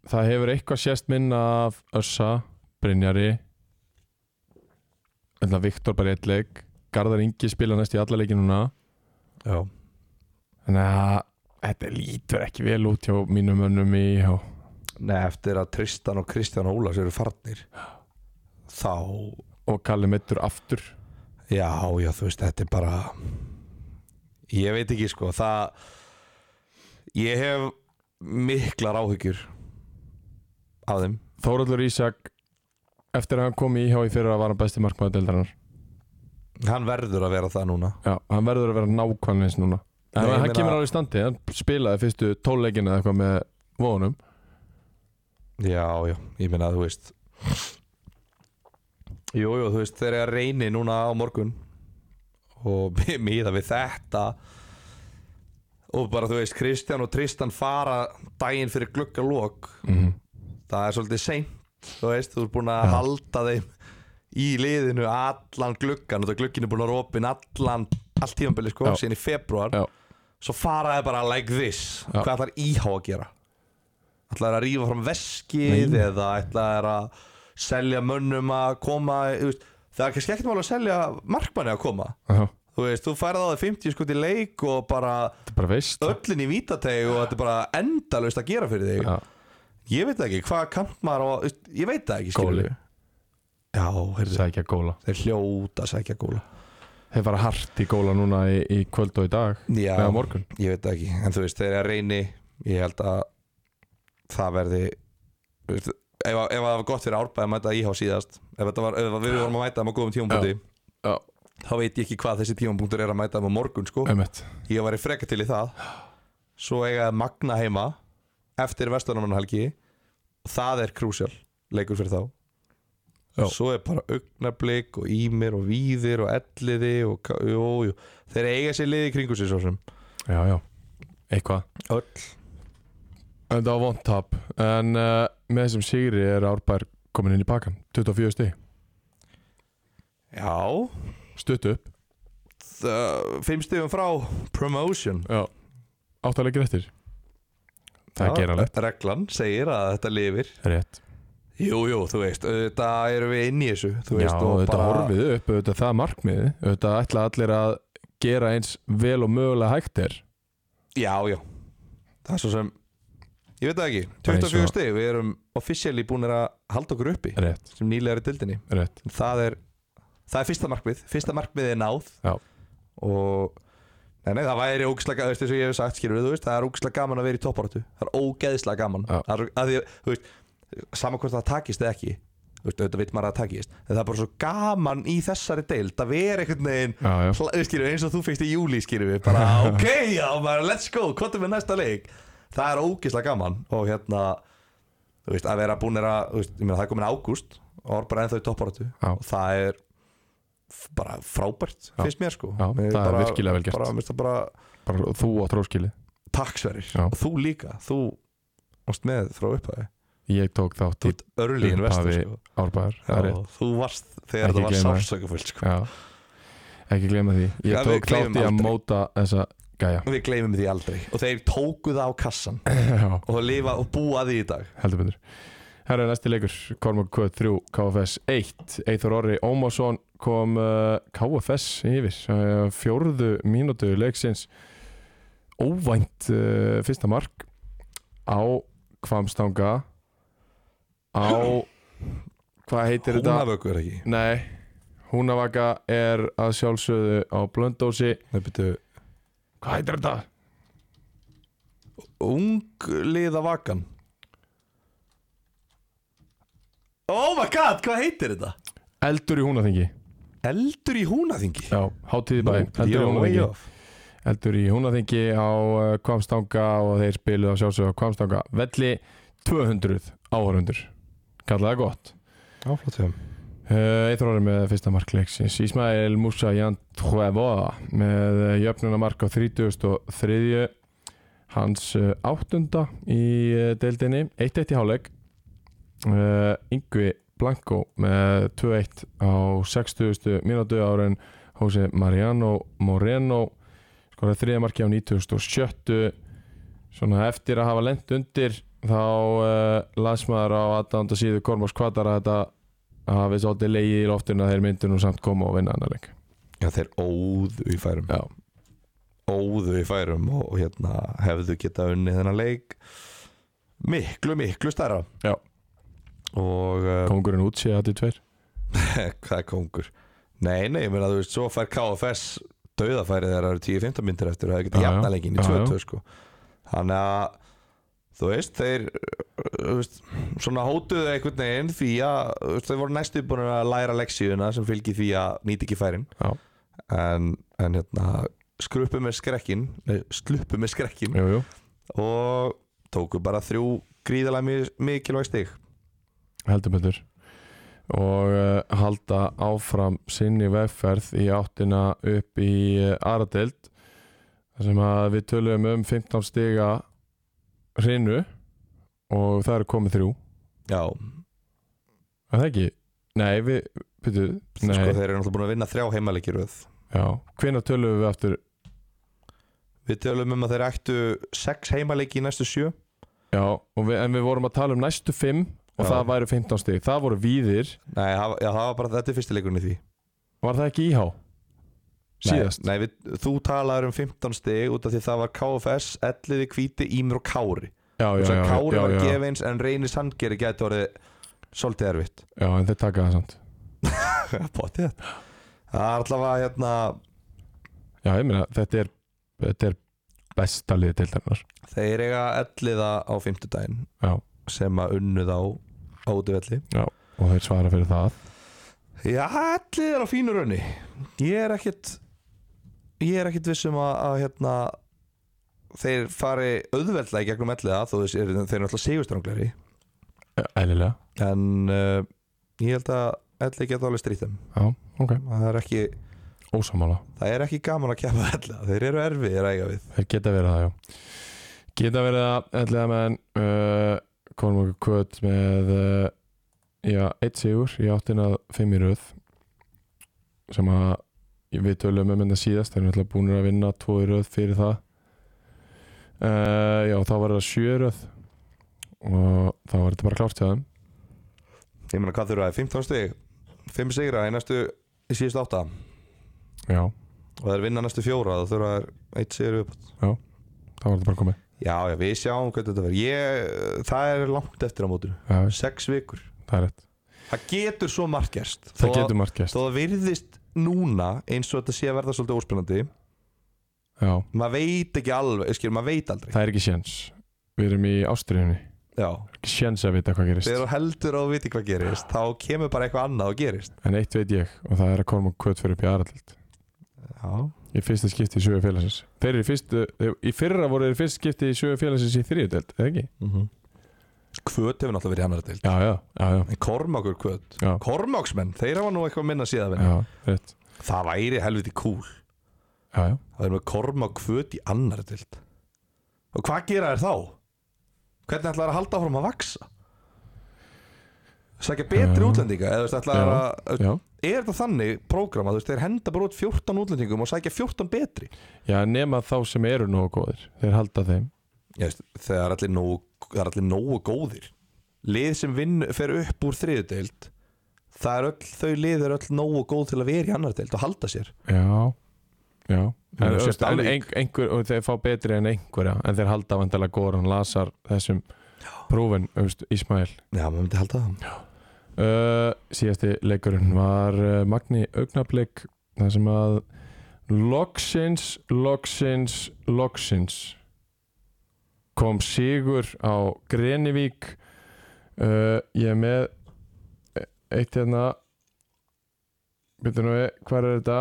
A: það hefur eitthvað sést minna af Össa, Brynjari ætla Viktor bara í eitt leik Garðar Ingi spila næst í alla leiki núna
B: já.
A: Þannig að þetta lítur ekki vel út hjá mínum mönnum í hjá.
B: Nei, eftir að Tristan og Kristján Ólafs eru farnir þá,
A: og Kalli meittur aftur
B: já, já, þú veist, þetta er bara ég veit ekki, sko, það ég hef miklar áhyggjur af þeim
A: Þóraldur Ísak eftir að hann kom í hjá í fyrra var hann besti markmaður deildarinnar
B: hann verður að vera það núna
A: Já, hann verður að vera nákvæmlega eins núna En
B: Nei, ég
A: hann
B: meina-
A: kemur alveg í standi, hann spilaði fyrstu tóleikina eða eitthvað með vonum
B: já, já, ég meina, þú veist Jú, jú, þú veist, þeir eru að reyni núna á morgun og miða við þetta og bara, þú veist, Kristján og Tristan fara daginn fyrir gluggalok það er svolítið seint þú veist, þú ert búin að halda þeim í liðinu allan gluggan og það gluggin er búin að vera opinn allan allt tímanbili, sko,
A: Já.
B: síðan í februar
A: Já,
B: svo fara þeir bara like this
A: Já.
B: hvað ætlar íhá að gera ætlar þeir að rífa fram veskið eða ætlar þeir að selja mönnum að koma þú veist, það er kannski ekkert mál að selja markmanni að koma
A: já,
B: þú veist, þú færið á þig 50 skot í leik og bara
A: þetta er bara veist
B: öllin í vítateg og þetta er bara endalaust að gera fyrir þig
A: Já,
B: ég veit það ekki, hvað kamp maður á þú veist, ég veit það ekki,
A: góli,
B: skilurðu. já, heyrðu,
A: sækja góla
B: þeir hljóta að sækja góla
A: Þeir fara hart í góla núna í, í kvöld og í dag
B: já,
A: eða morgun
B: ég veit það ekki, en þú veist, þegar ég reyni ég held að það verði þú veist, ef, ef það var gott fyrir árbæði að mæta íhá síðast ef, þetta var, ef við vorum að mæta þeim á góðum tímapunkti
A: Já,
B: þá veit ég ekki hvað þessi tímapunktur er að mæta þeim á morgun sko.
A: emmett
B: ég var í freka til í það svo eiga þeir Magna heima eftir vestunumannhelgi það er krúsjál, leikur fyrir þá
A: Já.
B: svo er bara augnablik og ímir og víðir og elliði og, K- jú, jú. þeir eiga sér liði í kringu sér svo sem
A: Já, já, eitthvað
B: öll
A: En það var vond tap En uh, með þessum sigri er Árbær komin inn í pakkan 24 stig,
B: Já
A: stutt upp
B: það- Fimm stigum frá promotion
A: Já Áttalegir eftir Það er geranlegt
B: Reglan segir að þetta lifir
A: Rétt
B: Jú, jú, þú veist, þetta erum við inn í þessu þú
A: Já,
B: veist, og
A: auðvitað
B: bara-
A: horfið upp, auðvitað það er markmiðið Auðvitað ætla allir að gera eins vel og mögulega hægt er
B: Já, já Það er svo sem, ég veit það ekki
A: Bara eins
B: 24
A: og-
B: stig, við erum officially búinir að halda okkur uppi
A: Rétt,
B: sem nýlega er í dildinni
A: rétt
B: það er, það er fyrsta markmið Fyrsta markmið er náð
A: Já.
B: Og Nei, nei, það væri ógislega, þú veist, eins og ég hef sagt, skilur þú veist, það er ógislega gaman að vera í topparáttu, það er ógeðislega gaman,
A: Já.
B: það er, að því, þú veist, saman hvort það takist eða ekki, þú veist, auðvitað veit maður að það takist, en það er bara svo gaman í þessari deild að vera einhvern veginn,
A: Já, já,
B: hla- skilur, eh, eins og þú fyrst í júli, skilur við, bara, ok, já, bara, let's go, hvað er með næsta leik, það er ógeðislega gaman og hérna, þú veist, að vera búinir að, þú veist, ég meina, það er komin ágúst og það er bara ennþá í topparáttu
A: Já.
B: og það er f- bara frábært,
A: Já.
B: finnst mér sko
A: Já,
B: Mér
A: það er virkilega vel gert.
B: bara, mér finnst það bara,
A: bara þú á tróskili
B: takk Sverir
A: Já.
B: og þú líka, þú varst með frá upphæði
A: Ég tók þátt
B: þú
A: í
B: ert örli
A: upphæfi-
B: investor sko.
A: Árbæðar Það er
B: Já,
A: rétt
B: þú varst þegar
A: Ekki
B: þetta var
A: gleyma.
B: sársökafullt sko.
A: Já, ekki gleyma því
B: Já,
A: Ég
B: við
A: tók
B: gleymum
A: þátt í að
B: aldrei.
A: móta þessa gæja
B: við gleymum því aldrei og þeir tóku það á kassan
A: Já,
B: og lifa og búa því í dag
A: heldur betur Herra, næsti leikur, Kormak Q3, KFS 1 Eithor Orri Ómarsson kom uh, KFS yfir uh, fjórðu mínútu leiksins óvænt uh, fyrsta mark á Kvamstanga á hvað heitir þetta?
B: húnavöku er ekki
A: Nei, Húnavaka er að sjálfsögðu á Blöndósi
B: Nei, byrju,
A: Hvað heitir þetta?
B: ungliðavakan oh my god, hvað heitir þetta?
A: Eldur í Húnaþingi
B: eldur í húnaþingi
A: Já, hátíði bæ,
B: Ég
A: eldur í
B: var way
A: Húnaþingi
B: off.
A: Eldur í Húnaþingi á uh, Kvamstanga og þeir spiluðu á sjálfsögðu á Kvamstanga Velli 200 áhörundur Kallaði það gott uh, Eithor orði með fyrsta markleiksins Ismail Musa Jan Tvevoa með uh, jöfnuna mark á 33 hans uh, áttunda í uh, deildinni 1-1 í háleg uh, Yngvi Blanko með 2-1 á 60. mínútu árin Jose Mariano Moreno skoraði þriða marki á 97. Svona eftir að hafa lent undir þá uh, las maður á 18. síðu Kormos Kvatara þetta að hafi svolítið leiði í loftinu að þeir myndu nú samt koma og vinna annar leik
B: já, þeir óðu í færum
A: Já,
B: óðu í færum og og hérna hefðu geta unnið þennan leik miklu, miklu stærra
A: Já.
B: og uh,
A: kongurinn útsi að þið tveir
B: hvað er kongur nei, nei, ég meina þú veist, svo fær KFS dauðafærið þegar það eru 10-15 myndir eftir og það
A: Já,
B: geta
A: já.
B: jafna leikinn í
A: Já,
B: 2-2 sko. þannig að þú veist, þeir uh, þú veist, svona hótuðu einhvern veginn því að þú veist, þeir voru næstu búin að læra leksíuna sem fylgir því að nýti ekki færin
A: Já.
B: en, en hérna skruppu með skrekkin nei, sluppu með skrekkin
A: Jú, jú,
B: og tóku bara þrjú gríðalega mi- mikilvæg stig
A: heldur betur og uh, halda áfram sinni vegferð í áttina upp í uh, Aradeild þar sem að við töluðum um 15 stiga hrinu og það eru komið þrjú
B: Já,
A: er það ekki? Nei, við, byrju, nei,
B: sko þeir eru náttúrulega búin að vinna þrjá heimaleikir við
A: já hvenær töluðum við aftur?
B: Við tölum um að þeir ættu sex heimaleiki í næstu sjö
A: Já, og við, en við vorum að tala um næstu 5 og
B: Já.
A: það væru 15 stig, það voru víðir
B: Nei, það, já, það var bara þetta er fyrsti leikurinn í því
A: var það ekki íhá? Síðast?
B: Nei, nei við, þú talaður um 15 stig út af því það var KFS, Elliði, Kvíti, Ímur og Kári
A: Já, já,
B: Svo
A: já,
B: Kári
A: já,
B: var
A: já, já,
B: gefins en Reyni Sandgeri gæti orðið svolítið erfitt
A: já, en þeir taka það samt
B: Potið Það er alltaf að hérna
A: Já, ég meina, þetta er, þetta er besta liðið til þennar
B: Þeir eiga elliða á fimmtudaginn
A: Já.
B: sem að unnuð á átuvelli
A: og þeir svara fyrir það
B: Já, ellið er á fínu raunni Ég er ekkit ég er ekkit viss um að, að hérna þeir fari auðveldlega í gegnum elliða þó þess er þeir eru alltaf sigurstranglari
A: Ælilega,
B: en uh, ég held að ellið geta alveg strýtt þeim
A: já, ok,
B: það er ekki,
A: ósamála
B: það er ekki gaman að keppa elliða þeir eru erfiðir að eiga við
A: Þeir geta verið það, já Geta verið það, ætliða menn uh, Konum okkur kvöt með uh, Já, eitt sigur í áttina að fimm í röð Sem að Við tölum um þetta síðast Þeir eru ætla búinir að vinna tvo í röð fyrir það uh, Já, þá var það sjö í röð Og þá var þetta bara klárt hjá þeim
B: ég meina hvað þurfa það, 15 stig 5 sigra í næstu, í síðust átta
A: Já,
B: og þeir vinna næstu fjóra þá þurfa það eitt sigur upp
A: þá var þetta bara komið
B: já, já, við sjáum hvernig þetta verður ég, það er langt eftir á mótinu
A: Já,
B: 6 vikur,
A: það er rétt
B: það getur svo margt gerst
A: Það
B: Þó-
A: getur margt
B: þó
A: gæst
B: það virðist núna eins og þetta sé að verða svolítið óspennandi
A: Já,
B: maður veit ekki alveg, skil, maður veit aldrei
A: það er ekki séns Við erum í ástriðinni
B: já,
A: Ekki séns að vita hvað gerist
B: þegar þú heldur og viti hvað gerist þá kemur bara eitthvað annað og gerist
A: En eitt veit ég og það er að Kormák Kvöt fyrir upp í aðraldild
B: já,
A: í fyrsta skipti í sögu félagsins Þeir eru í fyrstu, í fyrra voru þeir í fyrsta skipti í sögu félagsins í þriðjöld, eða ekki?
B: mm -hmm. kvöt hefur náttúrulega verið í annar deild
A: Já, já, já, já,
B: en kormákur kvöt,
A: já,
B: kormáksmenn þeir hafa nú eitthvað minna síðan
A: já, rétt
B: það væri helviti kúl
A: Já, já,
B: það er með kormák kvöt í annar deild og hvað gera þér þá? hvernig ætlar að halda áfram að vaksa? sækja betri
A: Já.
B: útlendinga eða þú veist, ætlar að
A: já
B: er þetta þannig prógram að þú veist, þeir henda bara út 14 útlendingum og sækja 14 betri
A: Já, nema þá sem eru nógu góðir Þeir halda þeim
B: Ég veist, þegar allir nógu, það er allir nógu góðir lið sem vinn fer upp úr þriðudeild það er öll, þau lið er öll nógu góð til að vera í annar deild og halda sér
A: Já, já En,
B: Menn,
A: en,
B: þú sért
A: en
B: alveg-
A: ein, einhver, og þeir fá betri en einhverja En þeir halda vandalega Goran Lasar þessum prófin, auðvist, Ísmael
B: já, maður myndi halda það
A: Uh, síðasti leikurinn var uh, Magni Augnablik þar sem að loksins, loksins, loksins kom sigur á Grenivík uh, ég er með eitt hérna byrju nú við, hvað er þetta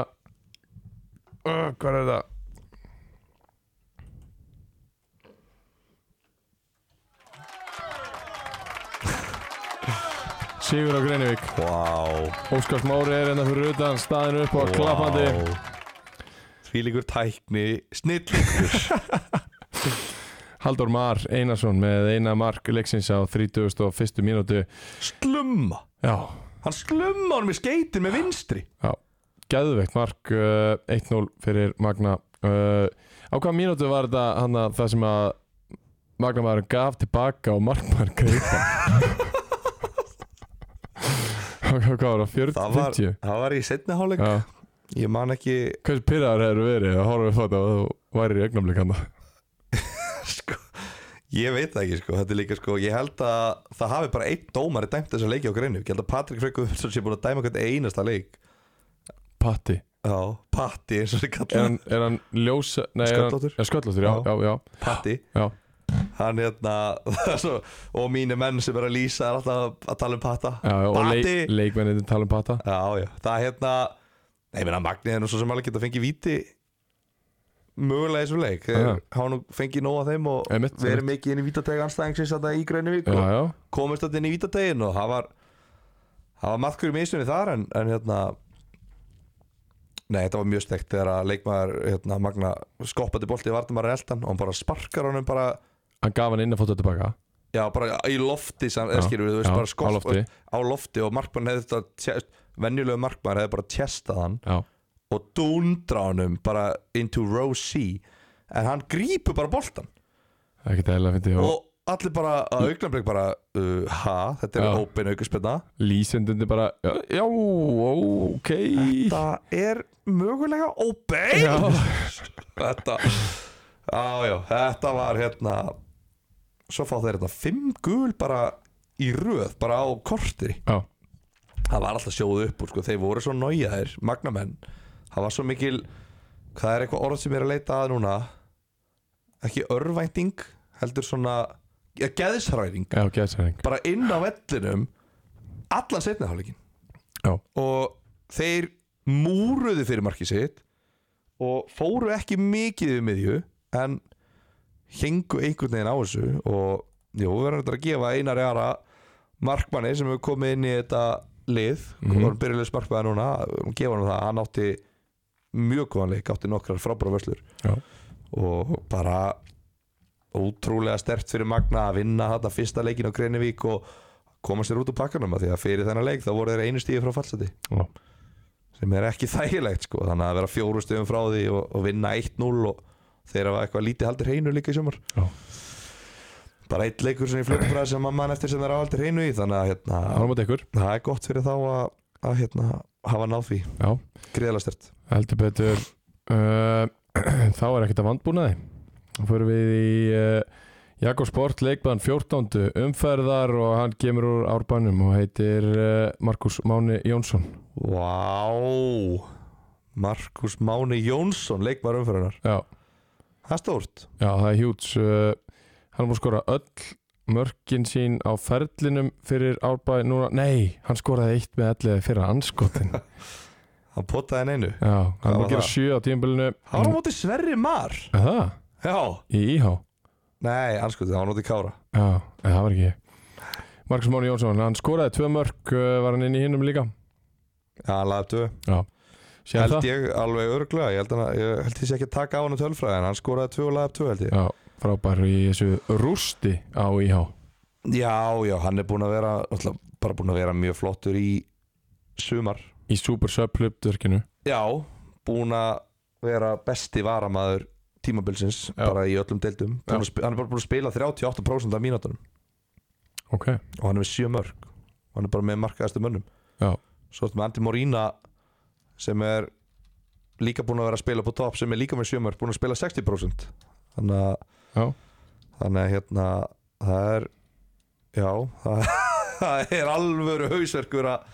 A: uh, hvað er þetta sigur á Grenivík
B: wow,
A: Óskars Mári er hérna fyrir utan staðin upp og klappandi
B: því líkur tækni snillíkur
A: Haldur Mar Einarsson með eina mark leiksins á 31. mínútu
B: slumma
A: Já,
B: hann slumma honum í skeitin með vinstri
A: gæðveikt mark uh, 1-0 fyrir Magna uh, Á hvaða mínútu var þetta hana, það sem að Magna maður gaf tilbaka og markmaður greipa Hvað hvað var það? 40?
B: það var,
A: 50?
B: það var í setni hálfleik
A: Já
B: ég man ekki
A: Hversu pyrraðar hefur verið að horfa við þetta og þú værir í augnablik hann
B: sko, ég veit það ekki sko, þetta er líka sko, ég held að það hafi bara einn dómari dæmt þessa leiki á greinu, ég held að Patrik Freyku sem sé búin að dæma hvern einasta leik
A: Patti
B: já, Patti eins og þið
A: Er
B: kallar hann
A: hann, er hann ljósa Nei, er hann-
B: Sköllóttur.
A: Já, sköllóttur, já,
B: Já.
A: já, já
B: Patti,
A: Já,
B: hann hérna það er svo, og mínu menn sem er að lýsa er alltaf að tala um Patta
A: já og
B: Patti,
A: leik, leikmennin tala um pata
B: já, já, það hérna nei, minna Magni er nú svo sem alveg geta fengið víti mögulega í þessum leik þeir
A: Já.
B: hafa nú fengið nóg af þeim og
A: Einmitt,
B: við erum Sko- ekki inn í vítategi anstæðingsins þarna í Greinuvík
A: Já,
B: og
A: já,
B: komist þetta inn í vítategin og það var það var maðkur í misminni þar en, en hérna nei, þetta var mjög steikt þegar að leikmaður hérna, Magna skoppandi bolti í vartamæri eldan og hann bara sparkar honum bara
A: Hann gaf hann inn að fóta tilbaka
B: já, bara í lofti sam,
A: Já,
B: já, skilur, við, þú veist,
A: já,
B: bara skopp,
A: á lofti.
B: á lofti og markmann hefði þetta tjest, venjulegu markmann hefði bara tjestað hann
A: Já,
B: og dúndra honum bara into row C en hann grípur bara boltan
A: það er ekki dæla að fyndi og
B: og allir bara að augnablik bara uh, ha, þetta er
A: Já.
B: open aukuspenna
A: lýsendundi bara Já, já ok
B: það er mögulega open
A: Já.
B: þetta á, já, þetta var hérna svo fá þeir þetta fimm gul bara í röð, bara á korteri
A: Já,
B: það var alltaf sjóðu upp úr sko, þeir voru svo nájaðir, magnamenn það var svo mikil, hvað er eitthvað orð sem ég er að leita að núna ekki örvænting, heldur svona ja, geðshræring
A: já, gæðsæring
B: bara inn á vellinum allan setniháleikin
A: Já.
B: og þeir múruðu fyrir markið sitt og fóru ekki mikið um miðju en hengu einhvern veginn á þessu og jú, við verðum þetta að gefa einar jara markmanni sem hefur komið inn í þetta lið,
A: Mhm.
B: mm -hmm. hann byrjulegs markmanni núna, gefa hann það, hann átti mjög góðan leik, átti nokkrar frábæra vörslur
A: Já.
B: og bara ótrúlega stert fyrir Magna að vinna þetta fyrsta leikin á Greinivík og koma sér út úr pakkanum að því að fyrir þennan leik þá voru þeir einu stíði frá fallseti
A: Já.
B: sem er ekki þægilegt sko þannig að vera fjóru stöðum frá því og, og vinna 1-0 og þeir hafa eitthvað lítið haldir hreinu líka í sumar
A: Já.
B: bara eitt leikur sem ég flutur frá sem að mann eftir sem þeir hafa haldir hreinu í þannig að hérna,
A: Ára mátt ykkur
B: það er gott fyrir þá að, að hérna, hafa náð því
A: Já,
B: greiðlega stert
A: heldur betur uh, Þá er ekkert að vandbúnaði Þá fyrir við í uh, Jakob Sport leikbann 14. umferðar og hann kemur úr árbænum og heitir uh, Markus Máni Jónsson
B: Vá Markus Máni Jónsson leikmar umfyrunar,
A: Já,
B: það er stórt
A: já það er hjúts uh, Hann er múið skora öll mörkin sín á ferlinum fyrir árbæ núna, nei, hann skoraði eitt með ellið fyrir anskotin Já,
B: hann potaði henn einu
A: hann er
B: Hvað
A: múið
B: var
A: að gera
B: það?
A: sjö á tímabilinu
B: hann var á móti Sverri Mar
A: Er Það,
B: Mm. já,
A: í íhá
B: nei, anskoðið, hann var á móti Kára
A: Já, en það var ekki ég. Markus Máni Jónsson, hann skoraði tvö mörg var hann inn í hinnum líka
B: já, hann laði upp tvö,
A: Sér
B: held
A: það?
B: ég alveg örglega ég held, hann, að- ég held ég sé ekki að taka á hann um tölfræði en hann skoraði tvö og laði upp tvö held ég
A: Já, frábær í þessu rústi á IH
B: já, já, hann er búin að vera alltaf, bara búin að vera mjög flottur í sumar
A: í Super Sub hlutverkinu
B: já, búin að vera besti varamaður tímabilsins
A: Já.
B: bara í öllum deildum Búinn
A: Já.
B: að sp- hann er bara búin að spila 38% af mínútunum
A: Ok,
B: og hann er með sjö mörg og hann er bara með markaðastu mönnum
A: Já.
B: svo ertu með Andi Morína sem er líka búin að vera að spila på topp sem er líka með sjö mörg, búin að spila 60% þannig að
A: já,
B: þannig að hérna það er já, það, það er alvöru hausverkur að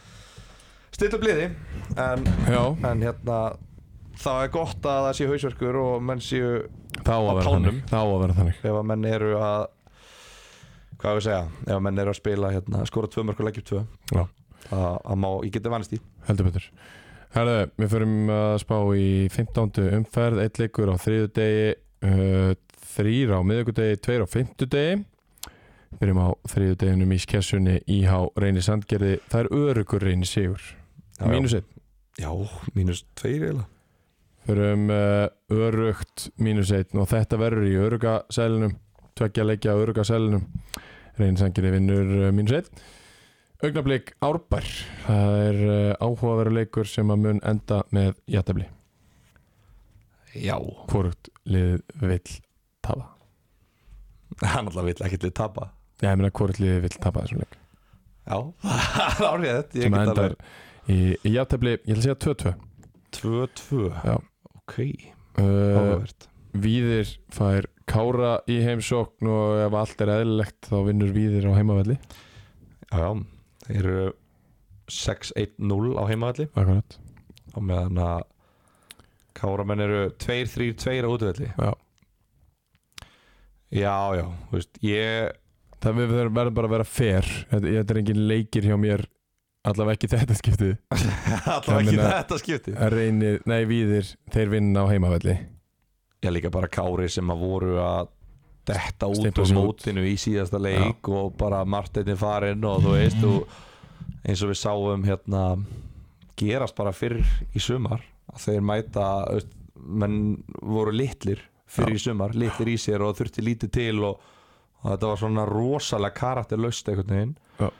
B: stilla upp liði en,
A: já
B: en hérna það er gott að það sé hausverkur og menn séu
A: Þá að
B: Á
A: vera
B: tánum.
A: þannig Þá að vera þannig
B: ef að menn eru að hvað á ég að segja, ef að menn eru að spila hérna, skora tvö mörg og leggjum tvö
A: Já.
B: að að má, ég geti vannist í
A: Heldur betur Herðu, við förum að spá í 15. umferð, eitt leikur á þriðu degi uh, þrýr á miðugudegi, tveir á fimmtudegi Byrjum á þriðu deginum í skessunni IH Reyni Sandgerði Það er örugur Reyni Sigur
B: Já,
A: Mínus einn
B: já. já, mínus tveir eiginlega
A: Förum uh, örugt mínus einn og þetta verður í örugasælunum tveggja leikja á örugasælunum reynsangirði vinnur uh, mínus einn augnablík árbær það er uh, áhugaveru leikur sem að mun enda með jættabli
B: já,
A: hvort liðið vill tapa
B: hann alltaf vill ekkert við tapa
A: Já, ég meina hvort liðið vill tapa þessum leik
B: já, það er árið þetta
A: sem að endar í, í jættabli, ég ætla að segja 2-2
B: tvö, tvö
A: Já. Eh,
B: ok,
A: uh,
B: áhugavert
A: Víðir fær Kára í heimsókn og ef allt er eðlilegt þá vinnur Víðir á heimavelli
B: já, já, þeir eru 6-1-0 á heimavalli
A: Akkurat
B: og meðan að káramenn eru 2-3-2 á útvelli
A: Já.
B: já, já, þú veist, ég
A: Það við verðum verðum bara að vera fair Þetta, þetta er engin leikir hjá mér Allavega ekki í þetta skiptið
B: Alltaf
A: Ég
B: ekki
A: meina-
B: þetta skipti
A: Reynir, nei víðir, þeir vinna á heimavelli
B: Já líka bara Kári sem að voru að detta út
A: Stimpla
B: úr
A: sig út.
B: mótinu í síðasta leik og bara Martin er farinn og þú veist þú eins og við sáum hérna gerast bara fyrr í sumar að þeir mæta þú veist, menn voru litlir fyrr í sumar, litlir í sér og þurfti lítið til og, og þetta var svona rosalega karakterlaust einhvern veginn
A: Já.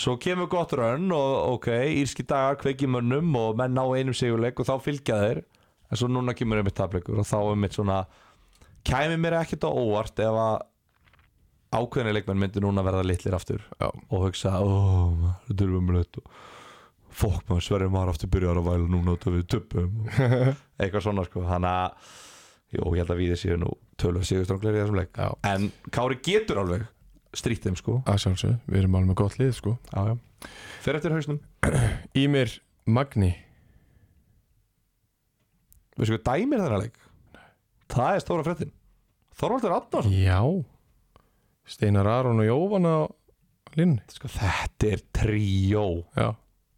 B: svo kemur gott rönn og ok, írski dagar kveiki mönnum og menn ná einum sigurleik og þá fylgja þeir en svo núna kemur einmitt tapleikur og þá er mitt svona kæmi mér ekkert á óvart ef að ákveðni leikmenn myndi núna verða litlir aftur
A: Já.
B: og hugsa, ó, maður, þetta er umlöðt og fokk maður, Sverri maður aftur byrjar að væla núna út af við tuppum og eitthvað svona sko, hann að jú, ég held að við séu nú tölva sigurstrangleir í þessum leik
A: Já.
B: en Kári getur alveg strýtt þeim sko
A: að sjálfsög, við erum alveg með gott lið sko
B: já, já. fer eftir hausnum
A: Ímir Magni
B: við sko dæmir þennan leik það er stóra fréttin Þorvaldur Adnarsson
A: Já Steinar Aron og Jóvan á linn
B: sko, þetta er tríó
A: Já,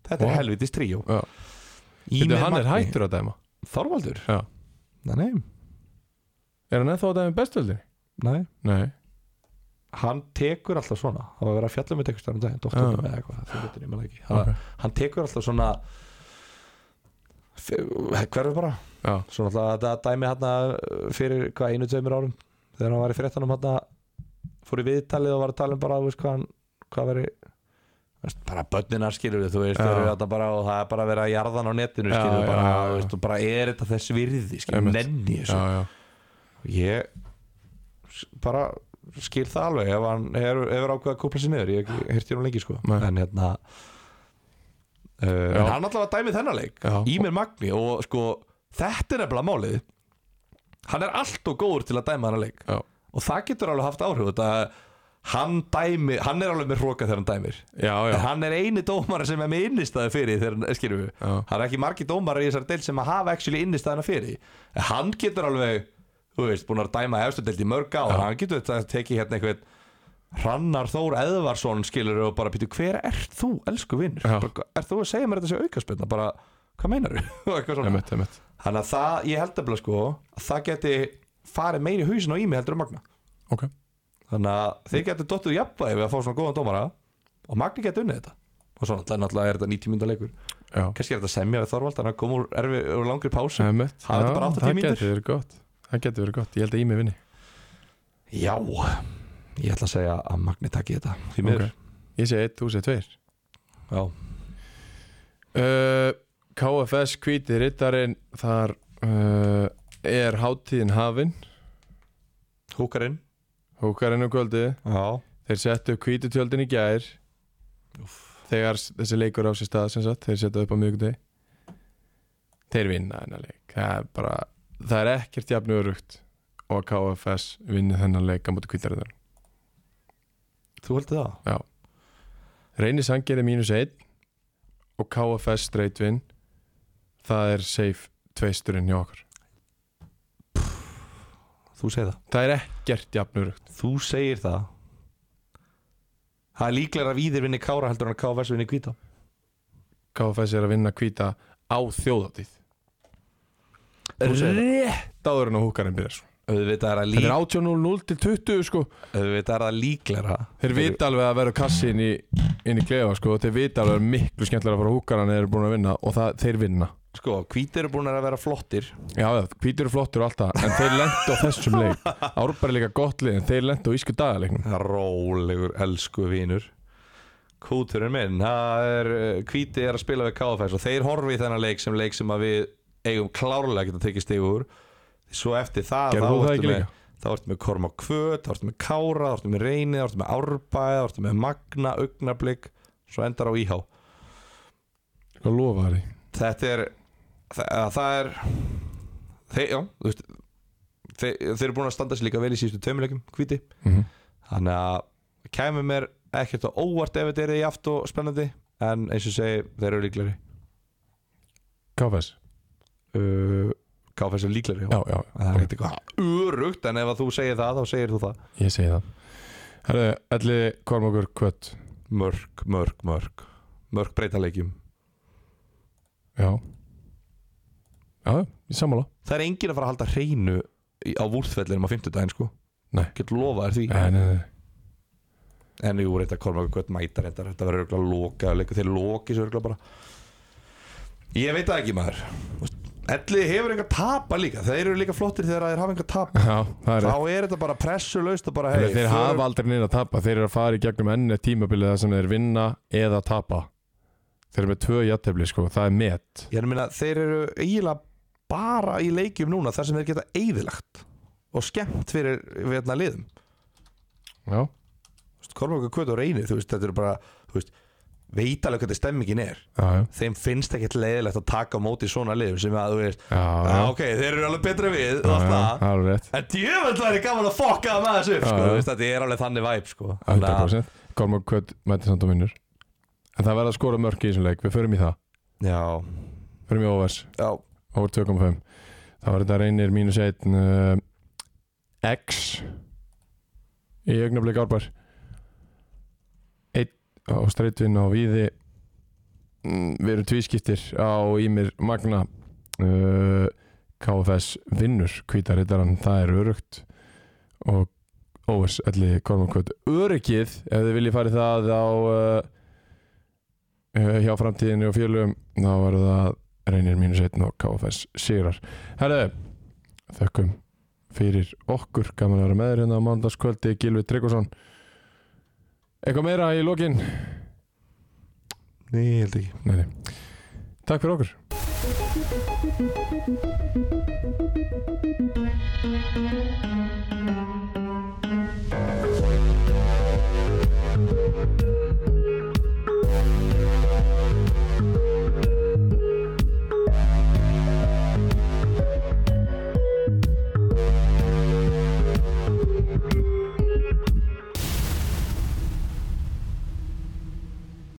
B: þetta
A: Vá.
B: er helvitis tríó
A: Já. Þetta hann er hættur að dæma
B: Þorvaldur?
A: Já.
B: nei, nei,
A: Er hann ennþá að dæma bestöldin?
B: nei
A: Nei
B: hann tekur alltaf svona það var verið að fjalla með tekur stærnum um daginn
A: Já.
B: doktorum eða eitthvað, það fyrir þetta ekki það,
A: Ok.
B: hann tekur alltaf svona hverfur bara
A: Já,
B: svona alltaf að þetta dæmi hann fyrir hvað einu tveimur árum þegar hann var í fréttanum hann fór í viðtalið og var að tala um bara þú veist, hvað, hann, hvað veri veist, bara börninar skilur við, þú veist
A: Já.
B: ja. þetta bara, og það er bara að vera jarðan á netinu
A: Já,
B: skilur við,
A: já,
B: bara,
A: já, já.
B: þú veist, og bara er þetta þess virði skilur,
A: Einmitt.
B: nenni
A: já,
B: þessu
A: já
B: ég s- bara skil það alveg ef hann hefur hefur ákveðið að kúpla sér niður ég hef hirti hún lengi sko
A: Nei.
B: en hérna
A: Já.
B: uh, en hann allavega dæmið þennan leik
A: Já.
B: í mér Magni og sko þetta er nefnilega málið hann er allt og góður til að dæma þennan leik
A: Já.
B: og það getur alveg haft áhrif þetta hann dæmi, hann er alveg með hróka þegar hann dæmir
A: Já,
B: en
A: já,
B: hann er eini dómar sem er með innistæði fyrir þegar, skilur við
A: já.
B: það er ekki margi dómarar í þessari deild sem að hafa actually innistæðina fyrir en hann getur alveg, þú veist, búin að dæma efstu deild í mörg ára, hann getur þetta að teki hérna einhvern Hrannar Þór Eðvarsson skilur og bara pýtu hver ert þú, elsku vinnur
A: Já.
B: er þú að segja mér þetta sé aukaspilna bara, hvað meinar þú
A: Emmett, emmett
B: þannig að það, ég held að sko, að það geti farið meiri í hausin á ími heldur um Magna
A: Ok
B: þannig að þeir getur dottuð jafnvægi við að fá svona góðan dómara og Magni getur unnið þetta og svo náttúrulega- náttúrulega er þetta 90 mínúta leikur
A: Já
B: kannski er þetta að semja við Þorvald hann kom úr, erfi, úr langri pásu
A: Emmett
B: Hafa þetta
A: Já,
B: bara 80
A: Það
B: mínútur?
A: getur verið gott Það getur verið gott, ég held að Ími vinni
B: já ég ætla að segja að Magni takki þetta því miður
A: Ok. Ég segi 1, þú segi 2
B: já.
A: Uh, KFS kvíti rittarinn þar uh, er hátíðin hafin
B: húkarinn
A: hókarinn um kvöldi
B: já.
A: þeir settu upp kvítutjöldin í gær þegar s- þessi leikur á sér stað sem sagt, þeir setja upp á miðvikudegi þeir vinna þennan leik það er bara, það er ekkert jafn örugt og að KFS vinni þennan leik á móti kvítarinnar
B: þú heldur það
A: reynir sangeri mínus 1 og KFS streitvinn það er safe tveisturinn hjá okkur
B: þú segir það
A: það er ekkert jafn örugt
B: þú segir það það er líklega að Víðir vinni Kára heldur hann að KFS vinni Kvítá
A: KFS er að vinna kvíta á þjóðatíð Þú segir
B: Rétt.
A: Dáður en á húkarinn byrjar sko.
B: auðvitað er það
A: Þetta er
B: lík-
A: 18.00 til 20 sko.
B: auðvitað er það líklega
A: Þeir vita alveg að vera kassi inn í, inn í klefa sko. Þeir vita alveg að vera miklu skemmtilega að fara á húkarinn eða eru búin að vinna og það, þeir vinna
B: sko Kvítir eru búin að vera flottir
A: Já, já, hvítur er flottur og allt það en þeir lendu á þessum leik Árbæri líka gott lið en þeir lendu á ísku dagalegnum
B: Rólegur, elsku vinur Kúturinn minn Það er, uh, Hvíti er að spila við KFS og þeir horfi í þennan leik sem leik sem að við eigum klárlega að geta tekið stig úr Svo eftir það
A: Gerðu
B: þá
A: þú það
B: ertu
A: ekki
B: með-
A: líka?
B: Þá ertu með Korma Kvöt, þá ertu með Kára, þá ertu með Reyni, þá ertu með Árbæð, þá ertu með Magna, Augnablík Svo endar á Íhá
A: Sko lofa það því
B: Þetta er, það, það er, þeir, já, þú veist, þeir, þeir eru búin að standa sér líka vel í síðustu tveimileikum, Hvíti
A: Mhm.
B: Þannig að kæmi mér ekkert á óvart ef þetta er í aft og spennandi en eins og ég segi, þeir eru líklari
A: KFS
B: uh, KFS er líklari
A: Já, já,
B: það er ekkert eitthvað örugt en ef að þú segir það þá segir þú það
A: ég segi það Herðu, Elli Kormokur Kvött
B: mörg, mörg, mörg mörg breytaleikjum
A: Já Já, ég sammála
B: það er enginn að fara að halda hreinu í- á vúrþvellinum á fimmtudaginn sko
A: Nei.
B: get lofa þér því
A: Nei, nei, nei
B: en jú, reynda Kormákur Gött mæta reynda þetta verður örgulega loka leikur, þeir loki svo örgulega bara ég veit það ekki maður Ellið hefur einhver tapa líka þeir eru líka flottir þegar þeir hafa einhver tapa
A: Já, það er
B: þá er þetta bara pressulaust og bara
A: Hey,
B: hey,
A: þeir hafa aldrei neina að tapa, þeir eru að fara í gegnum enni tímabilið það sem þeir vinna eða tapa Þeir eru með tvö jættefli sko, það er met
B: Ég er að minna, þeir eru eiginlega bara í leikjum núna þar sem þeir geta eigðilagt og skemmt fyrir við hérna liðum
A: Já,
B: Kormáka Kvöt og Reynir, þú veist, þetta eru bara þú veist, veit alveg hvað þetta stemmingin er
A: já, já,
B: þeim finnst ekkert leiðilegt að taka á móti svona liðum sem að, þú veist,
A: já,
B: að
A: já,
B: ok, þeir eru alveg betra við
A: já,
B: og allt
A: já,
B: það
A: það er rétt
B: En djöfald væri gaman að fokka það með þessu upp,
A: Já,
B: sko,
A: já.
B: þú veist, þetta er alveg þannig væp, sko
A: 100% Kormák Kvöt mæti samt og vinnur En það verða að skora mörk í þessum leik, við förum í það
B: Já,
A: Förum í óvers,
B: já,
A: over 2.5 Það var þetta reynir mínus 1 uh, X í augnablik árbær 1 á streitvinn á víði Mm, við erum tvískiptir á Ímir Magna uh, KFS vinnur kvítarittarinn, það er örugt og óvers allir kormankvöld örugið ef þið viljið farið það á uh, uh, hjá framtíðinni og fjölum þá verður það reynir mínus 1 og KFS sigrar Herðu, þökkum fyrir okkur, gaman að vera með þér hérna á mánudagskvöldi, Gilvi Tryggvason eitthvað meira í lokin
B: ný, ég held ekki
A: Nei, nei. Takk fyrir okkur